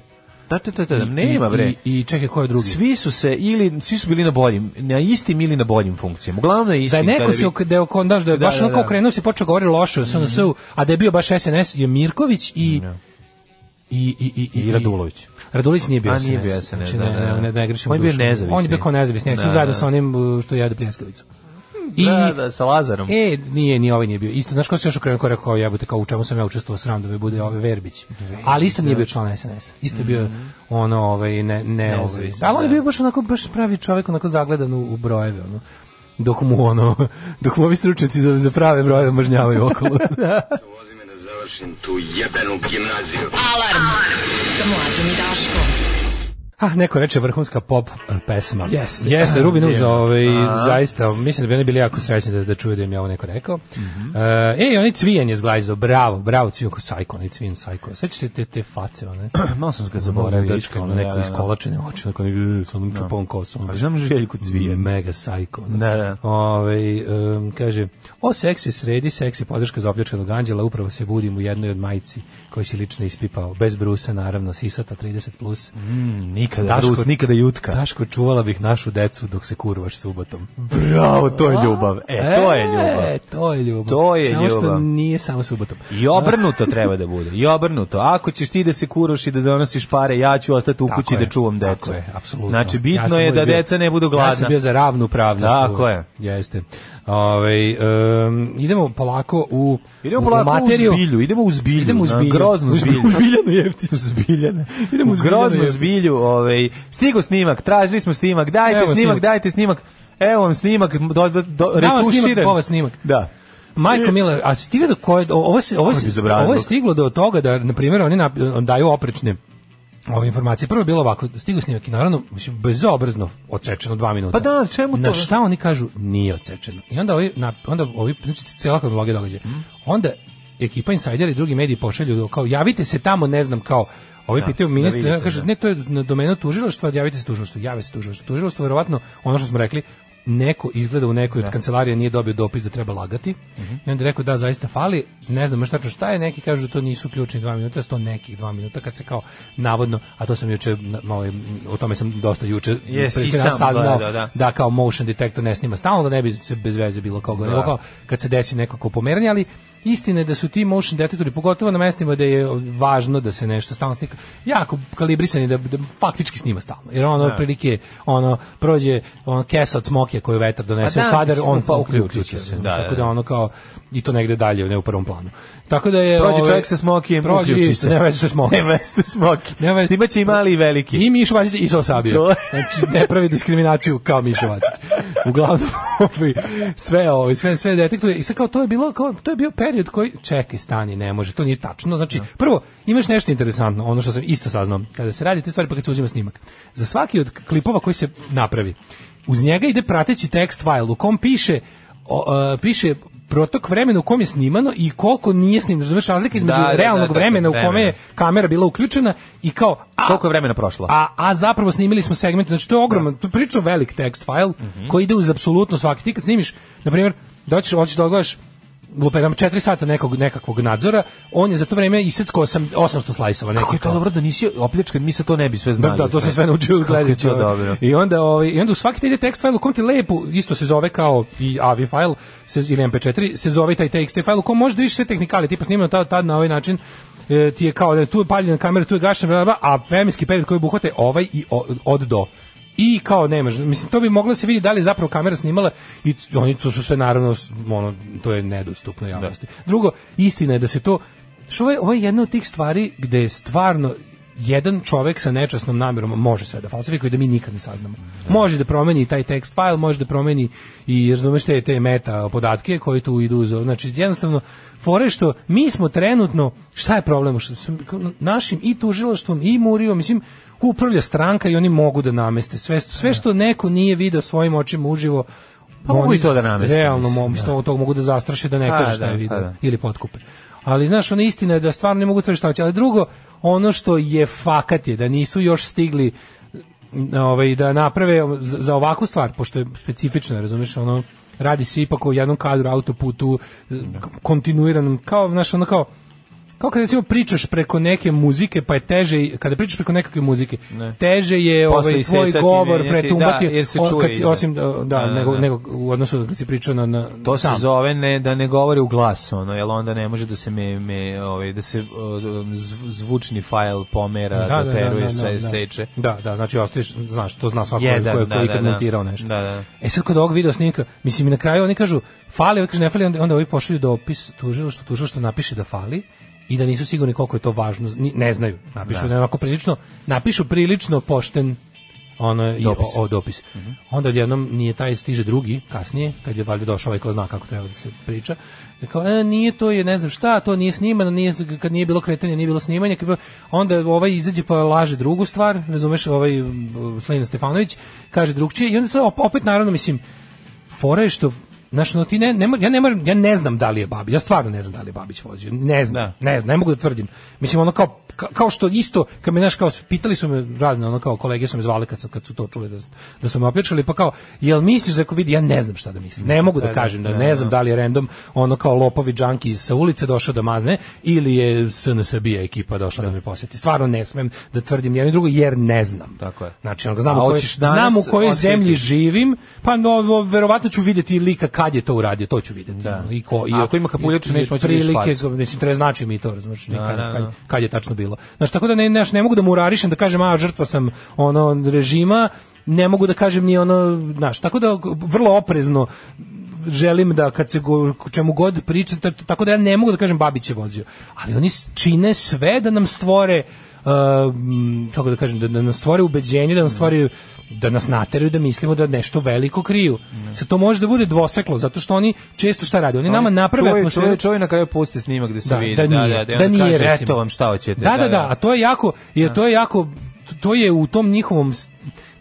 Speaker 5: Da, da, da, da, nema
Speaker 6: i-
Speaker 5: bre.
Speaker 6: I, i čekaj, ko je drugi?
Speaker 5: Svi su se ili svi su bili na boljim, na istim ili na boljim funkcijama. Uglavnom je
Speaker 6: da
Speaker 5: istim.
Speaker 6: je neko
Speaker 5: kada
Speaker 6: se
Speaker 5: bi-
Speaker 6: ok- da je oko- znaš, da je
Speaker 5: Da,
Speaker 6: baš
Speaker 5: da,
Speaker 6: onako
Speaker 5: da. Mhm.
Speaker 6: okrenuo se i počeo govoriti loše o SNS-u, a da je bio baš SNS je Mirković i i i i
Speaker 5: I Radulović.
Speaker 6: Radulović nije bio
Speaker 5: A,
Speaker 6: SNS.
Speaker 5: nije bio SNS,
Speaker 6: znači,
Speaker 5: da,
Speaker 6: ne,
Speaker 5: da, da.
Speaker 6: ne, ne, ne grešimo
Speaker 5: On je bio
Speaker 6: dušu.
Speaker 5: nezavisni.
Speaker 6: On je bio kao nezavisni, ja sam
Speaker 5: Da,
Speaker 6: zajedno
Speaker 5: da.
Speaker 6: sa onim uh, što jede pljeskavicu. I
Speaker 5: Da, da, sa Lazarom.
Speaker 6: E, nije, ni ovaj nije bio. Isto, znaš ko se još okrenuo ko je rekao, kao jebote, kao u čemu sam ja učestvovao sram da me bude ovaj Verbić. Ali isto nije bio član SNS. Isto je bio ono, ovaj, ne, ne, ovaj.
Speaker 5: Nezavisno,
Speaker 6: Ali on je
Speaker 5: da.
Speaker 6: bio baš onako, baš pravi čovjek, onako zagledan u, u brojeve, ono. Dok mu ono, dok mu ovi stručnjaci za, za prave brojeve mažnjavaju okolo.
Speaker 3: Vozi me da završim tu jebenu gimnaziju.
Speaker 7: Alarm. Sa mlađom i Daškom.
Speaker 6: Ah, neko reče vrhunska pop eh, pesma.
Speaker 8: Jeste.
Speaker 6: Jeste, Rubin Uz,
Speaker 8: Je.
Speaker 6: ovaj, zaista, mislim da bi oni bili jako srećni da, da čuju da im je ovo neko rekao. Eh, ej, oni cvijen je zglajzdo, bravo, bravo, cvijen ko sajko, onaj cvijen sajko. Sećate te, te face, one?
Speaker 5: Malo sam kad
Speaker 6: Zaboravio
Speaker 5: zaboravio.
Speaker 6: dečka, ono neko iskolačene oči, neko ne s onom čupom kosom.
Speaker 5: Ali Pa znam Željku Cvijan.
Speaker 6: Mega sajko. ono.
Speaker 5: Da, da.
Speaker 6: Ovaj, em, kaže, o seksi sredi, seksi podrška za opljačkanog anđela, upravo se budim u jednoj od majci koji si lično ispipao, bez brusa, naravno, sisata 30+. Plus.
Speaker 5: Nikada
Speaker 6: Mm, Daško-
Speaker 5: Rus, nikada Jutka.
Speaker 6: Daško, čuvala bih našu decu dok se kurvaš subotom.
Speaker 5: Bravo, to je ljubav. E, to je ljubav.
Speaker 6: E, to je ljubav.
Speaker 5: To je
Speaker 6: samo što
Speaker 5: ljubav.
Speaker 6: nije samo subotom.
Speaker 5: I obrnuto treba da bude. I obrnuto. Ako ćeš ti da se kuroš i da donosiš pare, ja ću ostati u
Speaker 6: Tako
Speaker 5: kući
Speaker 6: je,
Speaker 5: da čuvam
Speaker 6: tako
Speaker 5: decu.
Speaker 6: je, apsolutno.
Speaker 5: Znači,
Speaker 6: Ja
Speaker 5: bitno
Speaker 6: sam
Speaker 5: je
Speaker 6: uvijek
Speaker 5: da
Speaker 6: bio-
Speaker 5: deca ne budu
Speaker 6: Ja sam
Speaker 5: gladna.
Speaker 6: bio za ravnu pravnost.
Speaker 5: Tako je.
Speaker 6: Jeste. Ove, idemo polako u,
Speaker 5: Idemo
Speaker 6: u- u
Speaker 5: polako u
Speaker 6: materiju.
Speaker 5: zbilju, idemo u zbilju,
Speaker 6: Idemo u
Speaker 5: na
Speaker 6: zbilju.
Speaker 5: groznu
Speaker 6: U
Speaker 5: zbilju.
Speaker 6: U zbiljanu jeftinu.
Speaker 5: zbiljane.
Speaker 6: Idemo
Speaker 5: Idemo
Speaker 6: u
Speaker 5: u
Speaker 6: zbiljane
Speaker 5: groznu
Speaker 6: jeftić.
Speaker 5: zbilju. Ovaj, stigo snimak, tražili smo snimak, dajte
Speaker 6: Evo
Speaker 5: snimak,
Speaker 6: snimak.
Speaker 5: dajte snimak. Evo vam snimak, do, do, do,
Speaker 6: Damo snimak,
Speaker 5: retuširan.
Speaker 6: pova snimak.
Speaker 5: Da.
Speaker 6: Majko Miller, a si ti vidio koje, o- ovo, se, ovo,
Speaker 5: Kako E. bi
Speaker 6: se,
Speaker 5: zabranilo?
Speaker 6: ovo je stiglo do toga da, na primjer, oni nap- daju oprečne ove informacije. Prvo je bilo ovako, stigao snimak i naravno, mislim, bezobrazno odsečeno dva minuta.
Speaker 5: Pa da, čemu to?
Speaker 6: Na šta oni kažu, nije odsečeno. I onda ovi, na, onda ovi znači, cijela kronologija događaja.
Speaker 5: Mhm.
Speaker 6: Onda ekipa Insidera i drugi mediji pošalju do- kao, javite se tamo, ne znam, kao, Ovi pitaju ministra,
Speaker 5: vidite,
Speaker 6: ja kaže, ne, to je na domenu tužilaštva, javite se tužilaštvu, jave se tužilaštvu. Tužilaštvo, verovatno, ono što smo rekli, neko izgleda u nekoj od kancelarija nije dobio dopis da treba lagati.
Speaker 5: Mhm.
Speaker 6: I onda je rekao da zaista fali, ne znam baš tačno šta je, neki kažu da to nisu ključni dva minuta, da su to nekih dva minuta kad se kao navodno, a to sam juče na- malo je- o tome sam dosta juče
Speaker 5: Jesi
Speaker 6: pre-
Speaker 5: i
Speaker 6: pre-
Speaker 5: sam
Speaker 6: saznao
Speaker 5: gledao, da.
Speaker 6: da kao motion detector ne snima stalno da ne bi se bez veze bilo kao gore, nego kao kad se desi nekako pomeranje, ali istina je da su ti motion detektori pogotovo na mestima da je važno da se nešto stalno snima jako kalibrisani da, da faktički snima stalno jer ono otprilike ono prođe ono kesa od smokija koju vetar donese
Speaker 5: A da,
Speaker 6: u kadar
Speaker 5: mislim,
Speaker 6: on
Speaker 5: pa
Speaker 6: pa
Speaker 5: uključi se.
Speaker 6: uključi se
Speaker 5: Da,
Speaker 6: tako
Speaker 5: da,
Speaker 6: da
Speaker 5: da.
Speaker 6: ono kao i to negde dalje ne u prvom planu tako da je
Speaker 5: Prođe
Speaker 6: ovaj,
Speaker 5: čovjek sa smokijem,
Speaker 6: prođe
Speaker 5: uključi
Speaker 6: isto,
Speaker 5: se.
Speaker 6: nema veze što je smokija.
Speaker 5: Nema veze, smoki.
Speaker 6: Nema veze.
Speaker 5: Snimaće i mali i veliki.
Speaker 6: I Mišo Vacić i Sosabio.
Speaker 5: To-
Speaker 6: Znači, ne pravi diskriminaciju kao Mišo Vacić. Uglavnom, ovi, sve, ovi, sve, sve detektuje. I sad kao, to je, bilo, kao, to je bio period koji, čekaj, stani, ne može, to nije tačno. Znači, prvo, imaš nešto interesantno, ono što sam isto saznao, kada se radi te stvari pa kad se uzima snimak. Za svaki od klipova koji se napravi, uz njega ide prateći tekst file u kom piše, o, e, piše protok vremena u kom je snimano i koliko nije snimano. Znači, razlika između
Speaker 5: Da, da, da,
Speaker 6: realnog
Speaker 5: da, da,
Speaker 6: vremena u kome je
Speaker 5: vremena.
Speaker 6: kamera bila uključena i kao, a,
Speaker 5: Koliko je vremena prošlo?
Speaker 6: a, a zapravo snimili smo segment, znači to je ogroman, to je prilično velik tekst file
Speaker 5: Mhm.
Speaker 6: koji ide uz apsolutno svaki. Ti kad snimiš, na primjer, doćeš, hoćeš da ogledaš lupetam 4 sata nekog, nekakvog nadzora, on je za to vreme iseckao osam- 800 slajsova.
Speaker 5: Kako je to dobro da nisi opljačkan, mi sad to ne bi sve
Speaker 6: Da,
Speaker 5: znali.
Speaker 6: da, to sam sve naučio
Speaker 5: Kako je
Speaker 6: gledajući.
Speaker 5: to
Speaker 6: ovaj.
Speaker 5: dobro.
Speaker 6: I onda, ovaj, i onda u svaki taj ide tekst file u kom ti lepo, isto se zove kao i AVI file se, ili MP4, se zove taj txt file u kom možeš da vidiš sve tehnikale, tipa snimano tad, tad na ovaj način, e, ti je kao, da tu je paljena kamera, tu je gašena, bla, bla, bla, a vremenski period koji obuhvate ovaj i o- od do. I kao nemaš, mislim, to bi moglo da se vidi da li je zapravo kamera snimala i t- oni to su sve naravno, s- ono, to je nedostupno javnosti. Drugo, istina je da se to, što ovo je, ovo je jedna od tih stvari gde je stvarno jedan čovek sa nečasnom namjerom može sve da falsifikuje i da mi nikad ne saznamo. Može da promeni i taj tekst file, može da promeni i razumeš te, te meta podatke koji tu idu. Za, znači, jednostavno, fore što mi smo trenutno, šta je problem? Što su- našim i tužilaštvom i murijom, mislim, upravlja stranka i oni mogu da nameste sve, sve što neko nije video svojim očima uživo,
Speaker 5: Pa mogu
Speaker 6: oni
Speaker 5: i to da nameste,
Speaker 6: Realno
Speaker 5: mislim,
Speaker 6: mogu, to, to mogu da zastraše da ne
Speaker 5: Pa
Speaker 6: kaže šta
Speaker 5: da,
Speaker 6: je
Speaker 5: pa
Speaker 6: video
Speaker 5: da.
Speaker 6: ili potkupe. Ali znaš, ona istina je da stvarno ne mogu tvrditi šta hoće. Ali drugo, ono što je fakat je da nisu još stigli n- ovaj, da naprave za za ovakvu stvar, pošto je specifično, razumiješ, ono, radi se ipak o jednom kadru, autoputu, k- kontinuiranom, kao, znaš, ono kao, kao kad recimo pričaš preko neke muzike, pa je teže, i- kada pričaš preko nekakve muzike, teže je
Speaker 5: Posle
Speaker 6: ovaj, tvoj
Speaker 5: isecati,
Speaker 6: govor
Speaker 5: menjati,
Speaker 6: pretumbati,
Speaker 5: da, jer se
Speaker 6: o-
Speaker 5: čuje
Speaker 6: kad si-
Speaker 5: iza.
Speaker 6: osim, da, da,
Speaker 5: Da, da,
Speaker 6: nego,
Speaker 5: da.
Speaker 6: nego u odnosu na kad si pričao na, na
Speaker 5: To se
Speaker 6: sam.
Speaker 5: zove ne, da ne govori u glas, ono, jer onda ne može da se me, me ovaj, da se o, zv- zvučni fajl pomera, da, doteruje, se, seče.
Speaker 6: Da, da, znači ostaješ, znaš, to zna svako
Speaker 5: Jedan,
Speaker 6: ko je, ko je
Speaker 5: da,
Speaker 6: ikad
Speaker 5: da, da.
Speaker 6: montirao nešto.
Speaker 5: Da, da.
Speaker 6: E sad kod ovog video snimka, mislim i na kraju oni kažu fali, ovi kažu ne fali, onda, onda ovi pošalju dopis tužilaštvu, tužilaštvo napiše da fali i da nisu sigurni koliko je to važno, ni- ne znaju. Napišu da. onako prilično, napišu prilično pošten ono, i,
Speaker 9: Dopis.
Speaker 6: O, o, dopis.
Speaker 5: Mhm.
Speaker 6: Onda odjednom nije taj stiže drugi, kasnije, kad je valjda došao ovaj ko zna kako treba da se priča. je Kao, e, nije to, je ne znam šta, to nije snimano, nije, kad nije bilo kretanja, nije bilo snimanja, kad je bilo, onda ovaj izađe pa laže drugu stvar, razumeš, ovaj m, Slina Stefanović, kaže drugčije, i onda se op- opet, naravno, mislim, fora je što Znaš, no, ti ne, ne, mo- ja, ne moram, ja ne znam da li je Babić, ja stvarno ne znam da li je Babić vozio, ne znam,
Speaker 5: Da.
Speaker 6: ne znam, ne mogu da tvrdim. Mislim, ono kao, ka- kao što isto, kad me, znaš, kao, pitali su me razne, ono kao, kolege su me zvali kad, su- kad su to čuli da, da su me opljačkali, pa kao, jel misliš da ako vidi, ja ne znam šta da mislim, ne mogu da kažem, da ne znam da li je random, ono kao lopovi džanki sa ulice došao da mazne, ili je SNS bija ekipa došla da me posjeti. Stvarno ne smem da tvrdim jedno i drugo, jer ne znam.
Speaker 5: Tako je.
Speaker 6: Znači, ono, znam,
Speaker 5: A
Speaker 6: u kojoj,
Speaker 5: hoćeš danas
Speaker 6: znam u kojoj
Speaker 5: otkriti?
Speaker 6: zemlji živim, pa no, no, verovatno ću vidjeti i lika kad je to uradio, to ću vidjeti. ono,
Speaker 5: Da.
Speaker 6: I ko, i,
Speaker 5: A ako ima kapuljaču,
Speaker 6: i-
Speaker 5: neće moći da vidiš
Speaker 6: prilike,
Speaker 5: facu.
Speaker 6: Mislim, treba znači mi to, razumiješ, kad,
Speaker 5: da,
Speaker 6: kad,
Speaker 5: da.
Speaker 6: kad je tačno bilo. Znaš, tako da ne, ne, ne mogu da mu urarišem, da kažem, a, žrtva sam ono, režima, ne mogu da kažem ni ono, znaš, tako da vrlo oprezno želim da kad se go, čemu god priča, t- t- tako da ja ne mogu da kažem Babić je vozio. Ali oni s- čine sve da nam stvore um, kako da kažem, da, da nam stvore ubeđenje, da nam stvore da nas nateraju da mislimo da nešto veliko kriju. Sad to može da bude dvoseklo, zato što oni često šta rade? Oni, nama naprave
Speaker 5: čuj,
Speaker 6: atmosferu-
Speaker 5: čuj, čuj, na kraju pusti snimak gde se
Speaker 6: da,
Speaker 5: vidi.
Speaker 6: da, nije,
Speaker 5: da,
Speaker 6: da,
Speaker 5: da, da kaže,
Speaker 6: nije recimo.
Speaker 5: eto vam šta hoćete.
Speaker 6: Da, da, da, a to je jako, je, to je jako, to je u tom njihovom, s-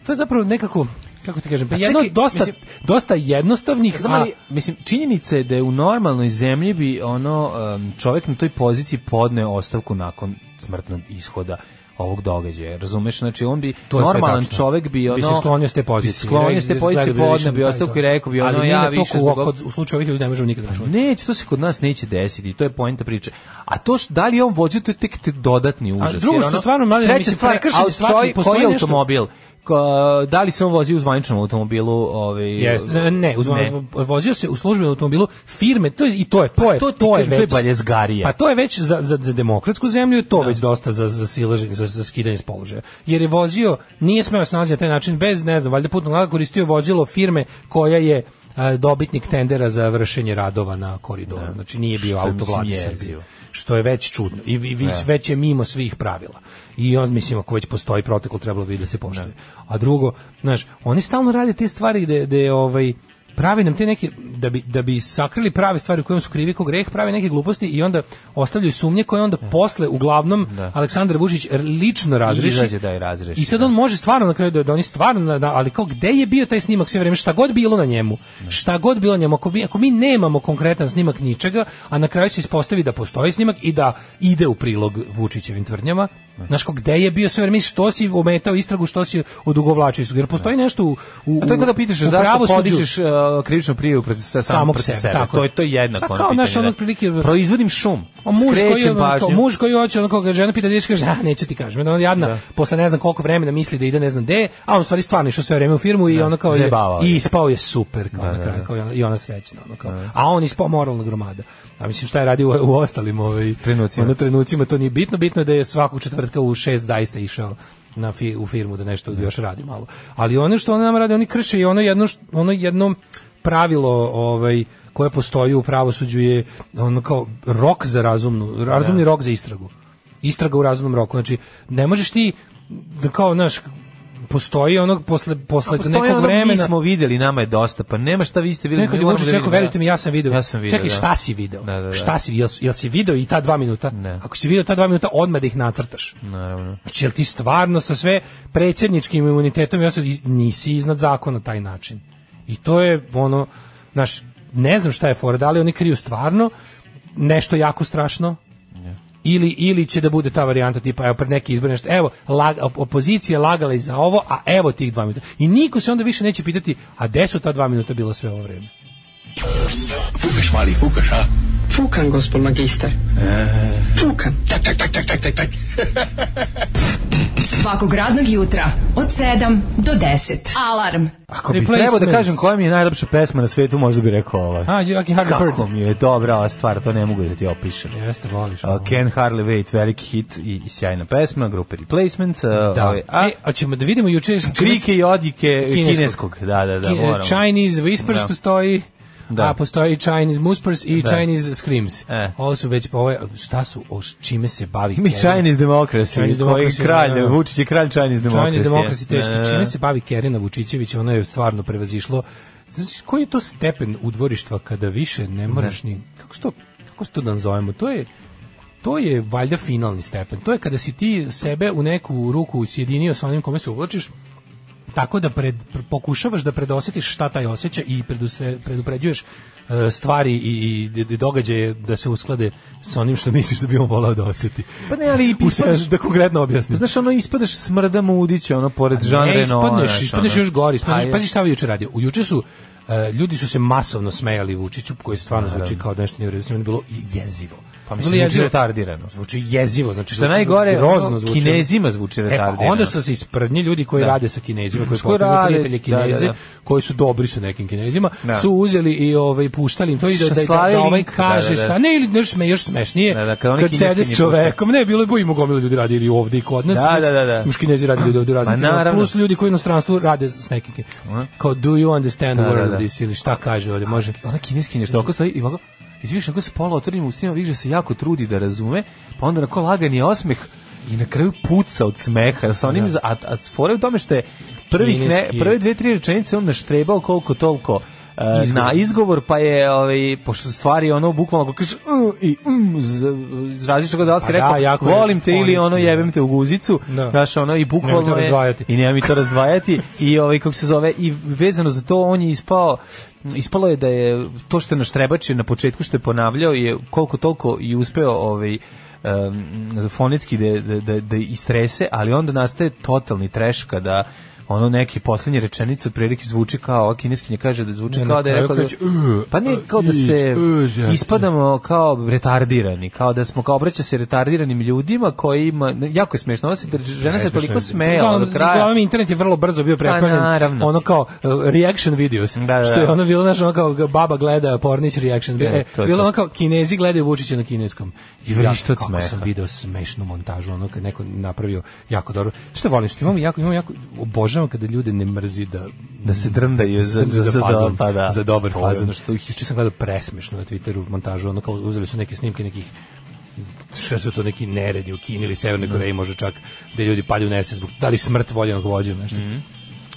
Speaker 6: to je zapravo nekako, kako ti kažem, pa
Speaker 5: A
Speaker 6: jedno
Speaker 5: čekaj,
Speaker 6: dosta,
Speaker 5: mislim-
Speaker 6: dosta jednostavnih,
Speaker 5: Znam
Speaker 6: a-
Speaker 5: ali, mislim, činjenica je da je u normalnoj zemlji bi ono, em, čovjek na toj poziciji podneo ostavku nakon smrtnog ishoda ovog događaja, razumeš? Znači, on bi,
Speaker 6: To je sve
Speaker 5: normalan
Speaker 6: tačno.
Speaker 5: čovjek bi ono...
Speaker 6: Bi se sklonio s te pozicije.
Speaker 5: Bi se sklonio s te pozicije,
Speaker 6: Gledao
Speaker 5: podneo bi
Speaker 6: više-
Speaker 5: ostavku i
Speaker 6: da, da.
Speaker 5: rekao bi,
Speaker 6: Ali
Speaker 5: ono,
Speaker 6: mi
Speaker 5: ja
Speaker 6: na to
Speaker 5: više
Speaker 6: kod-
Speaker 5: zbog...
Speaker 6: kod- u slučaju ovih ljudi ne možemo nikada čuti.
Speaker 5: Neće, to se kod nas neće desiti, to je poenta priče. A to što, da li je on vođe, to je tek te dodatni užas.
Speaker 6: drugo
Speaker 5: jer
Speaker 6: što
Speaker 5: ono-
Speaker 6: stvarno, mladen,
Speaker 5: treća
Speaker 6: mislim,
Speaker 5: stvar,
Speaker 6: prekršen je
Speaker 5: ali
Speaker 6: svaki,
Speaker 5: čovjek,
Speaker 6: postoji
Speaker 5: koji je
Speaker 6: nešto-
Speaker 5: automobil? Ko- da li se on vozi u zvaničnom automobilu? Ovaj,
Speaker 6: Jes, ne, ne, uz, ono- vozio se u službenom automobilu firme, to je, i to je, to je,
Speaker 5: Pa to
Speaker 6: to,
Speaker 5: ti kažem,
Speaker 6: je
Speaker 5: to je
Speaker 6: već,
Speaker 5: baljezgarija.
Speaker 6: Pa to je već za, za, za demokratsku zemlju, je to već dosta za, za silaženje, za, za skidanje s položaja. Jer je vozio, nije smeo se nalaziti na taj način, bez, ne znam, valjda putnog nalaga koristio je vozilo firme koja je e, dobitnik tendera za vršenje radova na koridoru. Znači nije bio
Speaker 5: je,
Speaker 6: auto
Speaker 5: mislim,
Speaker 6: vlade
Speaker 5: jezivo.
Speaker 6: Srbije što je već čudno i, i već, već je mimo svih pravila. I on mislim ako već postoji protokol trebalo bi da se poštuje. A drugo, znaš, oni stalno rade te stvari gde gde ovaj pravi nam te neke da bi da bi sakrili prave stvari u kojima su krivi ko greh, pravi neke gluposti i onda ostavljaju sumnje koje onda posle uglavnom Aleksandar Vučić lično razreši.
Speaker 5: Izađe da je razreši,
Speaker 6: I sad
Speaker 5: da.
Speaker 6: on može stvarno na kraju da, da oni stvarno da, ali kao gde je bio taj snimak sve vrijeme šta god bilo na njemu šta god bilo na njemu ako mi, ako mi nemamo konkretan snimak ničega a na kraju se ispostavi da postoji snimak i da ide u prilog Vučićevim tvrdnjama znaš kao gde je bio sve vrijeme što si ometao istragu što si odugovlačio istragu jer postoji nešto u u
Speaker 5: A to je kada pitaš
Speaker 6: u
Speaker 5: zašto
Speaker 6: pravosuđu-
Speaker 5: podižeš uh, krivičnu prijavu protiv sa samog
Speaker 6: Samog
Speaker 5: protiv
Speaker 6: sebe,
Speaker 5: sebe.
Speaker 6: tako
Speaker 5: To
Speaker 6: je.
Speaker 5: je to je jednako
Speaker 6: Pa
Speaker 5: ono
Speaker 6: kao,
Speaker 5: pitanje,
Speaker 6: znaš, ono,
Speaker 5: da.
Speaker 6: otprilike-
Speaker 5: proizvodim šum.
Speaker 6: A muž koji, je,
Speaker 5: skrećem
Speaker 6: ono, kao,
Speaker 5: pažnju.
Speaker 6: muž koji hoće, ono kao ga žena pita gdje ćeš, kaže, a neću ti kažem. Onda on jadna, posle ne znam koliko vremena misli da ide ne znam gde, a on u stvari stvarno išao sve vreme u firmu i ono kao je-
Speaker 5: zajebavao je.
Speaker 6: i ispao je super kao na kraju, kao i ona, i ona srećna, ono kao. A on ispao moralna gromada. A mislim šta je radio u, u ostalim ovaj
Speaker 5: Trenucima.
Speaker 6: ono, trenucima to nije bitno, bitno je da je svakog četvrtka u 6 zaista išao na fi, u firmu da nešto još radi malo. Ali ono što ona nam radi, oni krše i ono jedno št- ono jedno pravilo ovaj koje postoji u pravosuđu je ono kao rok za razumnu, razumni rok za istragu. Istraga u razumnom roku. Znači, ne možeš ti da kao, znaš, postoji ono posle, posle
Speaker 5: Postoji
Speaker 6: nekog
Speaker 5: ono, Mi
Speaker 6: vremena
Speaker 5: smo vidjeli, nama je dosta, pa nema šta vi ste vidjeli.
Speaker 6: Neko
Speaker 5: mi
Speaker 6: je
Speaker 5: moramo
Speaker 6: Vučić
Speaker 5: da
Speaker 6: rekao,
Speaker 5: vidimo, da.
Speaker 6: verujte mi, ja sam video.
Speaker 5: Ja sam video,
Speaker 6: Čekaj,
Speaker 5: da.
Speaker 6: šta si video?
Speaker 5: Da, da, da.
Speaker 6: Šta si, jel, jel si video i ta dva minuta?
Speaker 5: Ne.
Speaker 6: Ako si video ta dva minuta, odmah da ih nacrtaš.
Speaker 5: Naravno.
Speaker 6: Znači, jel ti stvarno sa sve predsjedničkim imunitetom i ostalo, i- nisi iznad zakona na taj način. I to je, ono, znaš, ne znam šta je fora, da li oni kriju stvarno nešto jako strašno, ili, ili će da bude ta varijanta tipa evo pred neki izbor nešto evo lag, op- opozicija lagala i za ovo a evo tih dva minuta i niko se onda više neće pitati a gde su ta dva minuta bila sve ovo vreme
Speaker 1: Fukan, gospod magister. Fukan. Tak, tak, tak, tak, tak, tak, tak.
Speaker 4: Svakog radnog jutra od 7 do 10. Alarm.
Speaker 5: Ako bi
Speaker 6: Replacements.
Speaker 5: trebao da kažem koja mi je najlepša pesma na svetu, možda bi rekao ova.
Speaker 6: a you, I can hardly
Speaker 5: Kako
Speaker 6: hurt
Speaker 5: mi je dobra ova stvar, to ne mogu da ti opišem.
Speaker 6: jeste voliš
Speaker 5: Uh, Ken Harley Wait, veliki hit i, i sjajna pesma, grupe Replacements. Uh,
Speaker 6: da
Speaker 5: ovaj, a,
Speaker 6: a, e, a ćemo da vidimo juče
Speaker 5: krike i odjike kineskog. Da, da, da,
Speaker 6: Ki- e,
Speaker 5: moramo.
Speaker 6: Chinese Whispers
Speaker 5: Da.
Speaker 6: postoji
Speaker 5: Da.
Speaker 6: a postoji Chinese Whispers i
Speaker 5: Da.
Speaker 6: Chinese Screams.
Speaker 5: E.
Speaker 6: Ovo su već, ovo je, šta su, o, s čime se bavi
Speaker 5: Mi
Speaker 6: Kerin?
Speaker 5: Chinese Democracy,
Speaker 6: Chinese
Speaker 5: koji je
Speaker 6: Democracy,
Speaker 5: kralj,
Speaker 6: da, da.
Speaker 5: Vučić je kralj Chinese Democracy.
Speaker 6: Chinese Democracy teški.
Speaker 5: Da, da, da.
Speaker 6: Čime se bavi Kerina Vučićević, ono je stvarno prevazišlo. Znači, koji je to stepen udvorištva kada više ne moraš ni... Kako se to, kako se to da nazovemo? To je to je valjda finalni stepen. To je kada si ti sebe u neku ruku sjedinio sa onim kome se uvlačiš, tako da pred, pr- pokušavaš da predosjetiš šta taj osjeća i preduse, predupređuješ e, stvari i, i d- d- događaje da se usklade sa onim što misliš da bi on volao da osjeti.
Speaker 5: Pa ne, ali
Speaker 6: U
Speaker 5: ispadaš,
Speaker 6: se- da konkretno objasnim.
Speaker 5: znaš, ono, ispadaš smrda mudića, ono, pored Jean
Speaker 6: Pa Ne,
Speaker 5: Reno.
Speaker 6: E,
Speaker 5: ono,
Speaker 6: ispadneš, ispadneš još gori. Ispadneš,
Speaker 5: ovaj Pa,
Speaker 6: pazi šta je juče radio. U juče su e, ljudi su se masovno smejali Vučiću, koji stvarno zvuči kao nešto nevredno, Sve je bilo jezivo.
Speaker 5: Pa
Speaker 6: Bilo
Speaker 5: mislim, zvuči
Speaker 6: jezivo.
Speaker 5: retardirano.
Speaker 6: Zvuči jezivo, znači
Speaker 5: Što je
Speaker 6: zvuči
Speaker 5: najgore,
Speaker 6: grozno
Speaker 5: ono,
Speaker 6: zvuči.
Speaker 5: Kinezima zvuči
Speaker 6: E, pa
Speaker 5: retardirano.
Speaker 6: onda su se isprdnji ljudi koji rade sa kinezima, koji
Speaker 5: Koji
Speaker 6: postavljaju
Speaker 5: rade,
Speaker 6: prijatelje
Speaker 5: da, da,
Speaker 6: kineze,
Speaker 5: da.
Speaker 6: koji su dobri sa nekim kinezima,
Speaker 5: Da.
Speaker 6: su uzeli i ovaj, puštali im to i da, da, da,
Speaker 5: Slali
Speaker 6: da ovaj
Speaker 5: link, da,
Speaker 6: kaže
Speaker 5: da, da.
Speaker 6: šta, ne, ili nešto sme, još smešnije,
Speaker 5: Da, da, kad
Speaker 6: kad,
Speaker 5: oni kineski
Speaker 6: sede
Speaker 5: ne
Speaker 6: s čovekom, ne, bilo je bojimo gomila ljudi radi ili ovde i kod nas, znači,
Speaker 5: Da, da, da, da.
Speaker 6: Još kinezi radi ljudi ovde u raznim
Speaker 5: Ma,
Speaker 6: firmama,
Speaker 5: Pa naravno.
Speaker 6: plus ljudi koji u inostranstvu rade s nekim kinezima. Kao, do you understand the
Speaker 5: Da, da,
Speaker 6: world
Speaker 5: da.
Speaker 6: of this, ili šta kaže ovde, može.
Speaker 5: ona kineskinja što oko stoji i ovako izviš ako se pola otvorenim ustima vidiš da se jako trudi da razume pa onda onako lagan je osmeh i na kraju puca od smeha sa onim za, a, a fora je u tome što je prvih ne,
Speaker 6: Kineski.
Speaker 5: prve dve tri rečenice on naštrebao koliko toliko e, na izgovor pa je ovaj pošto su stvari ono bukvalno ako kažeš "Mm" i mm z- iz različitog da li si
Speaker 6: Pa
Speaker 5: rekao
Speaker 6: da, jako je
Speaker 5: volim te ili ono
Speaker 6: fonički,
Speaker 5: jebem te u guzicu
Speaker 6: Da.
Speaker 5: znaš ono i bukvalno
Speaker 6: Nemoj to
Speaker 5: je-
Speaker 6: razdvajati.
Speaker 5: i nema mi to razdvajati i ovaj kako se zove i vezano za to on je ispao ispalo je da je to što je naš trebač na početku što je ponavljao je koliko toliko i uspeo ovaj em, fonetski da, da, da, da istrese, ali onda nastaje totalni treš kada ono neki poslednje rečenice otprilike zvuči kao ova kineskinja kaže da zvuči
Speaker 6: Ne, na
Speaker 5: kao da je
Speaker 6: kraju
Speaker 5: rekao da,
Speaker 6: kaže, "Uh,
Speaker 5: pa ne kao da
Speaker 6: uh,
Speaker 5: ste
Speaker 6: ić, uh,
Speaker 5: ispadamo kao retardirani kao da smo kao obraća se retardiranim ljudima kojima jako je smešno ovo se žena se toliko smejala do
Speaker 6: Uglavnom-
Speaker 5: kraja
Speaker 6: Uglavnom, internet je vrlo brzo bio
Speaker 5: Pa,
Speaker 6: preplavljen.
Speaker 5: naravno.
Speaker 6: Ono kao uh, reaction videos.
Speaker 5: Da, da,
Speaker 6: Što je
Speaker 5: da.
Speaker 6: ono bilo, znaš, ono kao baba gleda pornić reaction.
Speaker 5: E,
Speaker 6: E,
Speaker 5: to je
Speaker 6: bilo
Speaker 5: to.
Speaker 6: ono kao kinezi gledaju Vučića na kineskom.
Speaker 5: I vrištac
Speaker 6: kako
Speaker 5: smeha.
Speaker 6: sam video smešnu montažu, ono kad neko napravio jako dobro. Šta volim, što imamo jako, imamo jako, obožavam kada ljude ne mrzi da
Speaker 5: da se drndaju za za za,
Speaker 6: fazon,
Speaker 5: do- pa da.
Speaker 6: za dobar
Speaker 5: To je ono
Speaker 6: fazon.
Speaker 5: što ih
Speaker 6: Juče sam gledao presmešno na Twitteru montažu, ono kao uzeli su neke snimke nekih sve su to neki neredi u Kini ili Severnoj
Speaker 5: Mm.
Speaker 6: Koreji, može čak da ljudi padaju u nesvest zbog da li smrt voljenog vođa ili nešto.
Speaker 5: Mm-hmm.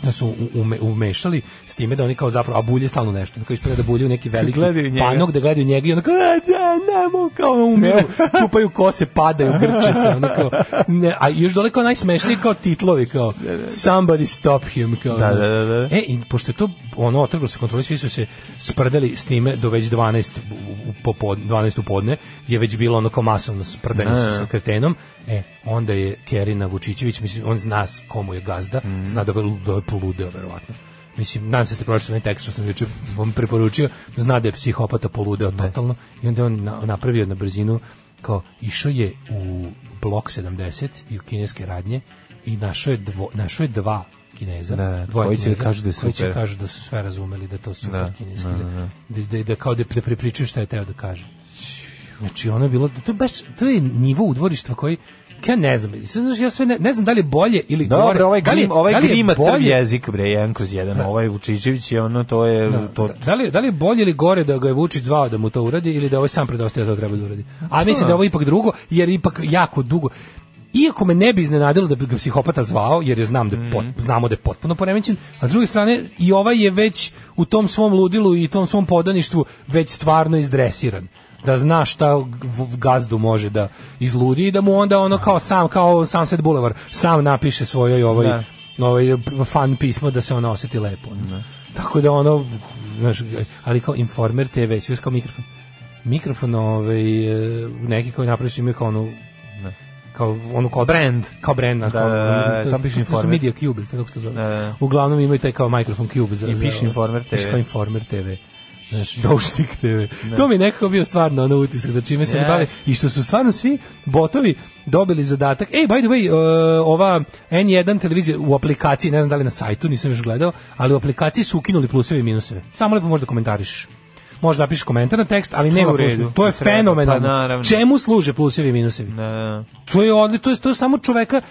Speaker 6: Da su u- ume, umešali s time da oni kao zapravo, a bulje stalno nešto, kao ispada da bulje u neki veliki
Speaker 5: Gledaju njega.
Speaker 6: panog, da gledaju njega i onda kao, "E, ne, ne, mogu", kao ono umiru, čupaju kose, padaju, grče se, ono kao, ne, a još dole kao najsmešniji kao titlovi, kao, somebody stop him, kao,
Speaker 5: Da, da, da, da.
Speaker 6: E, i pošto je to ono otrglo se kontroli, svi su se sprdali s time do već 12 u- u popodne, 12 u podne, je već bilo ono kao masovno sprdanje sa, sa kretenom. E, onda je Kerina Vučićević, mislim, on zna s komu je gazda, zna da je lu- da je poludeo, verovatno. Mislim, nadam se da ste pročitali onaj tekst što sam juče vam preporučio, zna da je psihopata poludeo totalno i onda je on na, napravio na brzinu kao išao je u blok 70 i u kineske radnje i našao je, dvo, našao je dva Kineza,
Speaker 5: Da, da,
Speaker 6: dvoje
Speaker 5: koji će da
Speaker 6: Kineza,
Speaker 5: kažu da je
Speaker 6: koji će
Speaker 5: super.
Speaker 6: kažu da su sve razumeli, da je to su
Speaker 5: Da,
Speaker 6: kineski, da, da, da, da kao da, da prepričaju šta je teo da kaže. Znači ono je bilo, to je baš, to je nivo udvorištva koji, ja ne znam, sad, znaš, ja sve ne, ne znam da li je bolje ili gore.
Speaker 5: Dobro, ovaj
Speaker 6: da li je-
Speaker 5: grim, ovaj
Speaker 6: da li je
Speaker 5: grima crv
Speaker 6: bolje-
Speaker 5: jezik bre, jedan kroz jedan. Ovaj Vučićević je ono to je to
Speaker 6: Da- Da li, da li je bolje ili gore da ga je Vučić zvao da mu to uradi ili da ovaj sam predostaje da to treba da uradi? A mislim Pa da je ovo ipak drugo, jer ipak jako dugo... Iako me ne bi iznenadilo da bi ga psihopata zvao, jer je znam da je pot, znamo da je potpuno poremećen, a s druge strane i ovaj je već u tom svom ludilu i tom svom podaništvu već stvarno izdresiran da zna šta v- v- gazdu može da izludi i da mu onda ono kao sam kao Sunset Boulevard sam napiše svojoj ovoj
Speaker 5: Da.
Speaker 6: ovaj fan pismo da se ona oseti lepo. ono. Tako da ono, znaš, ali kao informer TV, svi još kao mikrofon. Mikrofon ovaj, e, neki koji napraviš imaju kao onu kao onu kao
Speaker 5: Brand.
Speaker 6: kao brand na
Speaker 5: Da, da, da, da, tamo piše Informer.
Speaker 6: media cube ili kako se to zove
Speaker 5: Da, da.
Speaker 6: uglavnom imaju taj kao mikrofon cube za
Speaker 5: I
Speaker 6: za-
Speaker 5: piše Informer
Speaker 6: piše
Speaker 5: TV.
Speaker 6: kao informer TV Znaš, doušnik TV. To mi je nekako bio stvarno ono utisak da čime se ne
Speaker 5: Yes.
Speaker 6: bave i što su stvarno svi botovi dobili zadatak. Ej, by the way, e, ova N1 televizija u aplikaciji, ne znam da li na sajtu, nisam još gledao, ali u aplikaciji su ukinuli pluseve i minuseve. Samo lepo možda komentarišeš. možeš da napišeš komentar na tekst, ali
Speaker 5: To je
Speaker 6: nema
Speaker 5: u
Speaker 6: plus.
Speaker 5: redu.
Speaker 6: To je
Speaker 5: Treba, pa
Speaker 6: fenomenalno.
Speaker 5: naravno.
Speaker 6: Čemu služe plusevi i minusevi?
Speaker 5: Da, da.
Speaker 6: To je odli, to je, to je samo čoveka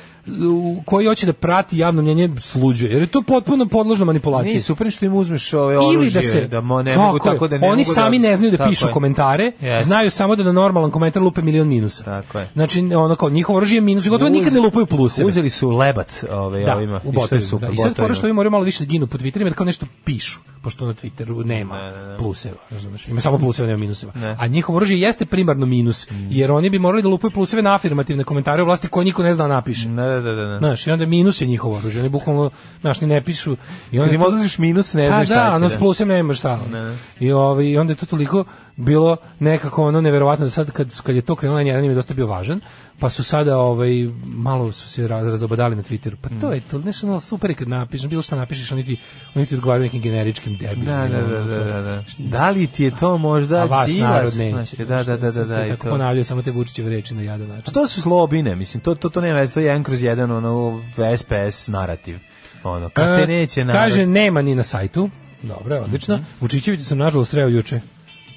Speaker 6: u- koji hoće da prati javno mnjenje sluđuje, jer je to potpuno podložno manipulaciji.
Speaker 5: Nije super što im uzmeš ove
Speaker 6: Ili da
Speaker 5: oružje,
Speaker 6: se
Speaker 5: da mo, ne
Speaker 6: Tako
Speaker 5: mogu
Speaker 6: je.
Speaker 5: tako da ne
Speaker 6: oni
Speaker 5: mogu da-
Speaker 6: sami ne znaju da
Speaker 5: Tako
Speaker 6: pišu
Speaker 5: je.
Speaker 6: komentare,
Speaker 5: Yes.
Speaker 6: znaju samo da na normalan komentar lupe milion minusa.
Speaker 5: Tako je.
Speaker 6: Znači ono kao njihovo oružje je minus, i gotovo
Speaker 5: Uz-
Speaker 6: nikad ne lupaju pluse.
Speaker 5: Uzeli su lebac ove,
Speaker 6: da,
Speaker 5: ovima.
Speaker 6: u
Speaker 5: I što je
Speaker 6: botovima,
Speaker 5: super,
Speaker 6: da. I sad fora
Speaker 5: botovima.
Speaker 6: što ovi moraju malo više da ginu po Twitterima, da kao nešto pišu, pošto na Twitteru nema pluseva, razumeš? Ima samo pluseva, nema minuseva. A njihovo oružje jeste primarno minus,
Speaker 5: Mm.
Speaker 6: jer oni bi morali da lupaju pluseve na afirmativne komentare u vlasti koje niko ne zna da napiše.
Speaker 5: Da, da, da, da. da.
Speaker 6: Znaš, i onda minus je njihovo oružje, oni bukvalno, znaš, ni ne pišu. I onda
Speaker 5: Kad im
Speaker 6: to-
Speaker 5: odlaziš minus, ne znaš
Speaker 6: pa da,
Speaker 5: šta će.
Speaker 6: ono s plusem nema šta. I, ovaj, I onda je to toliko bilo nekako ono neverovatno da sad kad, kad je to krenulo, jedan im je dosta bio važan, pa su sada ovaj, malo su se raz, razobadali na Twitteru. Pa
Speaker 5: Mm.
Speaker 6: to je to, nešto ono super je kad napišeš, bilo šta napišeš, oni ti, oni ti odgovaraju nekim generičkim debilima.
Speaker 5: Da, da, da, da, da, da. Da li ti je to
Speaker 6: A
Speaker 5: možda
Speaker 6: vas
Speaker 5: Đilas?
Speaker 6: narod neće.
Speaker 5: Znači, Da, da, da, da, da, i
Speaker 6: Tako
Speaker 5: to.
Speaker 6: ponavljaju samo te Vučićeve reči na jadan način.
Speaker 5: A to su zlobine, mislim, to, to, to nema veze, to je jedan kroz jedan, ono, SPS narativ. Ono, kad te
Speaker 6: E,
Speaker 5: neće narod... Mhm.
Speaker 6: Kaže, nema ni na sajtu. Dobro, odlično. Vučićevića sam nažalost sreo juče.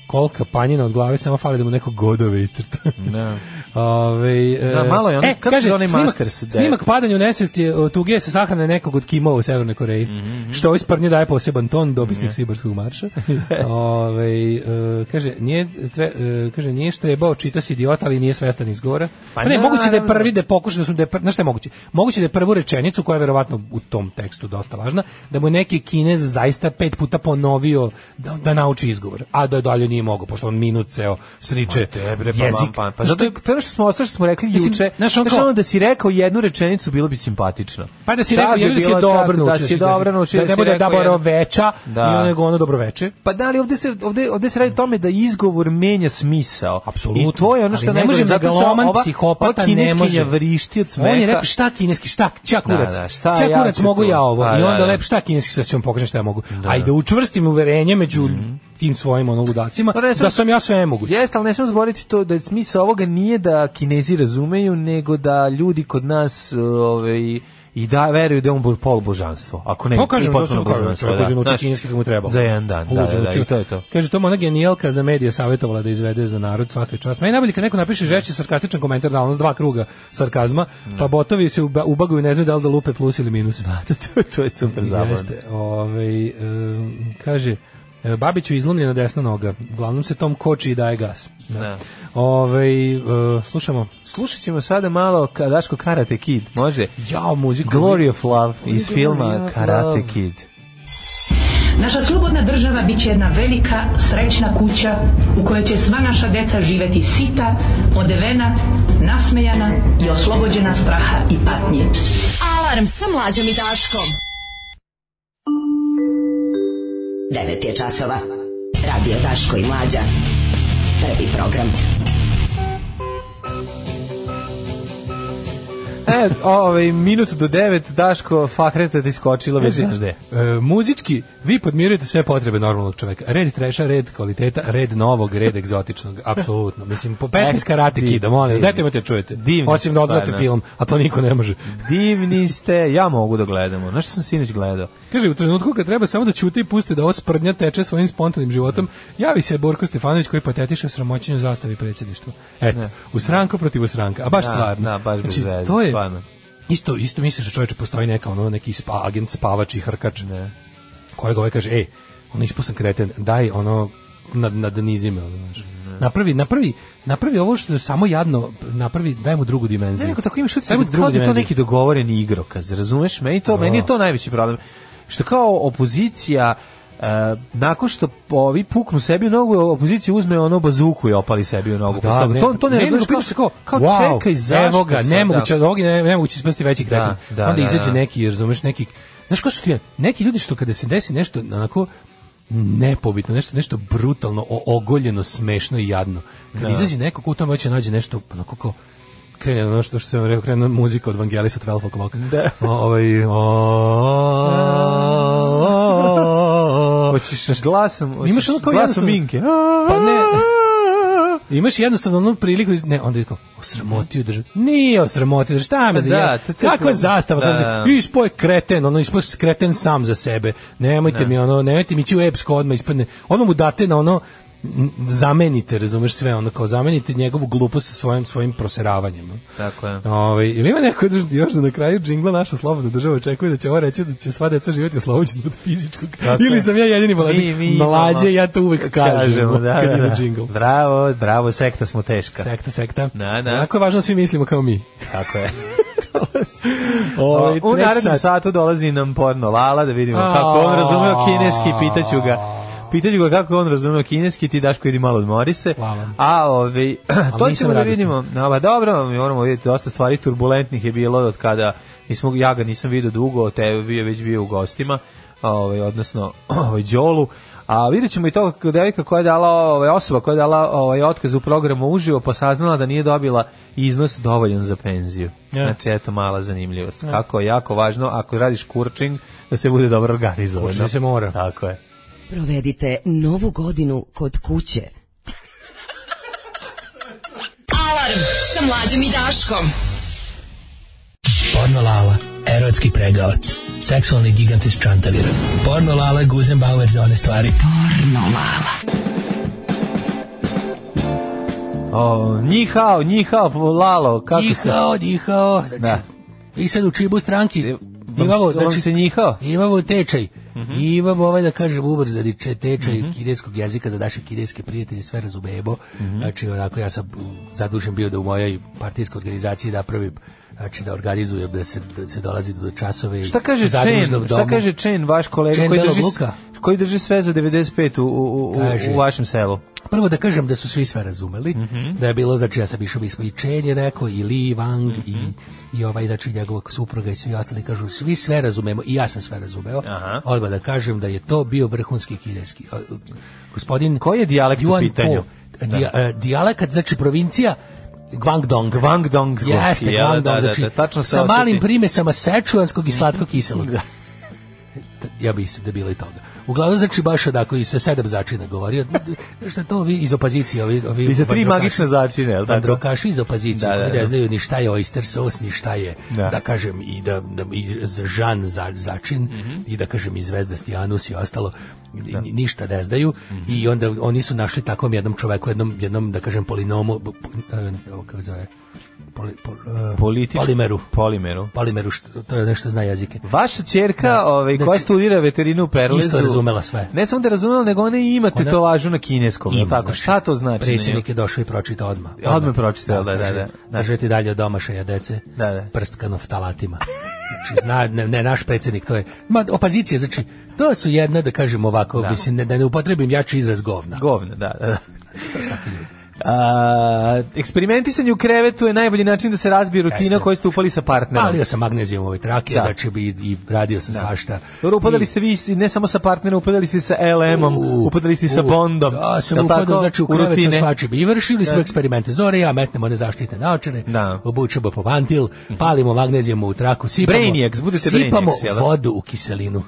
Speaker 6: Kolka panjina od glave, samo fali da mu neko godove iscrta.
Speaker 5: Da.
Speaker 6: Ove, e,
Speaker 5: Da, malo je ono- kako se zove onaj
Speaker 6: snimak,
Speaker 5: Masters da je-
Speaker 6: snimak padanja u nesvesti je od tuge sa sahrane nekog od Kimova u Severnoj Koreji,
Speaker 5: Mhm,
Speaker 6: što ovoj sprnje daje poseban ton, dopisnik Sibarskog marša. Ove, e, kaže, nije, tre, e, kaže, nije štrebao, čita si idiota, ali nije svestan izgovora.
Speaker 5: Pa
Speaker 6: Pa, ne, moguće da je
Speaker 5: naravno.
Speaker 6: prvi da je pokušao da su, da je, pr- znaš šta je moguće? Moguće da je prvu rečenicu, koja je verovatno u tom tekstu dosta važna, da mu je neki kinez zaista pet puta ponovio da, da nauči izgovor, a da je dalje nije mogao, pošto on minut ceo sriče
Speaker 5: Tebre, pa,
Speaker 6: jezik.
Speaker 5: jezik. Pa, pa,
Speaker 6: Znaš,
Speaker 5: zato
Speaker 6: to
Speaker 5: je,
Speaker 6: je-
Speaker 5: to je ono što smo ostali što smo rekli
Speaker 6: Mislim,
Speaker 5: juče.
Speaker 6: znaš,
Speaker 5: Znaš,
Speaker 6: on
Speaker 5: ono,
Speaker 6: kao-
Speaker 5: da si rekao jednu rečenicu, bilo bi simpatično.
Speaker 6: Pa da si
Speaker 5: Sad
Speaker 6: rekao,
Speaker 5: bi
Speaker 6: jer da si
Speaker 5: bilo čak
Speaker 6: dobro naučio.
Speaker 5: Da si dobro naučio.
Speaker 6: Da ne
Speaker 5: si
Speaker 6: bude
Speaker 5: rekao
Speaker 6: dobro
Speaker 5: jednu-
Speaker 6: veča,
Speaker 5: Da.
Speaker 6: nego ono dobro veče.
Speaker 5: Pa da li ovde se ovde ovde se radi o tome da izgovor menja smisao.
Speaker 6: Apsolutno.
Speaker 5: I to je ono što
Speaker 6: Ali ne može
Speaker 5: najgore, zato se
Speaker 6: megaloman,
Speaker 5: ova-
Speaker 6: psihopata
Speaker 5: ova
Speaker 6: ne
Speaker 5: kineskinja
Speaker 6: može.
Speaker 5: vrišti od smeka.
Speaker 6: On je rekao šta kineski, šta, čak
Speaker 5: Da,
Speaker 6: kurac.
Speaker 5: da, šta
Speaker 6: šta
Speaker 5: ja
Speaker 6: kurac
Speaker 5: ću
Speaker 6: mogu
Speaker 5: to.
Speaker 6: ja ovo.
Speaker 5: Pa,
Speaker 6: I
Speaker 5: da,
Speaker 6: onda
Speaker 5: da.
Speaker 6: lep šta kineski, sad ću vam pokažem šta ja mogu. Ajde, učvrstim uverenje među tim svojim ono ludacima,
Speaker 5: Mhm. Pa ne smem-
Speaker 6: da sam ja sve moguć.
Speaker 5: Jeste, ali ne smemo zaboraviti to da je smisao ovoga nije da Kinezi razumeju, nego da ljudi kod nas e, ovaj i da veruju da je on bo- polubožanstvo. Ako ne,
Speaker 6: Pa kažem, da
Speaker 5: E, potpuno
Speaker 6: sam kažem,
Speaker 5: božanstvo,
Speaker 6: čovjek uđe nauči
Speaker 5: Znaš,
Speaker 6: kineski kako mu treba. znači,
Speaker 5: Za jedan dan, da,
Speaker 6: Uđe
Speaker 5: da, da,
Speaker 6: nauči.
Speaker 5: i to je to.
Speaker 6: Kaže, to mu ona genijalka za medije savjetovala da izvede za narod svake čast. Meni je najbolje kad neko napiše žešći sarkastičan komentar da ono s dva kruga sarkazma, pa botovi se uba- ubaguju i ne znaju da li da lupe plus ili minus.
Speaker 5: to, to je super zabavno.
Speaker 6: Jeste, ovaj, em, kaže, e, Babiću je izlomljena desna noga. Uglavnom se tom koči i daje gas.
Speaker 5: Da.
Speaker 6: Ovaj, e, slušamo.
Speaker 5: Slušat ćemo sada malo ka- Daško Karate Kid, može?
Speaker 6: Jao, muziku.
Speaker 5: Glory of Love iz
Speaker 6: Glory
Speaker 5: filma
Speaker 6: of
Speaker 5: Karate
Speaker 6: Love.
Speaker 5: Kid.
Speaker 10: Naša slobodna država bit će jedna velika, srećna kuća u kojoj će sva naša deca živeti sita, odevena, nasmejana i oslobođena straha i patnje.
Speaker 11: Alarm sa mlađom i Daškom.
Speaker 4: 9 je časova. Radio Daško i Mlađa. Prvi program.
Speaker 5: E, ovaj, minut do devet, Daško, fakreta ti skočila, već znaš gde.
Speaker 6: E, muzički, vi podmirujete sve potrebe normalnog čoveka. Red treša, red kvaliteta, red novog, red egzotičnog. Apsolutno. Mislim, po pesmi
Speaker 5: Ek, E,
Speaker 6: Karate
Speaker 5: divno,
Speaker 6: Kida, molim vas,
Speaker 5: divno.
Speaker 6: dajte me te čujete.
Speaker 5: Divno,
Speaker 6: Osim da odgledate
Speaker 5: stvarno.
Speaker 6: film, a to niko ne može.
Speaker 5: Divni ste, ja mogu da gledam. ono. Znaš što sam sinoć gledao?
Speaker 6: Kaže, u trenutku kad treba samo da ćute i puste da ova sprdnja teče svojim spontanim životom, javi se Borko Stefanović koji patetiše o sramoćenju zastavi predsjedništva. Eto, u sranku protiv u sranka. A baš
Speaker 5: Da,
Speaker 6: stvarno. Znači,
Speaker 5: da, baš bez veze,
Speaker 6: to je,
Speaker 5: stvarno.
Speaker 6: Isto, isto misliš da čoveče postoji neka ono, neki spa, agent, spavač i hrkač. Ne. Kojeg ovaj kaže, ej, ono ispusan kreten, daj ono, nad, nad nizime, ono, znaš. Napravi, napravi, napravi ovo što je samo jadno, napravi, daj mu drugu dimenziju.
Speaker 5: Ne, nego tako imaš
Speaker 6: Daj
Speaker 5: utisak
Speaker 6: mu
Speaker 5: da
Speaker 6: drugu
Speaker 5: kao da je to
Speaker 6: dimenziju.
Speaker 5: neki dogovoreni igrokaz, razumeš? Meni, to, meni je to najveći problem. Što kao opozicija, e, nakon što ovi puknu sebi u nogu, opozicija uzme ono bazuku i opali sebi u nogu.
Speaker 6: Da,
Speaker 5: to, to ne, razumeš,
Speaker 6: nego
Speaker 5: kao,
Speaker 6: piše
Speaker 5: kao,
Speaker 6: wow,
Speaker 5: čekaj, zašto
Speaker 6: Evo ga,
Speaker 5: sad,
Speaker 6: nemoguće,
Speaker 5: da.
Speaker 6: od ovog ne, nemoguće ispasti veći kretan.
Speaker 5: Da, da,
Speaker 6: Onda
Speaker 5: da,
Speaker 6: izađe
Speaker 5: da.
Speaker 6: neki, razumeš, neki... Znaš ko su ti? Neki ljudi što kada se desi nešto onako nepobitno, nešto nešto brutalno, o- ogoljeno, smešno i jadno. Kad izađe neko ko u tome hoće nađe nešto onako kao krene ono što, što sam rekao, krene muzika od Vangelisa 12 o'clock. Da. O, ovaj, o,
Speaker 5: Hoćeš glasom, hoćeš
Speaker 6: Imaš ono kao
Speaker 5: glasom
Speaker 6: jednostavno-
Speaker 5: Minke.
Speaker 6: Pa ne. Imaš jednostavno onu priliku, iz- ne, onda je kao, osramotio državu. Nije osramotio državu, šta me
Speaker 5: Pa
Speaker 6: za
Speaker 5: da,
Speaker 6: da,
Speaker 5: to- to-
Speaker 6: Kakva zastava?
Speaker 5: Da,
Speaker 6: Da,
Speaker 5: da.
Speaker 6: Ispo je kreten, ono, ispo je kreten sam za sebe. Nemojte mi, ono, nemojte mi ići u epsko odmah ispadne. Odmah mu date na ono,
Speaker 12: n- zamenite, razumeš sve, ono kao zamenite njegovu glupost sa svojim svojim proseravanjem. no.
Speaker 5: Tako je.
Speaker 12: Ovaj, ili ima neko drž- još da na kraju džingla naša slobodna država očekuje da će ovo reći da će sva deca živjeti oslobođena od fizičkog.
Speaker 5: Tako je.
Speaker 12: Ili sam ja jedini bolaznik.
Speaker 5: Mi- mi imamo-
Speaker 12: Mlađe, ja to uvek kažem. ono,
Speaker 5: Kažemo, da,
Speaker 12: kad je
Speaker 5: da,
Speaker 12: na
Speaker 5: da.
Speaker 12: džingl.
Speaker 5: Bravo, bravo, sekta smo teška.
Speaker 12: Sekta, sekta.
Speaker 5: Da, da.
Speaker 12: Onako je važno da svi mislimo kao mi.
Speaker 5: Tako je.
Speaker 12: Ovaj,
Speaker 5: u
Speaker 12: treći
Speaker 5: narednom
Speaker 12: sat.
Speaker 5: satu dolazi nam porno Lala da vidimo
Speaker 12: A.
Speaker 5: kako on razumeo kineski, pitaću ga. Pitaću ga kako on razumeo kineski, ti Daško idi malo odmori se.
Speaker 12: Hvala.
Speaker 5: A ovaj, to
Speaker 12: nisam
Speaker 5: ćemo da
Speaker 12: radostan.
Speaker 5: vidimo. No, ba, dobro, mi moramo vidjeti, dosta stvari turbulentnih je bilo od kada, nismo, ja ga nisam vidio dugo, te je već bio u gostima, ovaj, odnosno ovaj, Đolu. A vidjet ćemo i to kako devika koja je dala, ovaj, osoba koja je dala ovaj, otkaz u programu uživo, pa saznala da nije dobila iznos dovoljan za penziju.
Speaker 12: Ja.
Speaker 5: Znači, eto, mala zanimljivost. Kako je jako važno, ako radiš kurčing, da se bude dobro organizovano.
Speaker 12: Kurčing se mora.
Speaker 5: Tako je.
Speaker 7: Provedite novu godinu kod kuće.
Speaker 4: Alarm sa mlađom i Daškom.
Speaker 13: Porno Lala, erotski pregavac, seksualni gigant iz Čantavira. Porno Lala, Guzenbauer za one stvari.
Speaker 5: O, njihao, njihao, lalo, kako ste?
Speaker 6: Ihao, dihao. Znači,
Speaker 5: Da.
Speaker 6: I sad u čibu stranki
Speaker 5: Vam,
Speaker 6: imamo,
Speaker 5: vam se Mhm.
Speaker 6: znači,
Speaker 5: njihao?
Speaker 6: imamo tečaj. I imamo ovaj da kažem ubrzani če- tečaj
Speaker 5: Mhm.
Speaker 6: kineskog jezika za naše kineske prijatelje, sve razumemo.
Speaker 5: Mhm.
Speaker 6: Znači, onako, ja sam mm, zadužen bio da u mojoj partijskoj organizaciji napravim znači da organizujem da se, da se dolazi do časove i
Speaker 5: Šta kaže
Speaker 6: u zadružnom
Speaker 5: Chen? Šta
Speaker 6: domu.
Speaker 5: kaže Chen, vaš kolega
Speaker 6: Chen
Speaker 5: koji drži,
Speaker 6: Belog Luka?
Speaker 5: koji drži sve za 95 u, u, u,
Speaker 6: Kaže.
Speaker 5: u vašem selu?
Speaker 6: Prvo da kažem da su svi sve razumeli,
Speaker 5: Mhm.
Speaker 6: da je bilo, znači ja sam išao, mi smo i Chen je rekao, i Li Wang,
Speaker 5: Mhm.
Speaker 6: i, i ovaj, znači njegova supruga i svi ostali kažu, svi sve razumemo, i ja sam sve razumeo,
Speaker 5: Aha.
Speaker 6: odmah da kažem da je to bio vrhunski kineski. O, o, Gospodin...
Speaker 5: Koji je dijalekt u
Speaker 6: Yuan
Speaker 5: pitanju?
Speaker 6: Po, dija- e, dijalekat, znači provincija Guangdong.
Speaker 5: Guangdong
Speaker 6: Jeste,
Speaker 5: ja,
Speaker 6: Guangdong,
Speaker 5: da, da,
Speaker 6: znači
Speaker 5: da, tačno se Mhm.
Speaker 6: sa
Speaker 5: osjeti.
Speaker 6: malim primesama sečuanskog i slatko kiselog. ja mislim da je bilo i toga. Uglavnom znači baš onako i sa sedam začina govorio. Šta to vi iz opozicije, ovi, ovi
Speaker 5: I za tri
Speaker 6: vandrokaši-
Speaker 5: magične začine, je li tako?
Speaker 6: Vandrokaši iz opozicije,
Speaker 5: Da, da,
Speaker 6: oni ne
Speaker 5: da.
Speaker 6: znaju ni šta je oyster sos, ni šta je,
Speaker 5: Da.
Speaker 6: da, kažem, i da, da i za- žan za, začin,
Speaker 5: Mhm.
Speaker 6: i da kažem i zvezdasti anus i ostalo, i ni- ništa ne znaju,
Speaker 5: Mhm.
Speaker 6: i onda oni su našli takvom jednom čoveku, jednom, jednom da kažem, polinomu, b- p- e, ovo kako se zove, poli, pol, e,
Speaker 5: Politič-
Speaker 6: polimeru,
Speaker 5: Polimeru.
Speaker 6: polimeru, što, to je nešto zna jezike.
Speaker 5: Vaša ćerka, ovaj, koja
Speaker 6: Znači,
Speaker 5: studira veterinu u Perlizu,
Speaker 6: isto je razumela sve.
Speaker 5: Ne samo da je razumela, nego ona i ima
Speaker 6: Ona-
Speaker 5: tetovažu na kineskom, je li
Speaker 6: Ima,
Speaker 5: tako? Šta to znači?
Speaker 6: Predsjednik je došao i pročitao odmah.
Speaker 5: Odmah pročitao, da, da,
Speaker 6: kaže,
Speaker 5: da.
Speaker 6: Držati dalje od domašaja dece.
Speaker 5: Da, da.
Speaker 6: Prstkano ftalatima. Znači, zna, ne, ne, naš predsjednik, to je... Ma, opozicija, znači, to su jedna, da kažem ovako, mislim, ne, da ne upotrebim jači izraz govna.
Speaker 5: Govne, da, da, da. A, eksperimentisanje u krevetu je najbolji način da se razbije rutina
Speaker 6: Jeste.
Speaker 5: koju ste upali sa partnerom.
Speaker 6: Palio sam magnezijom ove trake,
Speaker 5: Da.
Speaker 6: znači i, i radio sam svašta.
Speaker 5: Dobro, upadali
Speaker 6: I-
Speaker 5: ste vi ne samo sa partnerom, upadali ste sa LM-om,
Speaker 6: U,
Speaker 5: upadali ste sa
Speaker 6: u,
Speaker 5: Bondom.
Speaker 6: Da, sam
Speaker 5: jel
Speaker 6: upadao,
Speaker 5: tako?
Speaker 6: znači u krevet sa
Speaker 5: rutine.
Speaker 6: svačim. I vršili smo eksperimente. Zore i ja metnemo one zaštitne naočare,
Speaker 5: Da.
Speaker 6: obučemo po vantil, palimo magnezijom u traku, sipamo,
Speaker 5: Brainiacs, budete
Speaker 6: sipamo
Speaker 5: Brainiacs, jel da? Mm.
Speaker 6: vodu u kiselinu.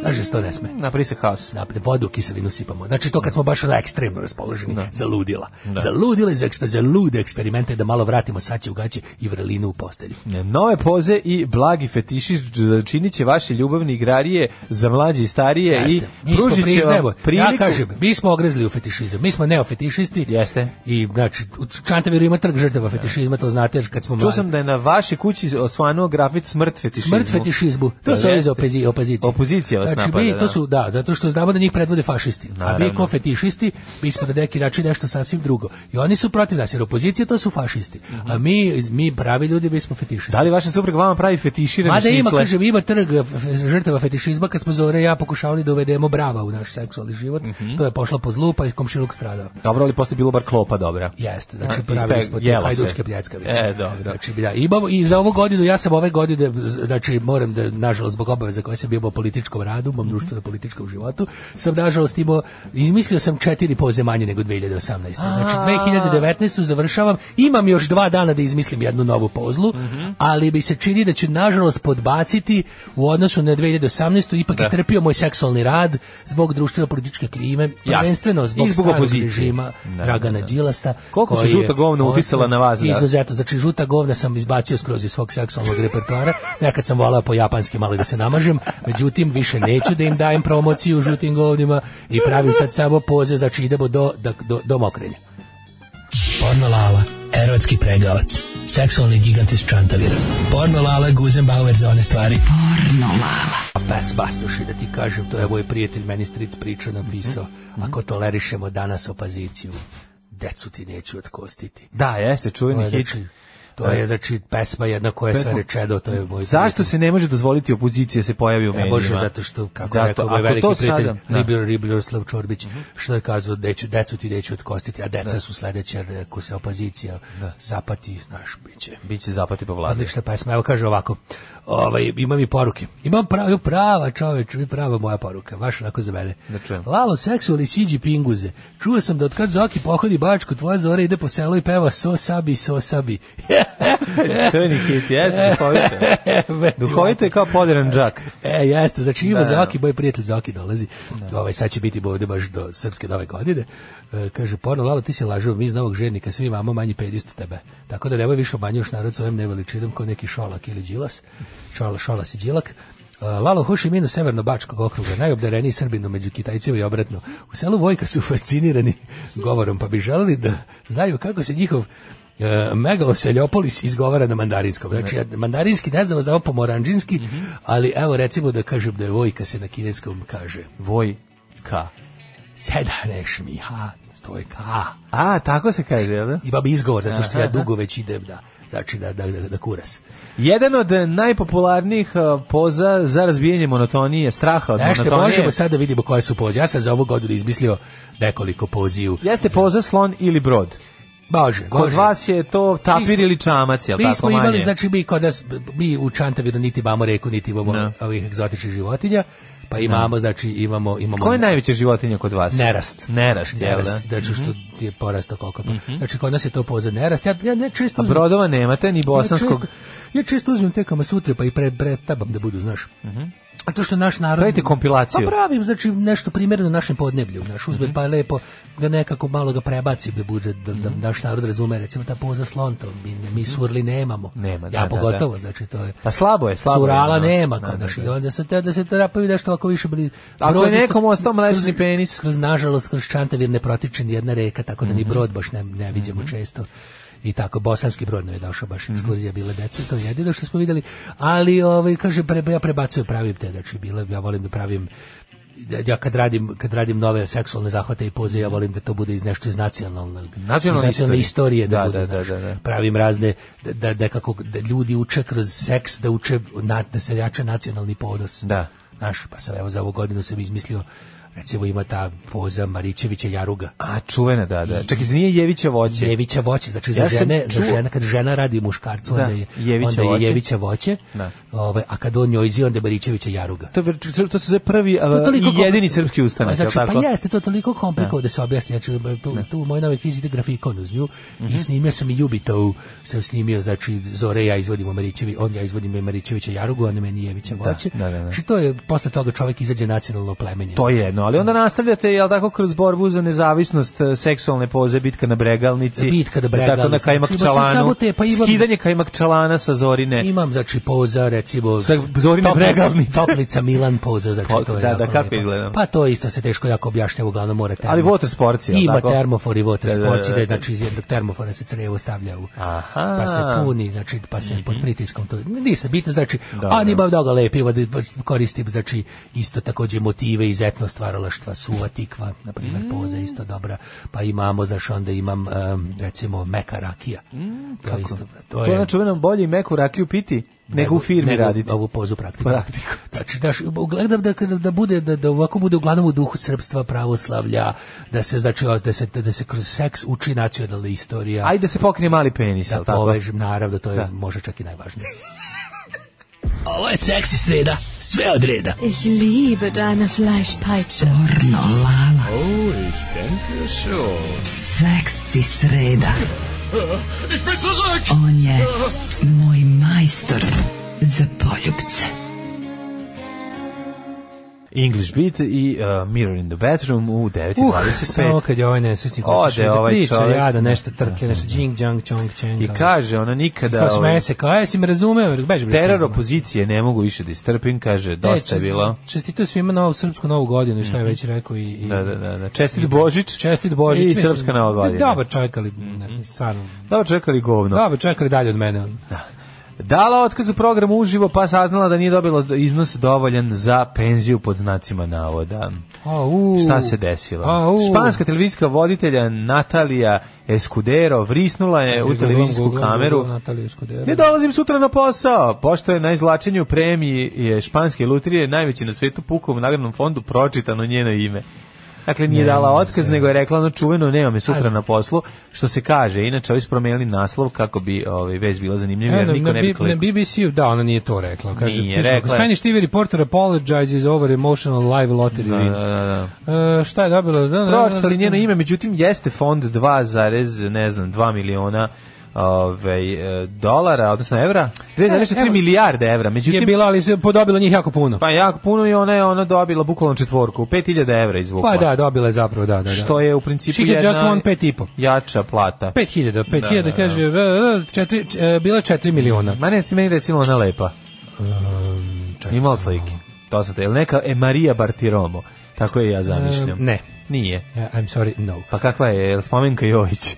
Speaker 6: Znaš, to ne sme.
Speaker 5: Napravi se haos.
Speaker 6: Da, vodu u kiselinu sipamo. Znači to kad smo baš na ekstremno raspoloženi, za ludila. Za ludila i za, ekspe- za lude eksperimente da malo vratimo saće u gaće i vrelinu u postelji.
Speaker 5: Nove poze i blagi fetiši činit će vaše ljubavne igrarije za mlađe i starije
Speaker 6: Jeste.
Speaker 5: i
Speaker 6: Mi smo
Speaker 5: pružit će
Speaker 6: priznajemo,
Speaker 5: vam priliku.
Speaker 6: Ja kažem, mi smo ogrezli u fetišizam. Mi smo neofetišisti.
Speaker 5: Jeste.
Speaker 6: I znači, u Čantaviru ima trg žrtava fetišizma, to znate jer kad smo
Speaker 5: Čuo
Speaker 6: mladi.
Speaker 5: sam da je na vašoj kući osvanuo grafit smrt fetišizmu.
Speaker 6: Smrt fetišizmu. To su ovi iz
Speaker 5: Jeste.
Speaker 6: opozi- opozicije.
Speaker 5: Opozicija vas
Speaker 6: znači,
Speaker 5: napada,
Speaker 6: mi,
Speaker 5: da.
Speaker 6: to su, da, zato što znamo da njih predvode fašisti. A
Speaker 5: Naravno.
Speaker 6: mi ko fetišisti, mi smo na neki način nešto sasvim drugo. I oni su protiv nas, jer opozicija to su fašisti. A mi, mi pravi ljudi, mi smo fetišisti.
Speaker 5: Da li vaša supruga vama pravi fetiširane
Speaker 6: Mada
Speaker 5: šnicle?
Speaker 6: ima, kažem, ima trg f- žrtava fetišizma kad smo Zore i ja pokušavali da uvedemo brava u naš seksualni život. To je pošlo po zlu, pa je komšiluk stradao.
Speaker 5: Dobro, ali posle je bilo bar klopa dobra.
Speaker 6: Jeste,
Speaker 5: A,
Speaker 6: znači
Speaker 5: ispe-
Speaker 6: pravili smo te
Speaker 5: jela se.
Speaker 6: hajdučke pljačkavice.
Speaker 5: E, dobro.
Speaker 6: Znači, da, imamo, i za ovu godinu, ja sam ove godine, z- znači moram da, nažalost, zbog obaveza koje sam bio u političkom radu, u mom
Speaker 5: Mhm.
Speaker 6: društveno političkom životu, sam nažalost imao, izmislio sam četiri poze manje nego 2018. Znači, 2019. završavam. Imam još dva dana da izmislim jednu novu pozlu,
Speaker 5: Mhm.
Speaker 6: ali bi se čini da ću nažalost podbaciti u odnosu na 2018. Ipak
Speaker 5: Da.
Speaker 6: je trpio moj seksualni rad zbog društveno-političke klime, prvenstveno zbog,
Speaker 5: I zbog
Speaker 6: starog
Speaker 5: opozicije.
Speaker 6: režima
Speaker 5: Da,
Speaker 6: Dragana
Speaker 5: da.
Speaker 6: Đilasta.
Speaker 5: Koliko su
Speaker 6: koji je
Speaker 5: žuta govna
Speaker 6: ovaj,
Speaker 5: uticala na vas, da?
Speaker 6: Izuzetno, znači žuta govna sam izbacio skroz iz svog seksualnog repertoara. Nekad sam volao po japanski malo da se namažem, međutim više neću da im dajem promociju žutim govnima i pravim sad samo poze, znači idemo do, do, do, do mokrenja.
Speaker 13: Porno Lala, erotski pregavac, seksualni gigant iz Čantavira. Porno Lala je Guzenbauer za one stvari. Porno Lala.
Speaker 6: A Bas, bas, slušaj, da ti kažem, to je moj prijatelj, meni stric priča
Speaker 5: Mhm.
Speaker 6: napisao, ako tolerišemo danas opoziciju, decu ti neću otkostiti.
Speaker 5: Da, jeste, čuveni
Speaker 6: To je,
Speaker 5: hit.
Speaker 6: znači, to je, znači, pesma jedna koja je sve
Speaker 5: Pesma-
Speaker 6: rečeno, to je moj
Speaker 5: Zašto se ne može dozvoliti opozicija se pojavi u
Speaker 6: Ne
Speaker 5: medijima?
Speaker 6: E, može zato što kako
Speaker 5: Zato,
Speaker 6: zato, rekao moj
Speaker 5: ako
Speaker 6: veliki
Speaker 5: to
Speaker 6: prijatelj
Speaker 5: sada- da. Mhm.
Speaker 6: Ribler Riblerslav Čorbić što je kazao deću decu ti neću otkostiti a deca su sledeća jer ako se opozicija zapati znaš biće
Speaker 5: Biće zapati po vladi.
Speaker 6: Odlična pesma, evo kaže ovako. Ovaj, imam i poruke. Imam prava, prava čoveč, i prava moja poruka, baš onako za mene.
Speaker 5: Da čujem.
Speaker 6: Lalo seksualni siđi pinguze. Čuo sam da od kad Zoki pohodi bačku, tvoja zora ide po selu i peva so sabi, so sabi.
Speaker 5: Čuveni hit, jeste, duhovito. Duhovito je kao podiran džak.
Speaker 6: E, jeste, znači ima
Speaker 5: Da.
Speaker 6: Zoki, moj prijatelj Zoki dolazi. Ovaj, sad će biti ovde baš do srpske nove godine. E, kaže, porno, Lalo, ti si lažao, mi iz novog žednika, svi imamo manji pedist od tebe. Tako da nemoj više omanjuš narod svojim neveličinom ko neki šolak ili džilas. Šola, šolas i džilak. E, Lalo Hoši Minu Severno-Bačkog okruga, najobdareniji Srbinu među Kitajcima i obratno. U selu Vojka su fascinirani govorom, pa bi želeli da znaju kako se njihov e, megaloseljopolis izgovara na mandarinskom. Znači, ja mandarinski ne znam za ovo pomoranđinski,
Speaker 5: Mhm.
Speaker 6: ali evo recimo da kažem da je vojka se na kineskom kaže
Speaker 5: Voj ka.
Speaker 6: sedaneš mi, ha, to je ka.
Speaker 5: A, tako se kaže, jel da?
Speaker 6: Imam izgovor, zato što ja
Speaker 5: Aha.
Speaker 6: dugo već idem da, znači da, da, da, da kuras.
Speaker 5: Jedan od najpopularnijih eh, poza za razbijanje monotonije, straha od
Speaker 6: Nešto
Speaker 5: monotonije.
Speaker 6: možemo sad da vidimo koje su poze. Ja sam za ovu godinu izmislio nekoliko poziju.
Speaker 5: Jeste poza slon ili brod.
Speaker 6: Može,
Speaker 5: Kod
Speaker 6: može.
Speaker 5: vas je to
Speaker 6: Mi
Speaker 5: tapir
Speaker 6: smo-
Speaker 5: ili čamac, jel
Speaker 6: Mi
Speaker 5: tako
Speaker 6: smo
Speaker 5: manje?
Speaker 6: imali, znači mi kod nas, mi u Čantaviru niti imamo reku, niti imamo
Speaker 5: Ne.
Speaker 6: ovih egzotičnih životinja, pa imamo, znači imamo... imamo
Speaker 5: Ko je najveća životinja kod vas?
Speaker 6: Nerast.
Speaker 5: Nerast,
Speaker 6: Znači,
Speaker 5: jel da? Mhm.
Speaker 6: nerast, znači što ti je porastao koliko. to. Znači kod nas je to poza nerast. Ja, ja ne često
Speaker 5: A
Speaker 6: uzmem-
Speaker 5: brodova nemate,
Speaker 6: Znači,
Speaker 5: ni
Speaker 6: Ja
Speaker 5: bosanskog.
Speaker 6: često, ja često uzmem te kama sutra pa i pre, pre tabam da budu, znaš. A to što naš narod...
Speaker 5: Pravite Mhm. kompilaciju. Mhm.
Speaker 6: Pa pravim, znači, nešto primjerno našem podneblju. Znaš, uzme pa lepo ga nekako malo ga prebacim da bude, da, da
Speaker 5: Mhm.
Speaker 6: naš narod razume. Recimo, ta poza slon, to mi, mi surli nemamo.
Speaker 5: Nema, da,
Speaker 6: Ja
Speaker 5: da,
Speaker 6: pogotovo,
Speaker 5: da.
Speaker 6: znači, to je...
Speaker 5: Pa slabo je, slabo je,
Speaker 6: Surala
Speaker 5: ono.
Speaker 6: nema, kao,
Speaker 5: Da,
Speaker 6: znaš,
Speaker 5: da,
Speaker 6: i
Speaker 5: da.
Speaker 6: onda se, te- da se to napravi nešto ako više bili...
Speaker 5: Ako je
Speaker 6: brod isto-
Speaker 5: nekom ostao mlečni
Speaker 6: kroz-
Speaker 5: penis. Mhm.
Speaker 6: kroz nažalost kroz Čantavir ne protiče ni jedna reka, tako da ni brod baš ne, ne viđamo često. I tako, bosanski brod nam je došao, baš
Speaker 5: Mhm.
Speaker 6: ekskurzija bila deca, to je jedino što smo vidjeli. Ali, ovaj, kaže, pre, ja prebacujem, pravim te, znači, bile, ja volim da pravim ja kad radim, kad radim nove seksualne zahvate i poze, ja volim da to bude iz nešto iz nacionalnog,
Speaker 5: Nacionalne
Speaker 6: iz nacionalne
Speaker 5: istorije.
Speaker 6: istorije da,
Speaker 5: Da,
Speaker 6: bude,
Speaker 5: da,
Speaker 6: znaš.
Speaker 5: da, da, da.
Speaker 6: pravim razne, da, da, da kako da ljudi uče kroz seks, da uče, na, da se jača nacionalni ponos.
Speaker 5: Da.
Speaker 6: Znaš, pa sam evo za ovu godinu sam izmislio recimo ima ta poza Marićevića Jaruga.
Speaker 5: A, čuvena, da, da. Čak i nije Jevića voće.
Speaker 6: Jevića voće, znači
Speaker 5: Ja
Speaker 6: za
Speaker 5: sam
Speaker 6: žene, za
Speaker 5: čuo-
Speaker 6: žene kad žena radi muškarcu,
Speaker 5: Da,
Speaker 6: onda je
Speaker 5: Jevića
Speaker 6: onda je
Speaker 5: voće.
Speaker 6: Jevića voće.
Speaker 5: Da.
Speaker 6: Ovaj, a kad on njoj izi, onda je Marićevića Jaruga.
Speaker 5: To, je- to se prvi a,
Speaker 6: To je toliko
Speaker 5: i jedini
Speaker 6: kompli-
Speaker 5: srpski ustanak,
Speaker 6: Pa, znači,
Speaker 5: jel tako?
Speaker 6: Pa jeste, to je toliko komplikovano da se objasni. Ja ću, tu, tu u mojoj novoj knjizi ide grafikon uz nju
Speaker 5: Mhm.
Speaker 6: i snimio sam i Jubitovu, sam snimio, znači Zore i ja izvodimo Marićevi, on ja izvodim i Marićevića Jarugu, on meni Jevića Voće.
Speaker 5: da, da, da.
Speaker 6: Znači to je, posle toga čovjek izađe nacionalno plemenje.
Speaker 5: To je jedno, ali onda nastavljate, jel tako, kroz borbu za nezavisnost e, seksualne poze, bitka na bregalnici,
Speaker 6: Bitka na
Speaker 5: jel tako na
Speaker 6: Bregalnici,
Speaker 5: kajmak
Speaker 6: znači, imao sam
Speaker 5: čalanu,
Speaker 6: samo te, pa imam-
Speaker 5: skidanje kajmak čalana sa Zorine,
Speaker 6: Imam, znači, poza, recimo...
Speaker 5: Sa Zorine
Speaker 6: Toplica-
Speaker 5: Bregalnice.
Speaker 6: Toplica Milan poza, znači,
Speaker 5: Po-
Speaker 6: to je
Speaker 5: da,
Speaker 6: jako
Speaker 5: da, kako
Speaker 6: lepo.
Speaker 5: izgleda?
Speaker 6: Pa to isto se teško jako objašnjava, uglavnom mora termo.
Speaker 5: Ali water sports, jel
Speaker 6: Ima
Speaker 5: tako?
Speaker 6: termofor i water
Speaker 5: Da, da, da,
Speaker 6: sports,
Speaker 5: da,
Speaker 6: da,
Speaker 5: da.
Speaker 6: znači, iz jednog termofora se crevo stavlja u...
Speaker 5: Aha. Mhm.
Speaker 6: Pa se puni, znači, pa se pod pritiskom to... Nisam bitno, znači, a ni imam mnogo lepima, da koristim, znači, isto takođe motive iz etno stvaralaštva, suva tikva, na primjer, poza isto dobra, pa imamo, znaš, onda imam, em, recimo, meka rakija. To je isto,
Speaker 5: to znači je na čuvenom bolje i meku rakiju piti, nego u firmi raditi.
Speaker 6: ovu pozu praktiku.
Speaker 5: Praktiku.
Speaker 6: Znači, daš, gledam da, da, da bude, da, da ovako bude uglavnom u duhu srpstva, pravoslavlja, da se, znači, o- da se, da se kroz seks uči nacionalna istorija.
Speaker 5: Ajde se pokrije mali penis, jel
Speaker 6: da ovaj-
Speaker 5: tako?
Speaker 6: povežem, naravno, to je možda čak i najvažnije.
Speaker 13: Ovo je seksi sreda, sve od reda.
Speaker 14: Ich liebe deine Fleischpeitsche.
Speaker 7: Porno Lala.
Speaker 15: Always stand to your shore.
Speaker 4: Seksi sreda.
Speaker 15: Ich bin zurück!
Speaker 4: On je moj majstor za poljubce.
Speaker 5: English Beat i uh, Mirror in the Bathroom u 9.25.
Speaker 6: Uh, samo kad je ovaj nesvesnik otišao
Speaker 5: Ode
Speaker 6: da
Speaker 5: ovaj
Speaker 6: priča,
Speaker 5: čovjek.
Speaker 6: jada, nešto trtlje, nešto džing, džang, čong, čeng. ono.
Speaker 5: I kaže, ona nikada...
Speaker 6: Pa
Speaker 5: ovaj,
Speaker 6: smeje se, kao, jesi me razumeo? Beži, bre,
Speaker 5: Teror
Speaker 6: pizdu.
Speaker 5: opozicije ne mogu više da istrpim, kaže, dosta je bilo. Mhm.
Speaker 6: Čestito svima novu srpsku novu godinu i šta je već rekao i... i
Speaker 5: Da, da, da, da. Čestit Božić.
Speaker 6: Čestit Božić.
Speaker 5: I
Speaker 6: mislim,
Speaker 5: srpska Nova godina. Mhm.
Speaker 6: Dobar čovjek, ali ne, stvarno.
Speaker 5: Da, čekali govno.
Speaker 6: Dobar čovjek, ali dalje od mene.
Speaker 5: Dala otkaz u programu uživo, pa saznala da nije dobila iznos dovoljan za penziju pod znacima navoda.
Speaker 6: Au.
Speaker 5: Šta se desilo?
Speaker 6: Au.
Speaker 5: Španska televizijska voditelja Natalija Escudero vrisnula je u
Speaker 6: Googlam,
Speaker 5: televizijsku
Speaker 6: googlam,
Speaker 5: kameru.
Speaker 6: googlam Nataliju Escudero.
Speaker 5: Ne dolazim sutra na posao, pošto je na izlačenju premiji je španske lutrije najveći na svetu pukom u nagradnom fondu pročitano njeno ime. Dakle, nije dala otkaz, nego je rekla ono čuveno, nema me sutra na poslu, što se kaže. Inače, ovi su promijenili naslov kako bi ovaj, vez bila zanimljiva, jer
Speaker 6: Evo,
Speaker 5: niko
Speaker 6: na,
Speaker 5: ne bi
Speaker 6: na
Speaker 5: klikao.
Speaker 6: BBC-u, da, ona nije to rekla. Kaže,
Speaker 5: Nije,
Speaker 6: piše,
Speaker 5: rekla je-
Speaker 6: Spanish TV reporter apologizes over emotional live lottery
Speaker 5: Da,
Speaker 6: win.
Speaker 5: da, da, da.
Speaker 6: E, šta je dobila? Da, da,
Speaker 5: Pročitali njeno
Speaker 6: da.
Speaker 5: ime, međutim jeste fond 2, zarez, ne znam, 2 miliona ovaj, e, dolara, odnosno evra, 2,3
Speaker 6: E, evo,
Speaker 5: milijarde evra, međutim...
Speaker 6: je bila, ali se podobilo njih jako puno.
Speaker 5: Pa jako puno i ona je ona dobila bukvalno četvorku, 5000 evra izvukla.
Speaker 6: Pa da, dobila je zapravo, da, da. da.
Speaker 5: Što je u principu
Speaker 6: She had
Speaker 5: jedna
Speaker 6: just won pet i po.
Speaker 5: jača plata.
Speaker 6: 5000, 5000
Speaker 5: Da, da, da.
Speaker 6: kaže, e, e, četiri, e, bila 4 miliona.
Speaker 5: Ma ne, ti meni recimo ona lepa.
Speaker 6: Um,
Speaker 5: Imala slike. To sam te, ili neka e, Marija Bartiromo. Tako je ja zamišljam.
Speaker 6: E, ne.
Speaker 5: Nije.
Speaker 6: E, I'm sorry, no.
Speaker 5: Pa kakva je, je li spomenka Jović?
Speaker 6: E,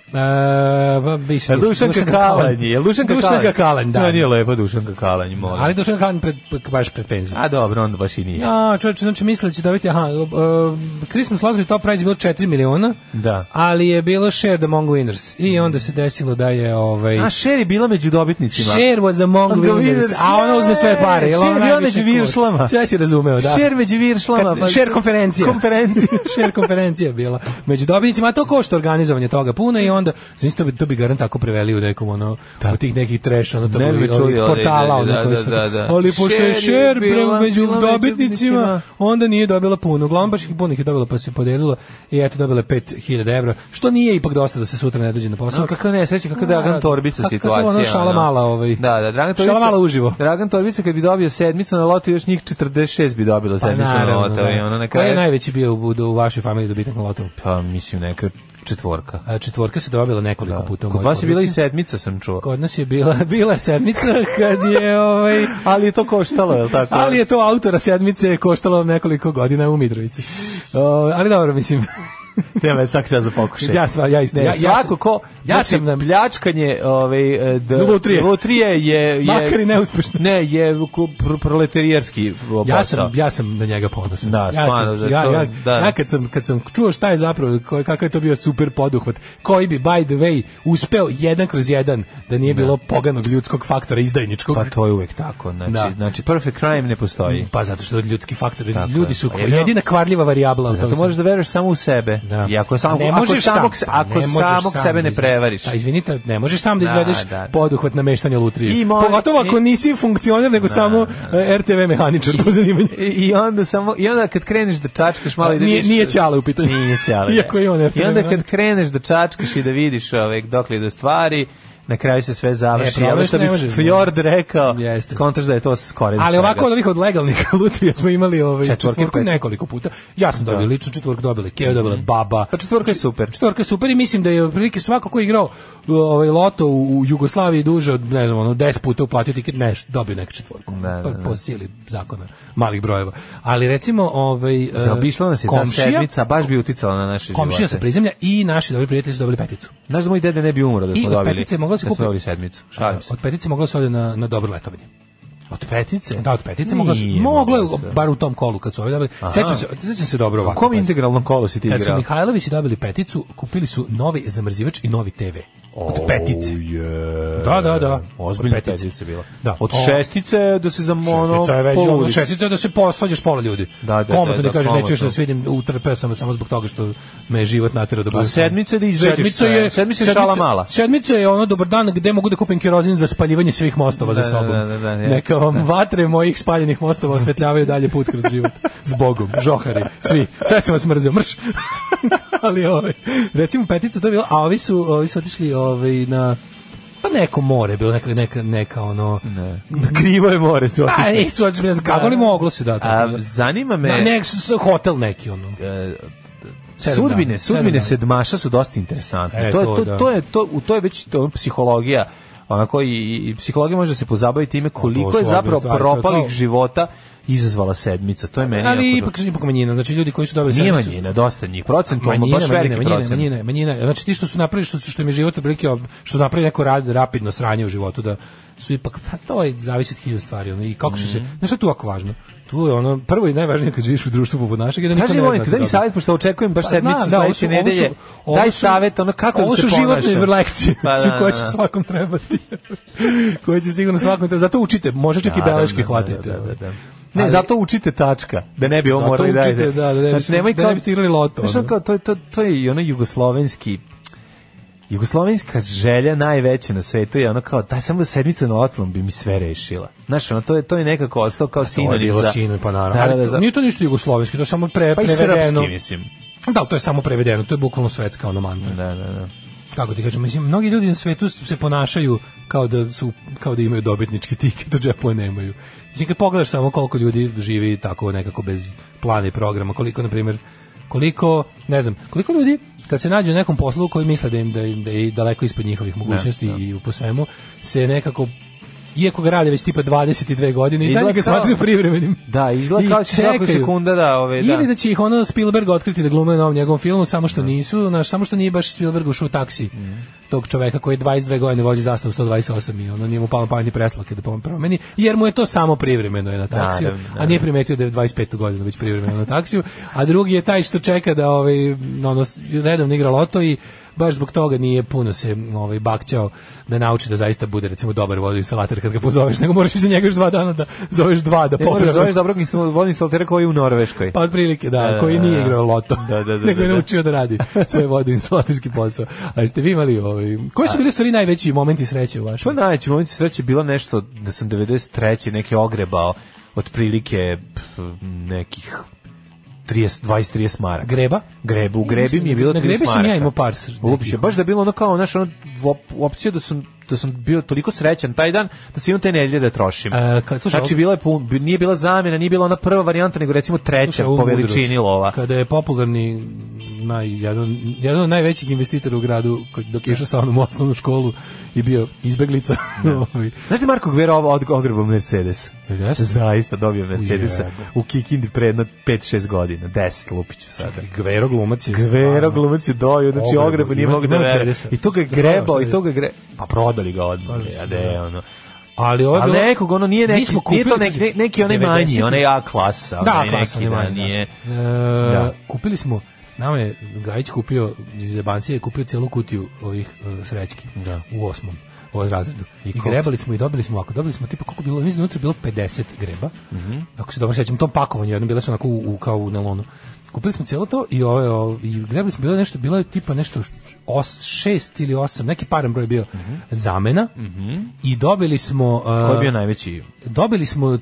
Speaker 6: pa, više,
Speaker 5: Jel Dušanka Kalanj? Jel Dušanka Kalanj?
Speaker 6: Dušanka Kalanj, da.
Speaker 5: No, nije lepa Dušanka Kalanj, molim.
Speaker 6: Ali Dušanka Kalanj pred, baš pred penziju.
Speaker 5: A dobro, onda baš i nije.
Speaker 6: Ja, čovječe, znači mislila će dobiti, aha, uh, Christmas Lottery top prize je bilo 4 miliona,
Speaker 5: Da.
Speaker 6: ali je bilo shared among winners. I onda se desilo da je, ovaj...
Speaker 5: Mm. A Sher je bila među dobitnicima.
Speaker 6: Share was among
Speaker 5: Among
Speaker 6: winners,
Speaker 5: winners,
Speaker 6: a ona uzme sve pare. jel
Speaker 5: Share
Speaker 6: ona
Speaker 5: je bila
Speaker 6: najviše
Speaker 5: među
Speaker 6: kod-
Speaker 5: viršlama.
Speaker 6: Sve si razumeo, da.
Speaker 5: Sher među viršlama. pa-
Speaker 6: Kad, share konferencija.
Speaker 5: Konferencija.
Speaker 6: share konferencija je bila. Među dobitnicima, a to košta organizovanje toga puno i onda, znači to bi, to bi garant tako preveli u nekom, ono, od tih nekih trash, ono,
Speaker 5: Ne
Speaker 6: tako,
Speaker 5: bi
Speaker 6: ovih
Speaker 5: čuli, ali-
Speaker 6: portala, ono,
Speaker 5: da,
Speaker 6: koji
Speaker 5: da,
Speaker 6: su-
Speaker 5: da, da.
Speaker 6: ali pošto je
Speaker 5: Share je
Speaker 6: share pre-
Speaker 5: bila-
Speaker 6: među
Speaker 5: bila među
Speaker 6: dobitnicima,
Speaker 5: dobitnicima.
Speaker 6: onda nije dobila puno. Uglavnom baš ih puno ih je dobila, pa se podelila i eto, dobila je 5000 evra, što nije ipak dosta da se sutra ne dođe na posao.
Speaker 5: No, kako Pa ne, sveći kako Dragan
Speaker 6: Da,
Speaker 5: Torbica
Speaker 6: kako
Speaker 5: situacija.
Speaker 6: ono, šala mala, ovaj.
Speaker 5: Da, da, Dragan Torbica.
Speaker 6: Šala mala uživo.
Speaker 5: Dragan Torbica kad bi dobio sedmicu na lotu, još njih 46 bi dobilo
Speaker 6: Pa
Speaker 5: sedmicu na
Speaker 6: naravno,
Speaker 5: lotu.
Speaker 6: da.
Speaker 5: i ono na
Speaker 6: Koji je
Speaker 5: kraju-
Speaker 6: najveći bio u, u vašoj familiji dobitak na lotu?
Speaker 5: Pa mislim neka četvorka.
Speaker 6: A četvorka se dobila nekoliko puta. u
Speaker 5: Kod
Speaker 6: mojoj
Speaker 5: vas je bila i
Speaker 6: porodici.
Speaker 5: sedmica sam čuo.
Speaker 6: Kod nas je bila, bila je sedmica kad je ovaj...
Speaker 5: Ali je to koštalo, je li tako?
Speaker 6: Ali je to autora sedmice koštalo nekoliko godina u Mitrovici. O, ali dobro, mislim,
Speaker 5: Nema je svaki čas za pokušaj.
Speaker 6: Ja sva- ja isto.
Speaker 5: Ne,
Speaker 6: Ja- ja
Speaker 5: svako
Speaker 6: sam-
Speaker 5: ko...
Speaker 6: ja
Speaker 5: znači,
Speaker 6: sam na-
Speaker 5: Pljačkanje ovaj, e, d,
Speaker 6: Lutrije.
Speaker 5: Lutrije je... je
Speaker 6: makar i neuspešno.
Speaker 5: Ne, je ku- pro- proletarijerski posao.
Speaker 6: Ja sam, ja sam na njega ponosan.
Speaker 5: Da,
Speaker 6: ja,
Speaker 5: stvarno,
Speaker 6: sam,
Speaker 5: za
Speaker 6: ja,
Speaker 5: to,
Speaker 6: ja,
Speaker 5: da.
Speaker 6: ja kad, sam, kad sam čuo šta je zapravo, koji, kakav je to bio super poduhvat, koji bi, by the way, uspeo jedan kroz jedan, da nije bilo poganog ljudskog faktora izdajničkog.
Speaker 5: Pa to je uvek tako. Znači,
Speaker 6: Da.
Speaker 5: znači perfect crime ne postoji.
Speaker 6: Pa zato što ljudski faktor,
Speaker 5: Tako
Speaker 6: ljudi
Speaker 5: je.
Speaker 6: su
Speaker 5: Pa
Speaker 6: kva-
Speaker 5: jedino-
Speaker 6: jedina kvarljiva varijabla. u tom
Speaker 5: Zato Pa možeš da veruješ samo u sebe.
Speaker 6: Da.
Speaker 5: I ako, sam,
Speaker 6: ne
Speaker 5: ako
Speaker 6: možeš
Speaker 5: samog,
Speaker 6: sam, pa
Speaker 5: ako
Speaker 6: ne možeš
Speaker 5: samog
Speaker 6: sam
Speaker 5: sebe
Speaker 6: da
Speaker 5: ne
Speaker 6: izve-
Speaker 5: prevariš.
Speaker 6: Pa izvinite, ne možeš sam da
Speaker 5: Da,
Speaker 6: izvedeš
Speaker 5: da, da.
Speaker 6: poduhvat na meštanje lutrije.
Speaker 5: I mora-
Speaker 6: Pogotovo ako
Speaker 5: i-
Speaker 6: nisi funkcioner, nego samo e, RTV mehaničar po zanimanju.
Speaker 5: I, I onda samo i onda kad kreneš da čačkaš malo i da
Speaker 6: Nije-
Speaker 5: vidiš-
Speaker 6: nije ćale u pitanju.
Speaker 5: Nije ćale. da.
Speaker 6: Iako je on
Speaker 5: I
Speaker 6: efemerni
Speaker 5: onda kad
Speaker 6: moment.
Speaker 5: kreneš da čačkaš i da vidiš ovaj dokle do stvari, na kraju se sve završi.
Speaker 6: E,
Speaker 5: E, ono što
Speaker 6: problem što
Speaker 5: bi
Speaker 6: ne možeš,
Speaker 5: Fjord rekao,
Speaker 6: Jeste.
Speaker 5: kontraš da je to skoro.
Speaker 6: Ali ovako ono- od ovih od legalnih lutrija smo imali ovaj
Speaker 5: Četvorke,
Speaker 6: četvorku,
Speaker 5: petke.
Speaker 6: nekoliko puta. Ja sam dobio lično četvorku, dobila je Keo, dobila je Baba.
Speaker 5: Pa četvorka je super.
Speaker 6: Četvorka je super i mislim da je otprilike svako ko je igrao ovaj loto u u Jugoslaviji duže od ne znam, ono 10 puta uplatio tiket, ne, dobio neku četvorku.
Speaker 5: Da, da, da.
Speaker 6: Po sili zakona malih brojeva. Ali recimo ovaj e,
Speaker 5: Zaobišla nas je ta sedmica, baš bi uticala na naše
Speaker 6: komšija se
Speaker 5: živote.
Speaker 6: prizemlja i naši dobri prijatelji su dobili peticu.
Speaker 5: Znaš da moj dede ne bi umro da
Speaker 6: I
Speaker 5: smo
Speaker 6: od
Speaker 5: dobili.
Speaker 6: petice moglo se
Speaker 5: da smo
Speaker 6: kupiti- E,
Speaker 5: dobili sedmicu. Šalim se.
Speaker 6: Od petice moglo se ode na na dobro letovanje.
Speaker 5: Od petice?
Speaker 6: Da, od petice moglo se, moglo je, bar u tom kolu kad su ovi dobili.
Speaker 5: Aha.
Speaker 6: Sećam se, sećam se dobro
Speaker 5: U
Speaker 6: ovako.
Speaker 5: kom
Speaker 6: pazi.
Speaker 5: integralnom kolu si ti
Speaker 6: Kad su
Speaker 5: igrao?
Speaker 6: Mihajlovići dobili peticu, kupili su novi zamrzivač i novi TV. Od petice.
Speaker 5: Oh, je.
Speaker 6: Da, da, da.
Speaker 5: Ozbiljna
Speaker 6: Od petice.
Speaker 5: petica bila.
Speaker 6: Da.
Speaker 5: Od
Speaker 6: O.
Speaker 5: šestice do se za mono...
Speaker 6: Šestica je već ono, šestica je da se posvađaš pola ljudi.
Speaker 5: Da, da,
Speaker 6: Komotno
Speaker 5: da,
Speaker 6: da,
Speaker 5: da,
Speaker 6: kažeš, neću još da
Speaker 5: komotno.
Speaker 6: se vidim, utrpeo sam samo zbog toga što me je život naterao da budem. sam.
Speaker 5: sedmica je da izveđeš
Speaker 6: Sedmica
Speaker 5: sve.
Speaker 6: je,
Speaker 5: Sedmica je šala mala.
Speaker 6: Sedmica je ono, dobar dan, gde mogu da kupim kerozin za spaljivanje svih mostova
Speaker 5: Da,
Speaker 6: za
Speaker 5: da,
Speaker 6: sobom.
Speaker 5: da, da, da,
Speaker 6: Neka vam vatre mojih spaljenih mostova osvetljavaju dalje put kroz život. S Bogom, žohari, svi. Sve sam vas mrzio, mrš. Ali ovaj, recimo petica to je bilo, a ovi su, ovi su otišli ovaj, na pa neko more je bilo neka neka neka ono ne.
Speaker 5: krivo je more su
Speaker 6: Pa
Speaker 5: otišli.
Speaker 6: nisu otišli, ne znam kako li moglo se da.
Speaker 5: A, zanima me...
Speaker 6: Ne, nek, s, s- hotel neki ono. Sedam
Speaker 5: sudbine,
Speaker 6: dana,
Speaker 5: sudbine
Speaker 6: sedam
Speaker 5: sedmaša su dosta interesantne.
Speaker 6: E,
Speaker 5: to, je-
Speaker 6: to
Speaker 5: to,
Speaker 6: da.
Speaker 5: to, je, to, u to je već to, ono, psihologija onako i, i i psihologija može da se pozabaviti time koliko
Speaker 6: su
Speaker 5: je
Speaker 6: ozbiljne
Speaker 5: zapravo
Speaker 6: stvari, to je
Speaker 5: propalih
Speaker 6: kao-
Speaker 5: života izazvala sedmica. To je meni
Speaker 6: Ali
Speaker 5: jako
Speaker 6: ipak ipak manjina, znači ljudi koji su dobili
Speaker 5: Nije
Speaker 6: sedmicu su-
Speaker 5: manjina, dosta njih. Procent,
Speaker 6: manjina,
Speaker 5: baš
Speaker 6: manjina,
Speaker 5: veliki
Speaker 6: manjina,
Speaker 5: procent.
Speaker 6: manjina, manjina. Znači ti što su napravili što su što im je život otprilike ob- što su napravili neko rad, rapidno sranje u životu da su ipak pa to je zavisi od hiljadu stvari ono, i kako su se.
Speaker 5: Mm.
Speaker 6: Znaš šta je tu jako važno? Tu je ono prvo i najvažnije kad živiš u društvu poput našeg je da niko
Speaker 5: Kaži
Speaker 6: ne
Speaker 5: mi,
Speaker 6: zna.
Speaker 5: molim te,
Speaker 6: se
Speaker 5: daj mi
Speaker 6: dobro.
Speaker 5: savjet, pošto očekujem baš
Speaker 6: Pa
Speaker 5: sedmicu
Speaker 6: znam, da, ovo su-
Speaker 5: sledeće
Speaker 6: ovo su-
Speaker 5: nedelje.
Speaker 6: ovo
Speaker 5: Daj
Speaker 6: su-
Speaker 5: savjet, ono kako da
Speaker 6: ovo
Speaker 5: se
Speaker 6: su
Speaker 5: ponašam.
Speaker 6: životne lekcije
Speaker 5: Pa da,
Speaker 6: koje
Speaker 5: da,
Speaker 6: će
Speaker 5: da.
Speaker 6: svakom trebati. koje će sigurno svakom trebati. Zato učite, može čak i
Speaker 5: Naravno,
Speaker 6: beleške
Speaker 5: da,
Speaker 6: hvatite.
Speaker 5: da, da, da. Ne,
Speaker 6: Ali-
Speaker 5: zato učite tačka, da ne bi ovo
Speaker 6: Zato
Speaker 5: morali da Znači,
Speaker 6: učite, da, da ne bi- da ne bi igrali loto,
Speaker 5: Znaš,
Speaker 6: ono.
Speaker 5: ono kao, to, je- to, to je i ono jugoslovenski Jugoslovenska želja najveća na svetu je ono kao daj samo sedmica na otlom bi mi sve rešila. Znaš, ono, to je, to je nekako ostao kao
Speaker 6: To je
Speaker 5: sinonim
Speaker 6: bilo
Speaker 5: za...
Speaker 6: sinonim, pa naravno.
Speaker 5: Da, da,
Speaker 6: Ali
Speaker 5: da, za-
Speaker 6: Nije to ništa jugoslovenski, to je samo pre,
Speaker 5: Pa i
Speaker 6: prevedeno.
Speaker 5: srpski, mislim.
Speaker 6: Da, ali to je samo prevedeno, to je bukvalno svetska ono mantra.
Speaker 5: Da, da, da.
Speaker 6: Kako ti kažem, mislim, mnogi ljudi na svetu se ponašaju kao da su kao da imaju dobitnički tiket, a džepove nemaju. Mislim, kad pogledaš samo koliko ljudi živi tako nekako bez plana i programa, koliko, na primjer, koliko, ne znam, koliko ljudi kad se nađe u nekom poslu koji misle da im da, im, da je daleko ispod njihovih mogućnosti i po svemu, se nekako iako ga rade već tipa 22 godine i dalje
Speaker 5: Izgleda
Speaker 6: ga
Speaker 5: kao-
Speaker 6: smatraju privremenim.
Speaker 5: Da, izgleda
Speaker 6: I
Speaker 5: kao će svakog
Speaker 6: čekaju.
Speaker 5: sekunda da, ove, da.
Speaker 6: Ili da će ih ono Spielberg otkriti da glume u novom njegovom filmu, samo što nisu, znaš, samo što nije baš Spielberg ušao u taksi tog čoveka koji je 22 godine vozi zastavu 128 i ono nije mu palo pametni preslake da pom- promeni, jer mu je to samo privremeno je na taksiju,
Speaker 5: Naravno,
Speaker 6: a nije primetio da je 25. godinu već privremeno na taksiju, a drugi je taj što čeka da ovaj, ono, s- redovno igra loto i baš zbog toga nije puno se ovaj bakćao da nauči da zaista bude recimo dobar vodoinstalater kad ga pozoveš nego moraš za njega još dva dana da zoveš dva da
Speaker 5: Ne možeš
Speaker 6: popravi
Speaker 5: zoveš dobrog instal- vodnog instaltera koji je u Norveškoj.
Speaker 6: pa otprilike, da,
Speaker 5: Da, da,
Speaker 6: koji
Speaker 5: da,
Speaker 6: nije
Speaker 5: da.
Speaker 6: igrao loto,
Speaker 5: Da, da, da,
Speaker 6: nego
Speaker 5: da,
Speaker 6: je
Speaker 5: da.
Speaker 6: naučio da radi svoj vodoinstalaterski posao. A jeste vi imali, ovaj, koji su bili stvari najveći momenti sreće u
Speaker 5: Pa
Speaker 6: vašem?
Speaker 5: najveći moment sreće je bilo nešto da sam 93. neki ogrebao otprilike pf, nekih 30 20 30 maraka.
Speaker 6: Greba?
Speaker 5: Grebu, u grebi mi je bilo 30
Speaker 6: Na
Speaker 5: maraka.
Speaker 6: grebi sam ja imao par sr- nekih.
Speaker 5: Uopće, baš da je bilo ono kao naš ono op- opcija da sam da sam bio toliko srećan taj dan da sam imao te nedelje da trošim.
Speaker 6: E, kad- slušaj,
Speaker 5: znači
Speaker 6: ovo-
Speaker 5: bila je pun, nije bila zamjena, nije bila ona prva varijanta, nego recimo treća
Speaker 6: Slušaj, ovu
Speaker 5: po
Speaker 6: mudrost.
Speaker 5: veličini lova.
Speaker 6: Kada je popularni naj, jedan, jedan od najvećih investitora u gradu kod- dok je išao sa onom u osnovnu školu i bio izbeglica. ovaj,
Speaker 5: Znaš li Marko Gvera ovo od ogrebao Mercedes?
Speaker 6: Jeste.
Speaker 5: Zaista dobio Mercedesa
Speaker 6: Ujebe.
Speaker 5: u Kikindi pre jedno 5-6 godina. 10 lupiću sada.
Speaker 6: Gvero glumac je.
Speaker 5: Gvero
Speaker 6: stvarno-
Speaker 5: glumac je dojo, znači
Speaker 6: Ogrebao,
Speaker 5: ogreba nije
Speaker 6: ima-
Speaker 5: mogao da
Speaker 6: ima
Speaker 5: vera.
Speaker 6: Mercedesa.
Speaker 5: I to ga je
Speaker 6: Da, šta
Speaker 5: grebao,
Speaker 6: je?
Speaker 5: i to ga je gre... Pa prodali ga odmah,
Speaker 6: Prodali su,
Speaker 5: a da
Speaker 6: da.
Speaker 5: je ono.
Speaker 6: Ali ovo je
Speaker 5: Ali
Speaker 6: bilo-
Speaker 5: nekog, ono nije
Speaker 6: Mi
Speaker 5: neki,
Speaker 6: smo
Speaker 5: nije to
Speaker 6: kupili-
Speaker 5: neki, neki onaj manji,
Speaker 6: 90-ih.
Speaker 5: onaj A klasa.
Speaker 6: Da,
Speaker 5: onaj
Speaker 6: klasa,
Speaker 5: ovaj neki,
Speaker 6: onaj
Speaker 5: da,
Speaker 6: manji,
Speaker 5: nije.
Speaker 6: E,
Speaker 5: Da.
Speaker 6: Kupili smo, nama je Gajić kupio iz Jebancije, je kupio celu kutiju ovih e, srećki
Speaker 5: Da.
Speaker 6: u osmom u ovom razredu. I,
Speaker 5: koliko?
Speaker 6: grebali smo i dobili smo ovako, dobili smo tipa koliko je bilo, mislim da je unutra bilo 50 greba.
Speaker 5: Mhm.
Speaker 6: Ako se dobro sećam, u tom pakovanju jedno bile su onako u, u- kao u nelonu. Kupili smo cijelo to i ove, o- i grebali smo bilo je nešto, bilo je tipa nešto os, šest ili osam, neki paran broj je bio zamena i dobili smo... e,
Speaker 5: Mhm. Ko je bio najveći?
Speaker 6: dobili smo e,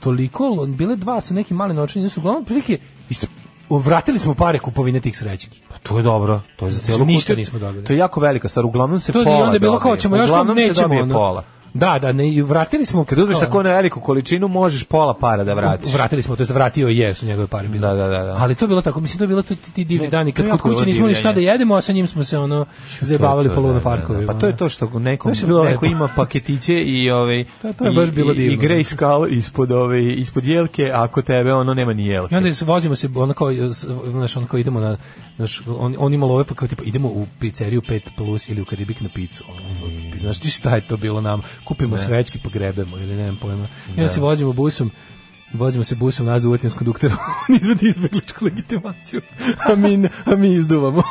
Speaker 6: toliko, l- bile dva sa nekim malim novčanim iznosom, uglavnom prilike is- vratili smo pare kupovine tih srećki.
Speaker 5: Pa to je dobro, to je za cijelu
Speaker 6: Ništa
Speaker 5: kutiju.
Speaker 6: nismo dobili.
Speaker 5: To je jako velika stvar, uglavnom se
Speaker 6: To je i
Speaker 5: pola
Speaker 6: onda je bilo kao
Speaker 5: dobije.
Speaker 6: ćemo još kao
Speaker 5: Uglavnom se
Speaker 6: nećemo.
Speaker 5: dobije
Speaker 6: ono.
Speaker 5: pola.
Speaker 6: Da, da, ne, i vratili smo
Speaker 5: Kad uzmeš tako na veliku količinu, možeš pola para da vratiš.
Speaker 6: Vratili smo, to jest vratio je, su njegove pare bile.
Speaker 5: Da, da, da, da.
Speaker 6: Ali to je bilo tako, mislim to je bilo to ti, ti divni
Speaker 5: Ne,
Speaker 6: dani
Speaker 5: to
Speaker 6: kad
Speaker 5: je
Speaker 6: kod
Speaker 5: jako
Speaker 6: kuće
Speaker 5: bilo
Speaker 6: nismo ni šta da
Speaker 5: divljanje.
Speaker 6: jedemo, a sa njim smo se ono
Speaker 5: Zabavili
Speaker 6: zajebavali po luno parkovima. ono.
Speaker 5: Pa to je to što nekom,
Speaker 6: Znaš, bilo je
Speaker 5: neko
Speaker 6: lepo.
Speaker 5: ima paketiće i ovaj
Speaker 6: To- to je baš
Speaker 5: i-
Speaker 6: bilo
Speaker 5: i-
Speaker 6: divno.
Speaker 5: I grej skal ispod ove ispod jelke, a ako tebe ono nema ni
Speaker 6: I
Speaker 5: jelke.
Speaker 6: onda se vozimo se ono kao s- znaš ono kao idemo na znaš on on ima love pa kao tipa idemo u pizzeriju 5 plus ili u Karibik na picu. Ono,
Speaker 5: Mm.
Speaker 6: Znaš ti šta je to bilo nam? Kupimo srećke pa grebemo ili nemam pojma. I onda se vozimo busom Vozimo se busom nazad u Utinskom konduktoru, on izvadi izbegličku legitimaciju, a mi, a mi izduvamo.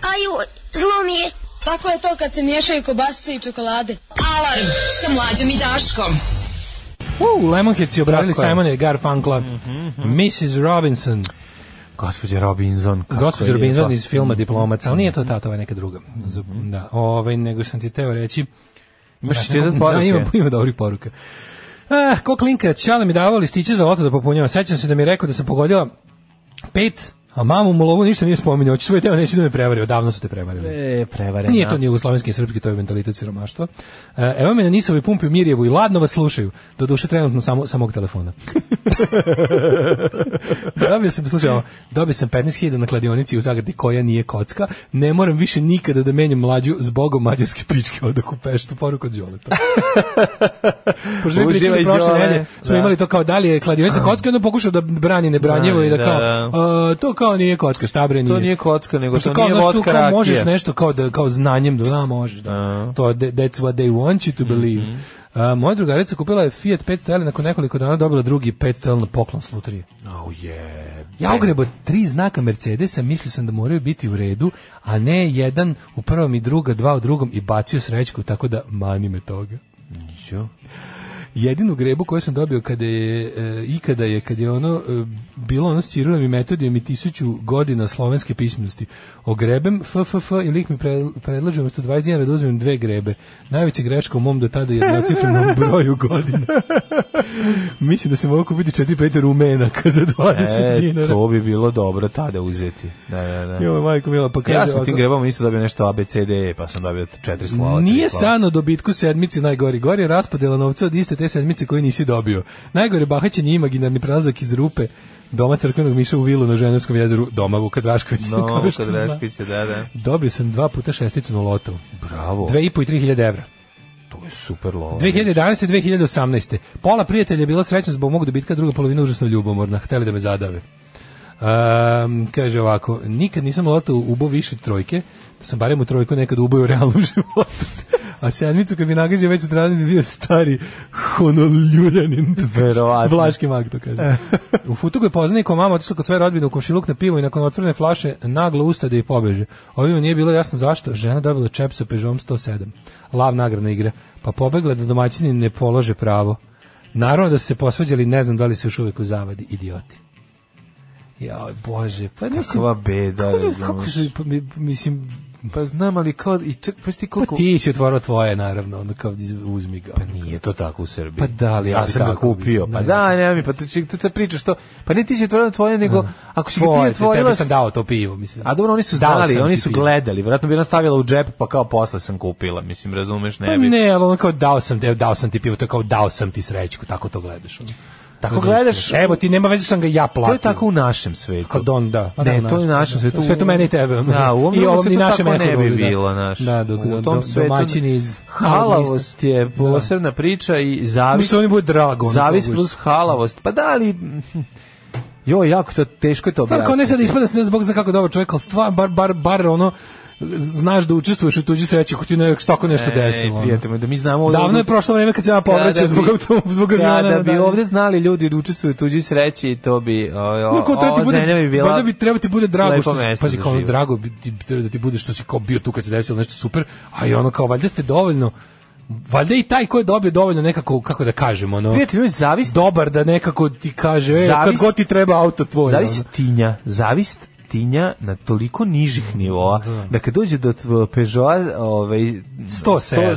Speaker 4: kraju zlo mi je. Tako je to kad se miješaju kobasice i čokolade.
Speaker 16: Alarm sa mlađom i Daškom.
Speaker 6: U, Lemonheads je obradili
Speaker 5: Tako je. Mhm,
Speaker 6: Simona i Garfunkla. Mrs. Robinson.
Speaker 5: Gospođa Robinson. kako
Speaker 6: Gospođa
Speaker 5: je
Speaker 6: Robinson
Speaker 5: lijepa. Mhm.
Speaker 6: iz filma Diplomac, ali nije to ta, to je neka druga. Da, ovaj, nego sam ti teo reći...
Speaker 5: Imaš
Speaker 6: Da,
Speaker 5: ti jedan poruke?
Speaker 6: Da, ima, ima dobrih poruka. Ah, ko klinka, Ćale mi davao listiće za loto da popunjava. Sećam se da mi je rekao da sam pogodila pet, a mamu mu lovu ništa nije spominjao. Hoće svoj teo neće da me prevari, odavno su te prevarili.
Speaker 5: E, prevarena.
Speaker 6: Nije to ni jugoslovenski ni srpski, to je mentalitet siromaštva. E, Evo me na Nisovoj pumpi u Mirjevu i ladno vas slušaju. Doduše trenutno samo, samog telefona. dobio sam, slušaj, ovo, dobio sam 15.000 na kladionici u Zagradi koja nije kocka. Ne moram više nikada da menjam mlađu zbogom mađarske pičke od okupešta. Poruka od Đoleta. Pošto mi pričali
Speaker 5: Uživaj,
Speaker 6: prošle
Speaker 5: Đole.
Speaker 6: nedelje, smo
Speaker 5: Da.
Speaker 6: imali to kao da li je kladionica kocka, onda pokušao da brani nebranjivo i da
Speaker 5: Da,
Speaker 6: kao,
Speaker 5: da.
Speaker 6: "A, to kao nije kocka, šta bre nije.
Speaker 5: To nije kocka, nego
Speaker 6: Pošto
Speaker 5: to
Speaker 6: kao,
Speaker 5: nije
Speaker 6: znaš, tu
Speaker 5: vodka
Speaker 6: kao
Speaker 5: rakija.
Speaker 6: Možeš nešto kao, da, kao znanjem, da, da možeš. Da. To, je- that's what they want you to believe. A, moja drugarica kupila je Fiat 500 L i nakon nekoliko dana dobila drugi 500 L na poklon s lutrije.
Speaker 5: Oh, yeah.
Speaker 6: Ja ogrebo tri znaka Mercedesa, mislio sam da moraju biti u redu, a ne jedan u prvom i druga, dva u drugom i bacio srećku, tako da mani me toga. Jedinu grebu koju sam dobio kada je, e, ikada je, kad je ono, e, bilo ono s Ćirilom i metodijom i tisuću godina slovenske pismenosti. Ogrebem FFF i lik mi pre, predlaže umjesto 20 dinara da uzmem dve grebe. Najveća greška u mom do tada je jednocifrenom broju godina. Mislim da se mogu kupiti 4-5 rumenaka za 20
Speaker 5: E,
Speaker 6: dinara.
Speaker 5: to bi bilo dobro tada uzeti. Da, da, da.
Speaker 6: Joj, majko mila, pa kaže
Speaker 5: Ja sam tim
Speaker 6: ovako.
Speaker 5: grebama isto dobio nešto ABCD, pa sam dobio četiri slova. tri
Speaker 6: Nije
Speaker 5: slova.
Speaker 6: san o dobitku sedmici najgori. Gori je raspodela novca od iste te sedmice koju nisi dobio. Najgore bahaćenje je imaginarni prelazak iz rupe doma crkvenog miša u vilu na Ženevskom jezeru doma Vuka Draškovića.
Speaker 5: No,
Speaker 6: Kao što
Speaker 5: kad
Speaker 6: zna.
Speaker 5: Raškić je, da, da.
Speaker 6: Dobio sam dva puta šesticu na lotu.
Speaker 5: Bravo.
Speaker 6: Dve i po i tri hiljade evra.
Speaker 5: To je super lova.
Speaker 6: 2011. 2018. Pola prijatelja je bilo srećno zbog mog dobitka, druga polovina užasno ljubomorna. Hteli da me zadave. Um, kaže ovako, nikad nisam loto ubo više trojke, da sam barem u trojku nekad ubao u realnom životu. A sedmicu kad mi nagađa već u strani bi bio stari honoljujanin.
Speaker 5: Verovatno.
Speaker 6: Vlaški mag to kaže. U futugu je poznaj ko mama otišla kod svoje rodbine u komšiluk na pivo i nakon otvorene flaše naglo ustade i pobeže. Ovima nije bilo jasno zašto. Žena dobila čep sa Peugeotom 107. Lav nagradna igra. Pa pobegla da domaćini ne polože pravo. Naravno da su se posvađali, ne znam da li su još uvijek u zavadi, idioti. Jao, bože, pa mislim...
Speaker 5: Kakva beda,
Speaker 6: kako-
Speaker 5: razumeš.
Speaker 6: Kako su, pa mi- mislim...
Speaker 5: Pa znam, ali kao... I ček, pa ti koliko...
Speaker 6: Pa ti si otvorao tvoje, naravno, onda kao iz- uzmi ga. Pa
Speaker 5: Nije to tako u Srbiji.
Speaker 6: Pa da, ali ja
Speaker 5: ja
Speaker 6: bi
Speaker 5: sam ga
Speaker 6: tako,
Speaker 5: kupio.
Speaker 6: mislim,
Speaker 5: Pa
Speaker 6: ne.
Speaker 5: da, ne, mi, pa ti ti ti pričaš to. Pa ne ti si otvorila tvoje, nego ako si ga ti
Speaker 6: Tvoje, te-
Speaker 5: otvorila...
Speaker 6: tebi sam dao to pivo, mislim.
Speaker 5: A dobro, oni su
Speaker 6: Dao
Speaker 5: znali,
Speaker 6: sam
Speaker 5: oni
Speaker 6: ti
Speaker 5: su
Speaker 6: pivo.
Speaker 5: gledali. Vjerojatno bi ona stavila u džep, pa kao posle sam kupila. Mislim, razumeš, ne
Speaker 6: Pa
Speaker 5: bi.
Speaker 6: ne, ali ono kao dao sam, te, dao sam ti pivo, to je kao dao sam ti srećku, tako to gledaš. ono.
Speaker 5: Tako
Speaker 6: Razumeš?
Speaker 5: gledaš-
Speaker 6: Evo ti, nema veze što sam ga ja platio.
Speaker 5: To je tako u našem svetu.
Speaker 6: Kod on, da. E, Pa
Speaker 5: ne,
Speaker 6: da, u
Speaker 5: to je u našem svetu.
Speaker 6: Svetu mene i tebe. ono.
Speaker 5: Da, u ovom
Speaker 6: I
Speaker 5: drugom
Speaker 6: ovom i
Speaker 5: svetu
Speaker 6: našem
Speaker 5: tako ne bi
Speaker 6: ekonomiju, da.
Speaker 5: bilo, znaš.
Speaker 6: Da, dok,
Speaker 5: u
Speaker 6: do,
Speaker 5: tom
Speaker 6: do,
Speaker 5: svetu
Speaker 6: domaćin iz
Speaker 5: halavost je posebna priča i zavis.
Speaker 6: Mislim, oni bude drago, ono,
Speaker 5: Zavis
Speaker 6: mogu
Speaker 5: plus halavost. Pa da, ali... Jo, jako to teško je to
Speaker 6: Stvarno kao ne sad
Speaker 5: objasniti.
Speaker 6: ispada se ne zbog za kako dobar čovjek, ali stvar, bar, bar, bar ono, znaš da učestvuješ u tuđi sreći ako ti ne tako nešto
Speaker 5: E,
Speaker 6: desilo. ono.
Speaker 5: prijatelj moj, da mi znamo ovdje-
Speaker 6: Davno je prošlo vreme kad se ja povraćao
Speaker 5: Kada
Speaker 6: zbog
Speaker 5: bi-
Speaker 6: autom, zbog aviona.
Speaker 5: Kada
Speaker 6: na
Speaker 5: bi
Speaker 6: dalje.
Speaker 5: ovdje znali ljudi da učestvuju u tuđoj sreći, to bi... O, o,
Speaker 6: No, kao treba ti
Speaker 5: ova zemlja
Speaker 6: bude,
Speaker 5: bi bila...
Speaker 6: valjda bi treba ti bude drago
Speaker 5: lepo
Speaker 6: što si-
Speaker 5: mesto
Speaker 6: pazi
Speaker 5: za
Speaker 6: kao ono
Speaker 5: život.
Speaker 6: drago bi ti treba da ti bude što si kao bio tu kad se desilo nešto super, a i ono kao valjda ste dovoljno valjda i taj ko je dobio dovoljno nekako kako da kažem ono
Speaker 5: Prijatelj moj, zavis...
Speaker 6: dobar da nekako ti kaže e, kad
Speaker 5: Zavis-
Speaker 6: god ti treba auto tvoj.
Speaker 5: Zavis
Speaker 6: ono.
Speaker 5: tinja, zavis tinja na toliko
Speaker 6: Mm,
Speaker 5: nižih nivoa, da, kad dođe do tvo- Peugeota, ovaj,
Speaker 6: 107.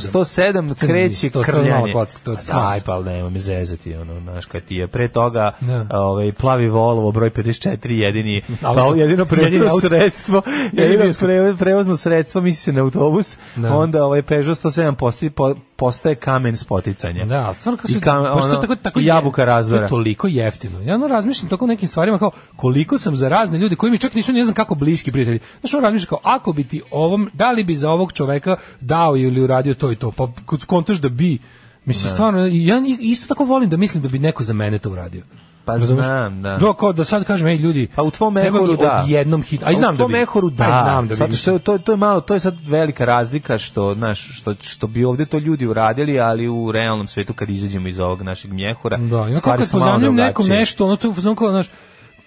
Speaker 5: 100, 107
Speaker 6: To
Speaker 5: kreće
Speaker 6: nije 100, to je
Speaker 5: krljanje.
Speaker 6: mala kocka, to je
Speaker 5: A
Speaker 6: smart.
Speaker 5: Daj, pa nema me zezati, ono, znaš, kad ti je pre toga
Speaker 6: Da.
Speaker 5: ovaj, plavi Volvo, broj 54, jedini,
Speaker 6: Auto.
Speaker 5: pa, jedino
Speaker 6: Jedini
Speaker 5: prevozno
Speaker 6: auto.
Speaker 5: sredstvo, jedino
Speaker 6: bioskop.
Speaker 5: pre- prevozno sredstvo, misli se na autobus,
Speaker 6: Da.
Speaker 5: onda ovaj Peugeot 107 postaje, po- postaje kamen spoticanja.
Speaker 6: Da, stvarno kao
Speaker 5: I
Speaker 6: su,
Speaker 5: kam-
Speaker 6: pošto
Speaker 5: ono,
Speaker 6: tako, tako
Speaker 5: i jabuka
Speaker 6: je-
Speaker 5: razdora.
Speaker 6: To je toliko jeftino. Ja ono razmišljam tako o nekim stvarima kao koliko sam za razne ljude koji mi čak nisu ne znam kako bliski prijatelji. Znaš, ono razmišljam kao ako bi ti ovom, da li bi za ovog čoveka dao ili uradio to i to, pa kod kontaš da bi Mislim, stvarno, ja ni- isto tako volim da mislim da bi neko za mene to uradio.
Speaker 5: Pa
Speaker 6: Razumeš?
Speaker 5: znam, da.
Speaker 6: Do, kao da sad kažem, ej ljudi,
Speaker 5: Pa u tvom
Speaker 6: trebam
Speaker 5: mehoru da.
Speaker 6: Odjednom hit, a i
Speaker 5: Pa
Speaker 6: znam
Speaker 5: u
Speaker 6: da
Speaker 5: tvom
Speaker 6: bi.
Speaker 5: mehoru da.
Speaker 6: A i znam da bi.
Speaker 5: Zato što je- to to je malo, to je sad velika razlika što znaš što što bi ovdje to ljudi uradili, ali u realnom svetu kad izađemo iz ovog našeg mjehura,
Speaker 6: Da, ima kako
Speaker 5: stvari
Speaker 6: kad
Speaker 5: su malo
Speaker 6: pozajmljujem nekom
Speaker 5: drugačije.
Speaker 6: nešto, ono to fuzon kao, znaš,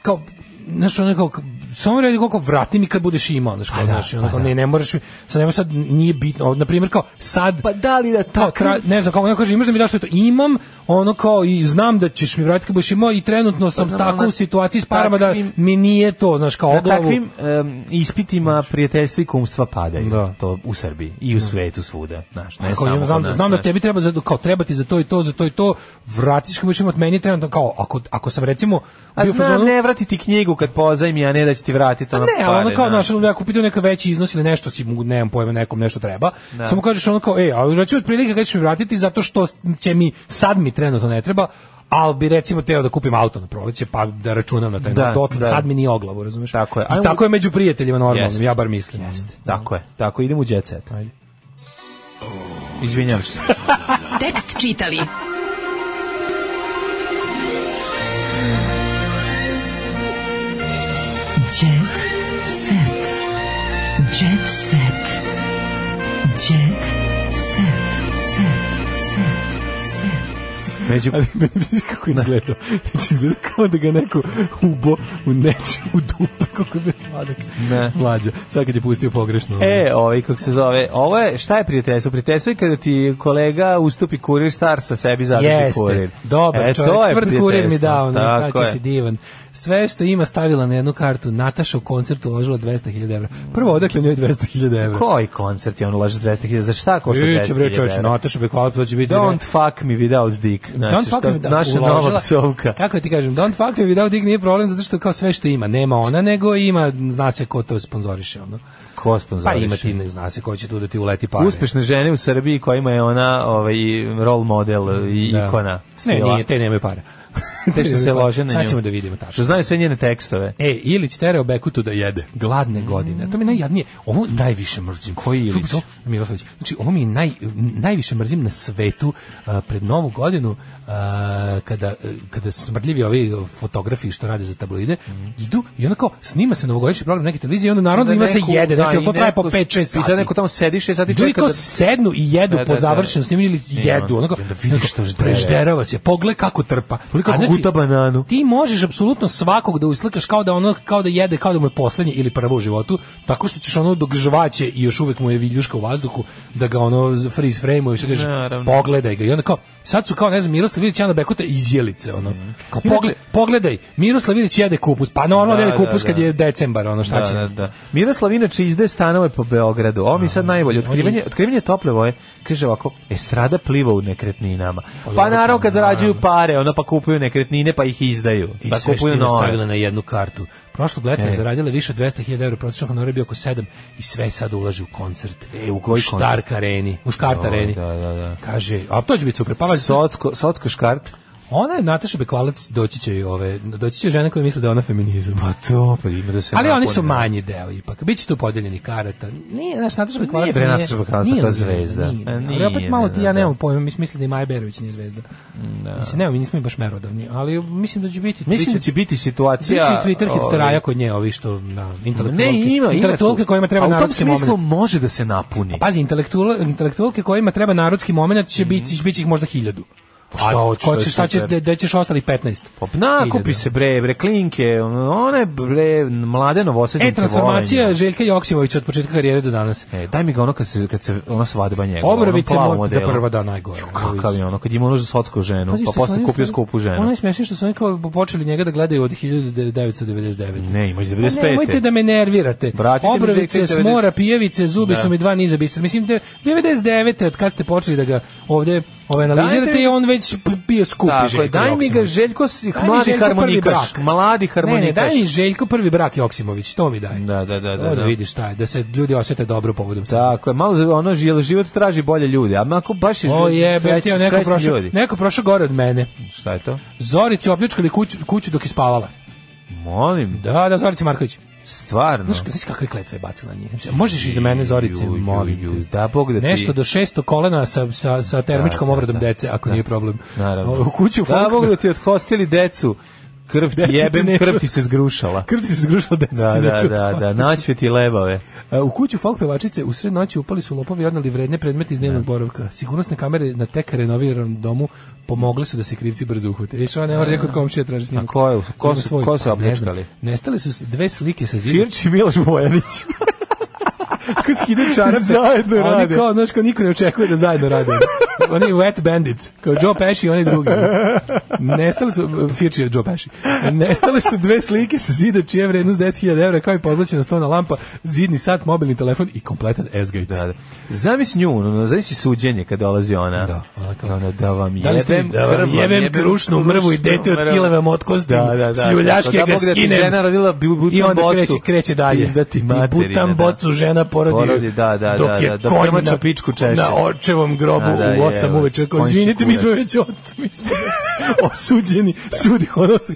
Speaker 6: kao znaš, ono kao, samo redi koliko vrati mi kad budeš imao, znaš, kao, znaš,
Speaker 5: pa
Speaker 6: ono kao, ne, ne moraš, mi- sad nema sad, nije bitno, na primjer, kao, sad, pa da li da tako, ne znam, kao, ono kaže, imaš da mi daš to, imam, ono kao, i znam da ćeš mi vratiti kad budeš imao, i trenutno sam
Speaker 5: znam,
Speaker 6: tako
Speaker 5: ali
Speaker 6: u
Speaker 5: Pa na
Speaker 6: situaciji s parama da
Speaker 5: takvim-
Speaker 6: mi nije to, znaš, kao,
Speaker 5: Na
Speaker 6: oglavu.
Speaker 5: takvim em, ispitima prijateljstva i kumstva padaju. To u Srbiji i u
Speaker 6: Znači. Da.
Speaker 5: svetu svuda. Znaš, ne
Speaker 6: Ako
Speaker 5: samo
Speaker 6: imam,
Speaker 5: kod
Speaker 6: znam,
Speaker 5: nas,
Speaker 6: znam da
Speaker 5: znaš.
Speaker 6: tebi treba za kao treba ti za to i to, za to i to, vratiš kako ćemo od meni trenutno kao ako ako sam recimo
Speaker 5: A
Speaker 6: bio u
Speaker 5: znam,
Speaker 6: fazonu-
Speaker 5: ne vratiti knjigu kad pozajmi, a ne da će ti vratiti ono
Speaker 6: ne,
Speaker 5: pare.
Speaker 6: ali ono kao,
Speaker 5: znaš.
Speaker 6: znaš, ono, ako pitao neka veći iznos ili nešto si mu, nemam pojma, nekom nešto treba,
Speaker 5: Da.
Speaker 6: samo kažeš ono kao, ej, ali recimo otprilike kada ćeš mi vratiti zato što će mi, sad mi trenutno ne treba, ali bi recimo teo da kupim auto na proleće, pa da računam na taj
Speaker 5: Da,
Speaker 6: da, dotle,
Speaker 5: da.
Speaker 6: sad mi nije oglavu, razumeš? Tako je.
Speaker 5: Ajmo-
Speaker 6: I tako je među prijateljima normalno,
Speaker 5: Jest.
Speaker 6: ja bar mislim.
Speaker 5: Jeste, tako je. Tako, idemo u jet set. Izvinjam se.
Speaker 17: Tekst čitali
Speaker 4: Jet set. Jet set. Jet set. Set. Set.
Speaker 5: Među...
Speaker 6: Ali meni misliš kako je izgledao. Znači, izgleda kao da ga neko ubo u neče, u dupe, kako je bio sladak.
Speaker 5: Ne.
Speaker 6: Mlađa, sad kad je pustio pogrešno.
Speaker 5: E, ovaj, kako se zove, ovo je, šta je prijateljstvo? Prijateljstvo je kada ti kolega ustupi kurir star sa sebi zadrži
Speaker 6: Jeste,
Speaker 5: kurir.
Speaker 6: dobar
Speaker 5: E,
Speaker 6: čovjek,
Speaker 5: to je
Speaker 6: tvrd kurir mi
Speaker 5: prijateljstvo.
Speaker 6: dao, ono,
Speaker 5: Tako
Speaker 6: kako
Speaker 5: je.
Speaker 6: si divan. Sve što ima stavila na jednu kartu, Nataša u koncertu uložila 200.000 evra. Prvo, odakle njoj 200.000 evra?
Speaker 5: Koji koncert je on ulaže 200.000? Za šta košta 200.000?
Speaker 6: Biće bre čovječe, Nataša Bekvalov, to će biti...
Speaker 5: Don't fuck me without dick. Znači,
Speaker 6: Don't fuck
Speaker 5: šta-
Speaker 6: me, da,
Speaker 5: Naša nova
Speaker 6: uložila-
Speaker 5: psovka.
Speaker 6: Kako ti kažem, don't fuck me without dick nije problem zato što kao sve što ima, nema ona nego ima, zna se ko to sponzoriše. Ono.
Speaker 5: Ko sponzoriše?
Speaker 6: Pa ima ti, ne zna se ko će tu da ti uleti pare.
Speaker 5: Uspešne žene u Srbiji kojima je ona ovaj, role model i
Speaker 6: Da.
Speaker 5: ikona.
Speaker 6: Ne,
Speaker 5: Stila.
Speaker 6: nije, te nemaju para.
Speaker 5: Te što se lože na nju.
Speaker 6: Sad ćemo da vidimo tačno.
Speaker 5: Što znaju sve njene tekstove.
Speaker 6: E, Ilić tereo Bekutu da jede.
Speaker 5: Mm.
Speaker 6: Gladne godine. To mi je najjadnije. Ovo najviše mrzim. Koji Ilić? Milosević. Znači, ovo mi je naj, najviše mrzim na svetu a, pred novu godinu a, kada, e, kada smrdljivi ovi fotografi što rade za tabloide
Speaker 5: Mm.
Speaker 6: idu i onda kao snima se novogodišnji program neke televizije i onda naravno ima se jede. Znači,
Speaker 5: i
Speaker 6: to traje po
Speaker 5: neko-
Speaker 6: 5-6 sati.
Speaker 5: I sad neko tamo sedi 6 sati
Speaker 6: Ljudi
Speaker 5: čeka
Speaker 6: kao
Speaker 5: da...
Speaker 6: sednu i jedu
Speaker 5: Da, da,
Speaker 6: po
Speaker 5: da.
Speaker 6: završenom snimanju ili
Speaker 5: I
Speaker 6: jedu.
Speaker 5: onda-
Speaker 6: Onako,
Speaker 5: i onda vidiš što ždere.
Speaker 6: prežderava se. Pogled kako trpa.
Speaker 5: Koliko
Speaker 6: A znači,
Speaker 5: guta bananu.
Speaker 6: Ti možeš apsolutno svakog da uslikaš kao da ono kao da jede, kao da mu je poslednje ili prvo u životu, tako što ćeš ono dok žvaće i još uvek mu je viljuška u vazduhu da ga ono freeze frame-uješ, da kažeš
Speaker 5: Naravno.
Speaker 6: pogledaj ga. I onda kao sad su kao ne znam Miroslav Ilić Jana Bekuta izjelice ono. Kao
Speaker 5: Mhm. Inače-
Speaker 6: pogled, pogledaj, Miroslav Ilić jede kupus. Pa normalno da,
Speaker 5: Da,
Speaker 6: jede kupus
Speaker 5: da,
Speaker 6: kad
Speaker 5: da.
Speaker 6: je decembar, ono šta
Speaker 5: Da,
Speaker 6: će.
Speaker 5: da, da. Miroslav inače izdaje stanove po Beogradu. Ovo mi je sad najbolje. Otkrivanje, otkrivanje tople voje, kaže ovako, estrada pliva u nekretninama. Pa naravno kad zarađuju pare, ono pa kupuju nekretnine pa ih izdaju.
Speaker 6: I
Speaker 5: Pa
Speaker 6: sve što
Speaker 5: kupuju
Speaker 6: ima stavila
Speaker 5: nove.
Speaker 6: na jednu kartu. Prošlog leta je
Speaker 5: E.
Speaker 6: zaradila više od 200.000 evra, prosječan honorar je bio oko 7 i sve sad ulaže u koncert.
Speaker 5: E, u koji koncert?
Speaker 6: Štark areni, u Škart
Speaker 5: Joj,
Speaker 6: areni.
Speaker 5: Da, da, da.
Speaker 6: Kaže, a to će biti super. Pa valjda-
Speaker 5: Socko, socko škart.
Speaker 6: ona je Nataša Bekvalac, doći će i ove, doći će žene koje misle da je ona feminizam.
Speaker 5: Pa to, pa ima da se...
Speaker 6: Ali oni
Speaker 5: napune.
Speaker 6: su manji deo ipak. Biće tu podeljenih karata. Nije, znaš, Nataša Bekvalac
Speaker 5: Nije bre Nataša Bekvalac
Speaker 6: nije
Speaker 5: ta
Speaker 6: ona
Speaker 5: zvezda.
Speaker 6: Nije,
Speaker 5: E,
Speaker 6: ali
Speaker 5: nije,
Speaker 6: opet malo
Speaker 5: da,
Speaker 6: ti,
Speaker 5: da,
Speaker 6: ja nemam
Speaker 5: da.
Speaker 6: pojma, mislim, mislim da i Maja Berović nije zvezda.
Speaker 5: Da.
Speaker 6: Mislim, nemam, mi nismo i baš merodavni, ali mislim da će biti.
Speaker 5: Mislim da će biti situacija...
Speaker 6: Biće i Twitter
Speaker 5: ovaj,
Speaker 6: hipsteraja kod nje, ovi što, na,
Speaker 5: Ne,
Speaker 6: intelektualke.
Speaker 5: ima, ima.
Speaker 6: Intelektualke
Speaker 5: tu.
Speaker 6: kojima treba
Speaker 5: A u tom
Speaker 6: narodski
Speaker 5: smislu
Speaker 6: moment.
Speaker 5: može da se napuni.
Speaker 6: Pazi, intelektual, intelektualke kojima treba narodski moment će biti, bit će ih možda hiljadu.
Speaker 5: Mhm. Šta hoćeš,
Speaker 6: ko
Speaker 5: to je
Speaker 6: će, Pa šta će,
Speaker 5: super.
Speaker 6: da, da ćeš E, ostali 15.
Speaker 5: Na, kupi
Speaker 6: ono.
Speaker 5: se bre, bre, klinke, ono, one bre, mlade novosadnike
Speaker 6: E, transformacija Željka Joksimovića od početka karijere do danas.
Speaker 5: E, daj mi ga ono kad se, kad se ona svadba njegova.
Speaker 6: Obrovice
Speaker 5: ono plavom
Speaker 6: moj da
Speaker 5: modelu.
Speaker 6: prva da najgore.
Speaker 5: Kakav je ono, kad ima ono za socku ženu,
Speaker 6: Pazi
Speaker 5: pa
Speaker 6: što su
Speaker 5: posle
Speaker 6: oni
Speaker 5: kupio
Speaker 6: stvarno-
Speaker 5: skupu
Speaker 6: Ono
Speaker 5: ženu.
Speaker 6: je smiješno što su oni kao počeli njega da gledaju od 1999.
Speaker 5: Ne, ima iz
Speaker 6: Pa
Speaker 5: 95.
Speaker 6: nemojte da me nervirate.
Speaker 5: Vratite mi
Speaker 6: Obrovice,
Speaker 5: Željka iz
Speaker 6: smora, pijevice, zubi
Speaker 5: Da.
Speaker 6: su mi dva niza bisera. Mislim, da 99. od kad ste počeli da ga ovde ove, analizirate,
Speaker 5: Dajte-
Speaker 6: je on već p- bio skupi
Speaker 5: Tako je,
Speaker 6: Željko
Speaker 5: daj mi
Speaker 6: Joksimović.
Speaker 5: ga Željko s-
Speaker 6: Daj mi
Speaker 5: mladi
Speaker 6: Željko prvi
Speaker 5: harmonikaš,
Speaker 6: brak.
Speaker 5: mladi
Speaker 6: Ne, ne,
Speaker 5: harmonikaš.
Speaker 6: daj mi Željko prvi brak Joksimović, to mi daj.
Speaker 5: Da, da, da.
Speaker 6: Da, da vidiš šta je, da se ljudi osete dobro povodom sebe.
Speaker 5: Tako je, malo za- ono, jel život traži bolje ljude, a ako baš je
Speaker 6: O je,
Speaker 5: srećni-
Speaker 6: bio neko
Speaker 5: srećni
Speaker 6: prošao,
Speaker 5: ljudi.
Speaker 6: neko prošao gore od mene.
Speaker 5: Šta je to?
Speaker 6: Zorici opljačkali kuću, kuću dok je spavala.
Speaker 5: Molim,
Speaker 6: Da, da, Zorici Marković.
Speaker 5: stvarno.
Speaker 6: Znaš, znaš kakve kletve je bacila na njih? Možeš iza mene, Zorice,
Speaker 5: Ju, ju,
Speaker 6: molim.
Speaker 5: ju, Da, Bog da ti...
Speaker 6: Nešto do šesto kolena sa, sa, sa termičkom
Speaker 5: Da, da,
Speaker 6: obradom
Speaker 5: da.
Speaker 6: dece, ako nije problem. Ovaj,
Speaker 5: Naravno.
Speaker 6: U kuću
Speaker 5: Da,
Speaker 6: folk-
Speaker 5: mogu da ti odhostili decu krv ti
Speaker 6: Neću ti
Speaker 5: jebem,
Speaker 6: neću.
Speaker 5: krv ti se zgrušala.
Speaker 6: Krv ti se zgrušala, decu
Speaker 5: da,
Speaker 6: ti
Speaker 5: da,
Speaker 6: neću
Speaker 5: da, da,
Speaker 6: otpasti.
Speaker 5: naćve ti lebave.
Speaker 6: E, U kuću folk pevačice u sred noći upali su lopovi i odnali vredne predmete iz dnevnog boravka. Sigurnosne kamere na tek renoviranom domu pomogle su da se krivci brzo uhvate. Viš, ona ne mora rekao od komšija traži snimak.
Speaker 5: A ko je- ko
Speaker 6: Ima
Speaker 5: su-
Speaker 6: svoj-
Speaker 5: ko su
Speaker 6: pa, ne znam.
Speaker 5: opljačkali?
Speaker 6: Nestale su s- dve slike sa zida.
Speaker 5: Firči Miloš Bojanić.
Speaker 6: Ko skide čarape.
Speaker 5: Zajedno
Speaker 6: a oni
Speaker 5: rade.
Speaker 6: Kao, znaš, kao niko ne očekuje da zajedno rade. Oni wet bandits. Kao Joe Pesci i oni drugi. Nestale su, Firči je Joe Pesci. Nestale su dve slike sa zida čija je vrednost 10.000 evra, kao i pozlačena stona lampa, zidni sat, mobilni telefon i kompletan S-gate.
Speaker 5: Da, da. Zamisli nju, ono, zamisli suđenje kad dolazi ona. Da, ona kao, ono, da vam
Speaker 6: Da li ste-
Speaker 5: jebem,
Speaker 6: da vam
Speaker 5: krv,
Speaker 6: jebem krušnu mrvu i dete od
Speaker 5: mrvu.
Speaker 6: kile vam otkostim,
Speaker 5: da, da, da,
Speaker 6: s ljuljaške
Speaker 5: da,
Speaker 6: ga
Speaker 5: da, Bog da ti
Speaker 6: skinem.
Speaker 5: žena rodila, bu- butam
Speaker 6: I onda
Speaker 5: bocu.
Speaker 6: kreće, kreće dalje.
Speaker 5: Izdati
Speaker 6: I
Speaker 5: materine,
Speaker 6: butam
Speaker 5: da.
Speaker 6: bocu žena porodi,
Speaker 5: Porodi, da, da,
Speaker 6: dok
Speaker 5: da,
Speaker 6: je
Speaker 5: da, da
Speaker 6: konj
Speaker 5: premaču
Speaker 6: na-
Speaker 5: pičku češe.
Speaker 6: na očevom grobu
Speaker 5: Da, da,
Speaker 6: u osam
Speaker 5: jebe,
Speaker 6: uveče. Kao,
Speaker 5: konjski
Speaker 6: "Izvinite, mi smo
Speaker 5: kurac."
Speaker 6: već od- mi smo već osuđeni, sudi ono se-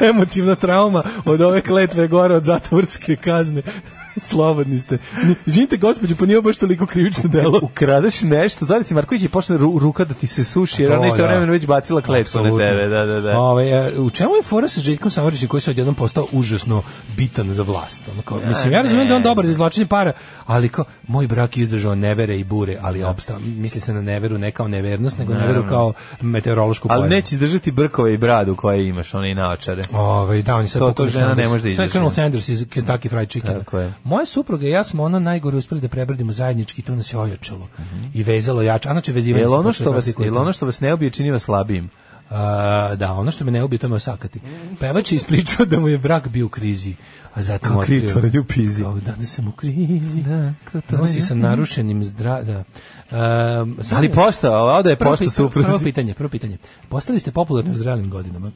Speaker 6: emotivna trauma od ove kletve gore od zatvorske kazne. Slobodni ste. Ni- Izvinite, gospođo, pa nije ovo baš toliko krivično delo.
Speaker 5: Ukradeš nešto, Zorica Marković je počne ru, ruka da ti se suši, jer
Speaker 6: To,
Speaker 5: ona isto
Speaker 6: da.
Speaker 5: vremena već bacila kletvu na
Speaker 6: Apsolutno.
Speaker 5: tebe, da, da, da.
Speaker 6: Ovaj, e, u čemu je fora sa Željkom Samarđićem koji se odjednom postao užasno bitan za vlast? Ono kao,
Speaker 5: Da,
Speaker 6: mislim, ja razumijem
Speaker 5: ne.
Speaker 6: da je on dobar za izvlačenje para, ali kao, moj brak je izdržao nevere i bure, ali je opstao. Misli se na neveru ne kao nevernost, nego neveru
Speaker 5: Naravno.
Speaker 6: kao meteorološku pojavu.
Speaker 5: Ali neće izdržati brkove i bradu koje imaš, one i naočare.
Speaker 6: Ovaj, da, on je sad
Speaker 5: to, to
Speaker 6: pokojni
Speaker 5: žena ne
Speaker 6: Sanders.
Speaker 5: može da
Speaker 6: Sad je
Speaker 5: izdrži.
Speaker 6: Colonel Sanders iz Kentucky Fried Chicken.
Speaker 5: Tako je.
Speaker 6: Moja supruga i ja smo ono najgore uspeli da prebrodimo zajednički, to nas je ojačalo. I vezalo jače. A znači
Speaker 5: Mhm.
Speaker 6: vezivanje
Speaker 5: Jel
Speaker 6: se
Speaker 5: ono
Speaker 6: počelo
Speaker 5: što vas,
Speaker 6: praktikovati.
Speaker 5: jel ono što vas ne ubije čini vas slabijim?
Speaker 6: A, da, ono što me ne ubije, to me osakati. Pevač je ispričao da mu je brak bio u krizi. A zatim
Speaker 5: Kao
Speaker 6: otkrio-
Speaker 5: kripto radio pizi.
Speaker 6: Kao, danas sam u krizi. Da,
Speaker 5: to
Speaker 6: Nosi
Speaker 5: je.
Speaker 6: sa narušenim zdravljem. Da. Um,
Speaker 5: Ali pošta, a ovde je
Speaker 6: Prvo
Speaker 5: pošta
Speaker 6: pita-
Speaker 5: supruzi.
Speaker 6: Prvo pitanje, prvo pitanje. Postali ste popularni u zrelim godinama.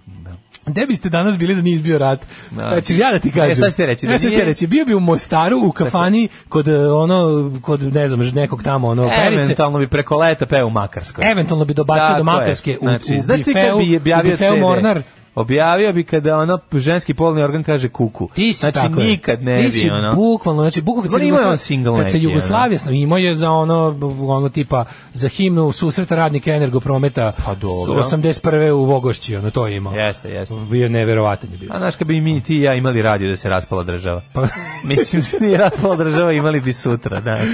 Speaker 6: Gde biste danas bili da nije izbio rat?
Speaker 5: Da.
Speaker 6: Znači, ja da ti
Speaker 5: E,
Speaker 6: kažem.
Speaker 5: sad ste reći da
Speaker 6: E, sad ste
Speaker 5: nije-
Speaker 6: reći, bio bi u Mostaru, u kafani, kod e, ono, kod ne znam, nekog tamo, ono, perice.
Speaker 5: Eventualno bi preko leta peo u Makarskoj.
Speaker 6: Eventualno bi dobacio
Speaker 5: Tako
Speaker 6: do
Speaker 5: je. Znači,
Speaker 6: Makarske u, u
Speaker 5: znaš ti kad
Speaker 6: bifeu,
Speaker 5: bi objavio
Speaker 6: u bifeu
Speaker 5: CD?
Speaker 6: Mornar.
Speaker 5: Objavio bi kada ono ženski polni organ kaže kuku.
Speaker 6: Ti si
Speaker 5: znači,
Speaker 6: tako je.
Speaker 5: nikad ne
Speaker 6: Ti
Speaker 5: bi
Speaker 6: si
Speaker 5: ono.
Speaker 6: bukvalno, znači bukvalno kad
Speaker 5: Dobro,
Speaker 6: se
Speaker 5: imao je on
Speaker 6: Jugoslavija-
Speaker 5: single
Speaker 6: kad se
Speaker 5: neki, ono.
Speaker 6: Jugoslavija sno imao je za ono ono tipa za himnu susreta radnika Energoprometa pa
Speaker 5: dobro.
Speaker 6: 81. u Vogošći, ono to je imao.
Speaker 5: Jeste, jeste.
Speaker 6: Bio neverovatan je bio.
Speaker 5: A znaš, kad bi mi i ti i ja imali radio da se raspala država.
Speaker 6: Pa-
Speaker 5: Mislim, da nije raspala država, imali bi sutra, znaš.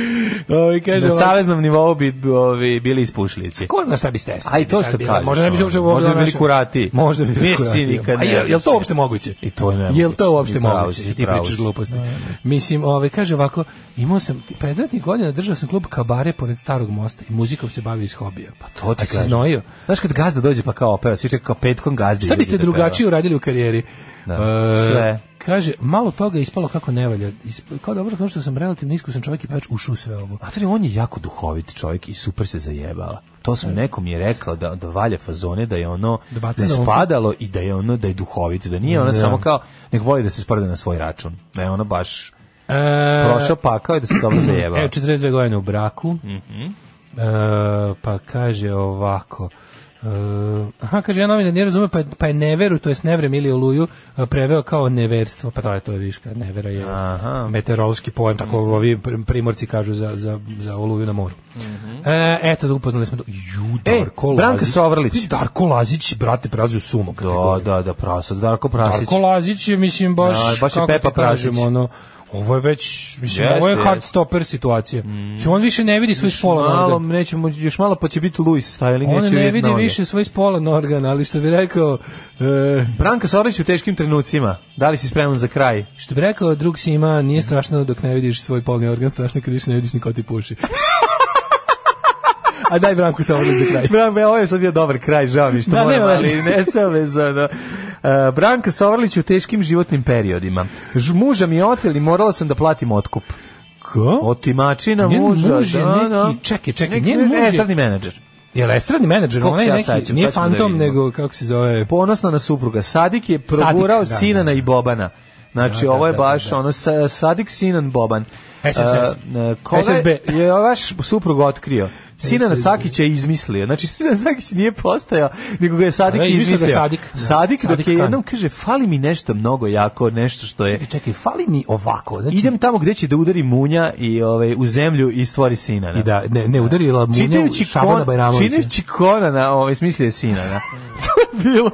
Speaker 6: Ovi kaže
Speaker 5: Na
Speaker 6: ovako,
Speaker 5: saveznom nivou bi ovi, bili ispušljici.
Speaker 6: Ko zna šta bi stesno?
Speaker 5: A i to što kažeš.
Speaker 6: Možda ne bi se uopšte
Speaker 5: ono, možda bi bili
Speaker 6: našao.
Speaker 5: kurati.
Speaker 6: Možda bi bili
Speaker 5: Mislim,
Speaker 6: kurati.
Speaker 5: nikad
Speaker 6: A
Speaker 5: ne
Speaker 6: jel, jel
Speaker 5: znaš.
Speaker 6: to uopšte moguće?
Speaker 5: I to je nemoguće.
Speaker 6: Jel to uopšte
Speaker 5: I pravo
Speaker 6: moguće?
Speaker 5: si, i
Speaker 6: ti
Speaker 5: pravo
Speaker 6: pričaš
Speaker 5: si.
Speaker 6: gluposti. Mislim, ovaj kaže ovako, imao sam predratnih godina držao sam klub kabare pored starog mosta i muzikom se bavio iz hobija. Pa
Speaker 5: To ti
Speaker 6: A si
Speaker 5: kažem.
Speaker 6: znojio?
Speaker 5: Znaš kad gazda dođe pa kao opeva, svi čekaju kao petkom gazdi.
Speaker 6: Šta
Speaker 5: dođe
Speaker 6: biste
Speaker 5: da peva.
Speaker 6: drugačije uradili u karijeri?
Speaker 5: Da.
Speaker 6: E,
Speaker 5: Sve.
Speaker 6: Kaže, malo toga je ispalo kako ne valja. Isp- Kao dobro, kao što sam relativno iskusan čovjek i pevač ušao u sve ovo.
Speaker 5: A to je, on je jako duhovit čovjek i super se zajebala. To sam nekom je rekao da, da valja fazone, da je ono
Speaker 6: E. Da
Speaker 5: da,
Speaker 6: baca
Speaker 5: je
Speaker 6: na oko.
Speaker 5: spadalo i da je ono da je duhovit, da nije ona
Speaker 6: Da.
Speaker 5: samo kao nek voli da se sprde na svoj račun. Da je ona baš
Speaker 6: E,
Speaker 5: prošao pakao i da se dobro zajebala.
Speaker 6: Evo, 42 godine u braku.
Speaker 5: Mhm.
Speaker 6: E, pa kaže ovako. E, aha, kaže, ja novinar nije razume, pa, je- pa je neveru, to jest nevrem ili oluju, e, preveo kao neverstvo. Pa to je to je viška. Nevera je meteorološki pojam, tako
Speaker 5: Mhm.
Speaker 6: ovi pr- primorci kažu za, za, za oluju na moru. E, eto, upoznali smo... do- Ju,
Speaker 5: Mhm. E,
Speaker 6: Darko Lazić.
Speaker 5: Branka Sovrlić.
Speaker 6: Darko Lazić, brate, prelazio sumo.
Speaker 5: Da, da, da, prasad, Darko Prasić.
Speaker 6: Darko Lazić je, mislim, baš,
Speaker 5: Da, baš je
Speaker 6: kako ti
Speaker 5: Pepa
Speaker 6: kažem,
Speaker 5: Prasić.
Speaker 6: ono, ovo je već, mislim,
Speaker 5: Jeste,
Speaker 6: ovo je hard
Speaker 5: jeste.
Speaker 6: stopper situacija. Znači, on više ne vidi svoj
Speaker 5: Još
Speaker 6: spolan
Speaker 5: malo,
Speaker 6: organ.
Speaker 5: neće moći, još malo pa će biti Luis styling,
Speaker 6: On
Speaker 5: neće
Speaker 6: ne
Speaker 5: vidjeti
Speaker 6: vidi
Speaker 5: noge.
Speaker 6: više svoj spolan organ, ali što bi rekao, e,
Speaker 5: Branka Sorić u teškim trenucima. Da li si spreman za kraj?
Speaker 6: što bi rekao drug Sima, nije strašno dok ne vidiš svoj polni organ, strašno je kad više ne vidiš ni ko ti puši. A daj Branku samo za kraj.
Speaker 5: Branko, ovo je sad bio dobar kraj, žao mi što
Speaker 6: Da,
Speaker 5: moram,
Speaker 6: nema
Speaker 5: ali
Speaker 6: veze.
Speaker 5: nesavezano. Uh, Branka Sovrlić u teškim životnim periodima. Ž, muža mi je otel i morala sam da platim otkup.
Speaker 6: Ko?
Speaker 5: Otimačina
Speaker 6: Njen
Speaker 5: muža.
Speaker 6: muž je
Speaker 5: da,
Speaker 6: neki-
Speaker 5: da.
Speaker 6: čekaj, čekaj,
Speaker 5: Neki
Speaker 6: njen muž je-
Speaker 5: Estradni menadžer.
Speaker 6: Jel estradni menadžer,
Speaker 5: Koliko
Speaker 6: on
Speaker 5: se
Speaker 6: je
Speaker 5: ja
Speaker 6: neki,
Speaker 5: sećam,
Speaker 6: nije
Speaker 5: sad ćemo da
Speaker 6: fantom,
Speaker 5: vidimo.
Speaker 6: nego, kako se zove,
Speaker 5: Ponosna na supruga. Sadik je progurao
Speaker 6: Sadik, da,
Speaker 5: Sinana i Bobana. Znači,
Speaker 6: Da, da,
Speaker 5: ovo je
Speaker 6: da,
Speaker 5: baš
Speaker 6: da, da.
Speaker 5: ono sa- Sadik, Sinan, Boban.
Speaker 6: SSS.
Speaker 5: E, e, koga
Speaker 6: SSB.
Speaker 5: je vaš suprug otkrio? Sinana Sakić je izmislio. Znači, Sinan Sakić nije postojao, nego ga je Sadik
Speaker 6: Ne, izmislio ga
Speaker 5: izmislio.
Speaker 6: Sadik. Da.
Speaker 5: Sadik, dok
Speaker 6: Sadik
Speaker 5: je
Speaker 6: Khan.
Speaker 5: jednom kaže, fali mi nešto mnogo jako, nešto što je...
Speaker 6: čekaj, čekaj, fali mi ovako, znači,
Speaker 5: Idem tamo gde će da udari munja i ovaj u zemlju i stvori Sinana.
Speaker 6: i da, ne, ne udarila mu
Speaker 5: Čitajući,
Speaker 6: Šabana
Speaker 5: kon,
Speaker 6: Bajramovića.
Speaker 5: čitajući Konana, ovaj, smislio je Sinana. bilo.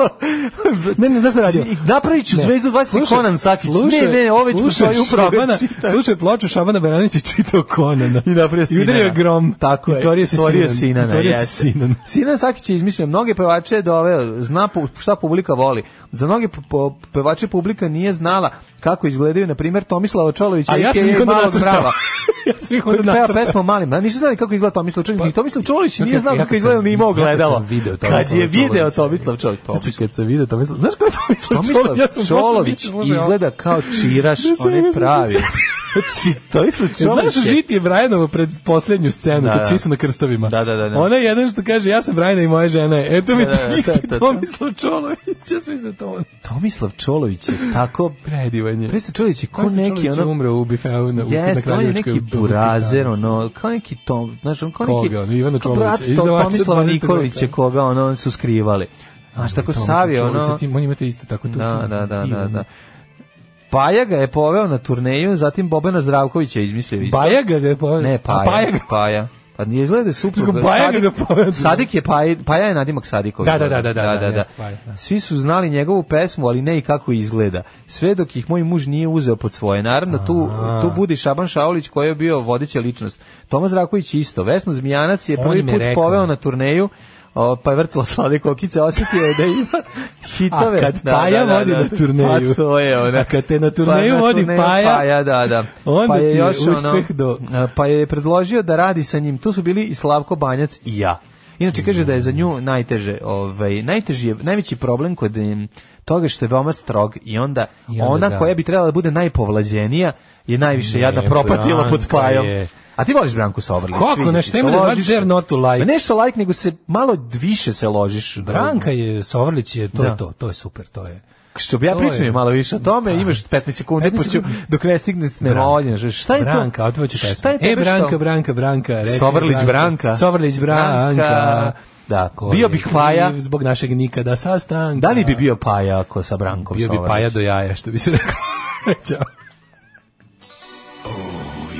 Speaker 6: Ne, ne, znaš šta je radio?
Speaker 5: Napravit ću zvezdu 20 Conan Sakić. Ne, ne, ovo ću
Speaker 6: slušaj,
Speaker 5: svoju upravo
Speaker 6: Šabana,
Speaker 5: čitati.
Speaker 6: slušaj ploču Šabana Baranović i čitao Konana.
Speaker 5: I napravio
Speaker 6: I
Speaker 5: Sinana.
Speaker 6: udario grom.
Speaker 5: Tako je.
Speaker 6: Istvorio se
Speaker 5: Stvorio
Speaker 6: Sinan.
Speaker 5: Sinana,
Speaker 6: Istvorio se
Speaker 5: jeste.
Speaker 6: Sinan.
Speaker 5: Sinan Sakić je izmišljao mnoge pevače doveo, zna po- šta publika voli. Za mnoge po- po- pevače publika nije znala kako izgledaju, na primjer, Tomislava Čolovića
Speaker 6: A ja sam
Speaker 5: AKA,
Speaker 6: ih onda
Speaker 5: Malog
Speaker 6: nacrtao.
Speaker 5: Brava.
Speaker 6: ja sam ih
Speaker 5: Koji
Speaker 6: onda
Speaker 5: peva
Speaker 6: nacrtao.
Speaker 5: pesmu malim, a nisu znali kako izgleda Tomislav Čolić, ni Tomislav Čolić nije
Speaker 6: Čekaj,
Speaker 5: znao
Speaker 6: ja
Speaker 5: kako
Speaker 6: kad
Speaker 5: izgleda,
Speaker 6: sam-
Speaker 5: ni imao
Speaker 6: ja kad sam
Speaker 5: gledalo.
Speaker 6: video
Speaker 5: Kad je
Speaker 6: Tomislava
Speaker 5: video
Speaker 6: Čolovića.
Speaker 5: Tomislav Čolić,
Speaker 6: Znači, kad sam video Tomislav, znaš ko je Tomislav
Speaker 5: Tomislav
Speaker 6: Čolović? Ja sam posle
Speaker 5: Čolović
Speaker 6: mislio, slušaj, ovo.
Speaker 5: izgleda kao čiraš,
Speaker 6: Znači,
Speaker 5: on
Speaker 6: ja
Speaker 5: je
Speaker 6: sam
Speaker 5: pravi.
Speaker 6: se-
Speaker 5: Znači, Tomislav Čolović
Speaker 6: Znaš
Speaker 5: je...
Speaker 6: Žiti je Brajanovo pred poslednju scenu,
Speaker 5: Da, da.
Speaker 6: kad svi su na krstovima.
Speaker 5: Da, da, da. da.
Speaker 6: Ona je jedan što kaže, ja sam Brajana i moja žena je. Eto mi
Speaker 5: Da, da, da, da,
Speaker 6: isti
Speaker 5: da.
Speaker 6: Tomislav Čolović, ja sam iznad to on.
Speaker 5: Tomislav Čolović je tako...
Speaker 6: Predivan je.
Speaker 5: Tomislav Čolović je ko
Speaker 6: Tomislav
Speaker 5: neki...
Speaker 6: Čolović je
Speaker 5: ono-
Speaker 6: umro u bifeu na, u- na
Speaker 5: Jeste, on je
Speaker 6: Kraljevačkoj
Speaker 5: neki
Speaker 6: Duvanskoj
Speaker 5: burazer,
Speaker 6: stanici.
Speaker 5: ono, kao neki tom, znaš, on kao neki...
Speaker 6: Koga, ono, Ivana
Speaker 5: kao
Speaker 6: Čolovića,
Speaker 5: brat Tom-
Speaker 6: izdavača
Speaker 5: Tomislava
Speaker 6: 12.
Speaker 5: Nikolića, koga, ono, su skrivali. Znaš, tako
Speaker 6: Tomislav
Speaker 5: Savio,
Speaker 6: Čolović,
Speaker 5: ono...
Speaker 6: sad ti- On imate isto tako tu. ono.
Speaker 5: Da, da, da, da, da. Paja ga je poveo na turneju, zatim Bobana Zdravkovića je izmislio isto.
Speaker 6: Baja ga je poveo.
Speaker 5: Ne, Paja.
Speaker 6: A Paja ga-
Speaker 5: Paja. Pa nije izgleda supruga.
Speaker 6: Nego Paja ga
Speaker 5: Sadik-
Speaker 6: ga poveo.
Speaker 5: Sadik je Paja, Paja je nadimak Sadiković.
Speaker 6: Da, da, da, da, da, da, jeste Paja, da.
Speaker 5: Svi su znali njegovu pesmu, ali ne i kako izgleda. Sve dok ih moj muž nije uzeo pod svoje. Naravno, tu,
Speaker 6: Aha.
Speaker 5: tu budi Šaban Šaulić koji je bio vodeća ličnost. Toma Zdravković isto. Vesno Zmijanac je
Speaker 6: On
Speaker 5: prvi
Speaker 6: mi
Speaker 5: put
Speaker 6: rekao.
Speaker 5: poveo na turneju o, pa je vrtila slade kokice, osjetio je da ima hitove.
Speaker 6: A kad Paja vodi na turneju.
Speaker 5: Pa to je ona. Pa
Speaker 6: A kad te na turneju vodi Paja,
Speaker 5: Paja, da, da.
Speaker 6: onda
Speaker 5: pa je
Speaker 6: ti je
Speaker 5: još
Speaker 6: uspeh
Speaker 5: ono,
Speaker 6: do-
Speaker 5: a, pa je predložio da radi sa njim. Tu su bili i Slavko Banjac i ja. Inače kaže da je za nju najteže, ovaj najteži je najveći problem kod em, toga što je veoma strog i onda,
Speaker 6: I onda
Speaker 5: ona
Speaker 6: da.
Speaker 5: koja bi trebala da bude najpovlađenija je najviše
Speaker 6: Ne,
Speaker 5: jada propatila pod
Speaker 6: Branka
Speaker 5: pajom.
Speaker 6: je.
Speaker 5: A ti voliš Branku Sobrlić?
Speaker 6: Kako,
Speaker 5: vidi
Speaker 6: nešto
Speaker 5: ti se,
Speaker 6: ima da
Speaker 5: ložiš
Speaker 6: baš dare
Speaker 5: se.
Speaker 6: not to like.
Speaker 5: Ma nešto like, nego se malo više se ložiš.
Speaker 6: Branka je, Sovrlić je, to
Speaker 5: Da.
Speaker 6: je to, to je super, to je.
Speaker 5: Što bi ja
Speaker 6: To je-
Speaker 5: pričao malo više o tome, imaš 15 sekundi,
Speaker 6: 15
Speaker 5: pa ću,
Speaker 6: sekundi.
Speaker 5: dok ne stigne s nevoljenja. Šta je to?
Speaker 6: Branka, otvoću pesmu.
Speaker 5: Šta je
Speaker 6: e,
Speaker 5: tebe što-
Speaker 6: Branka, Branka, Branka. reci mi,
Speaker 5: Sovrlić Branka.
Speaker 6: Sovrlić
Speaker 5: Branka.
Speaker 6: Branka.
Speaker 5: Da,
Speaker 6: Ko
Speaker 5: bio
Speaker 6: je
Speaker 5: bih Paja.
Speaker 6: kriv Zbog našeg nikada sastanka.
Speaker 5: Da li bi bio Paja ako sa Brankom
Speaker 6: Bio bi
Speaker 5: Sovrlić?
Speaker 6: Paja do jaja, što bi se rekao. Ćao.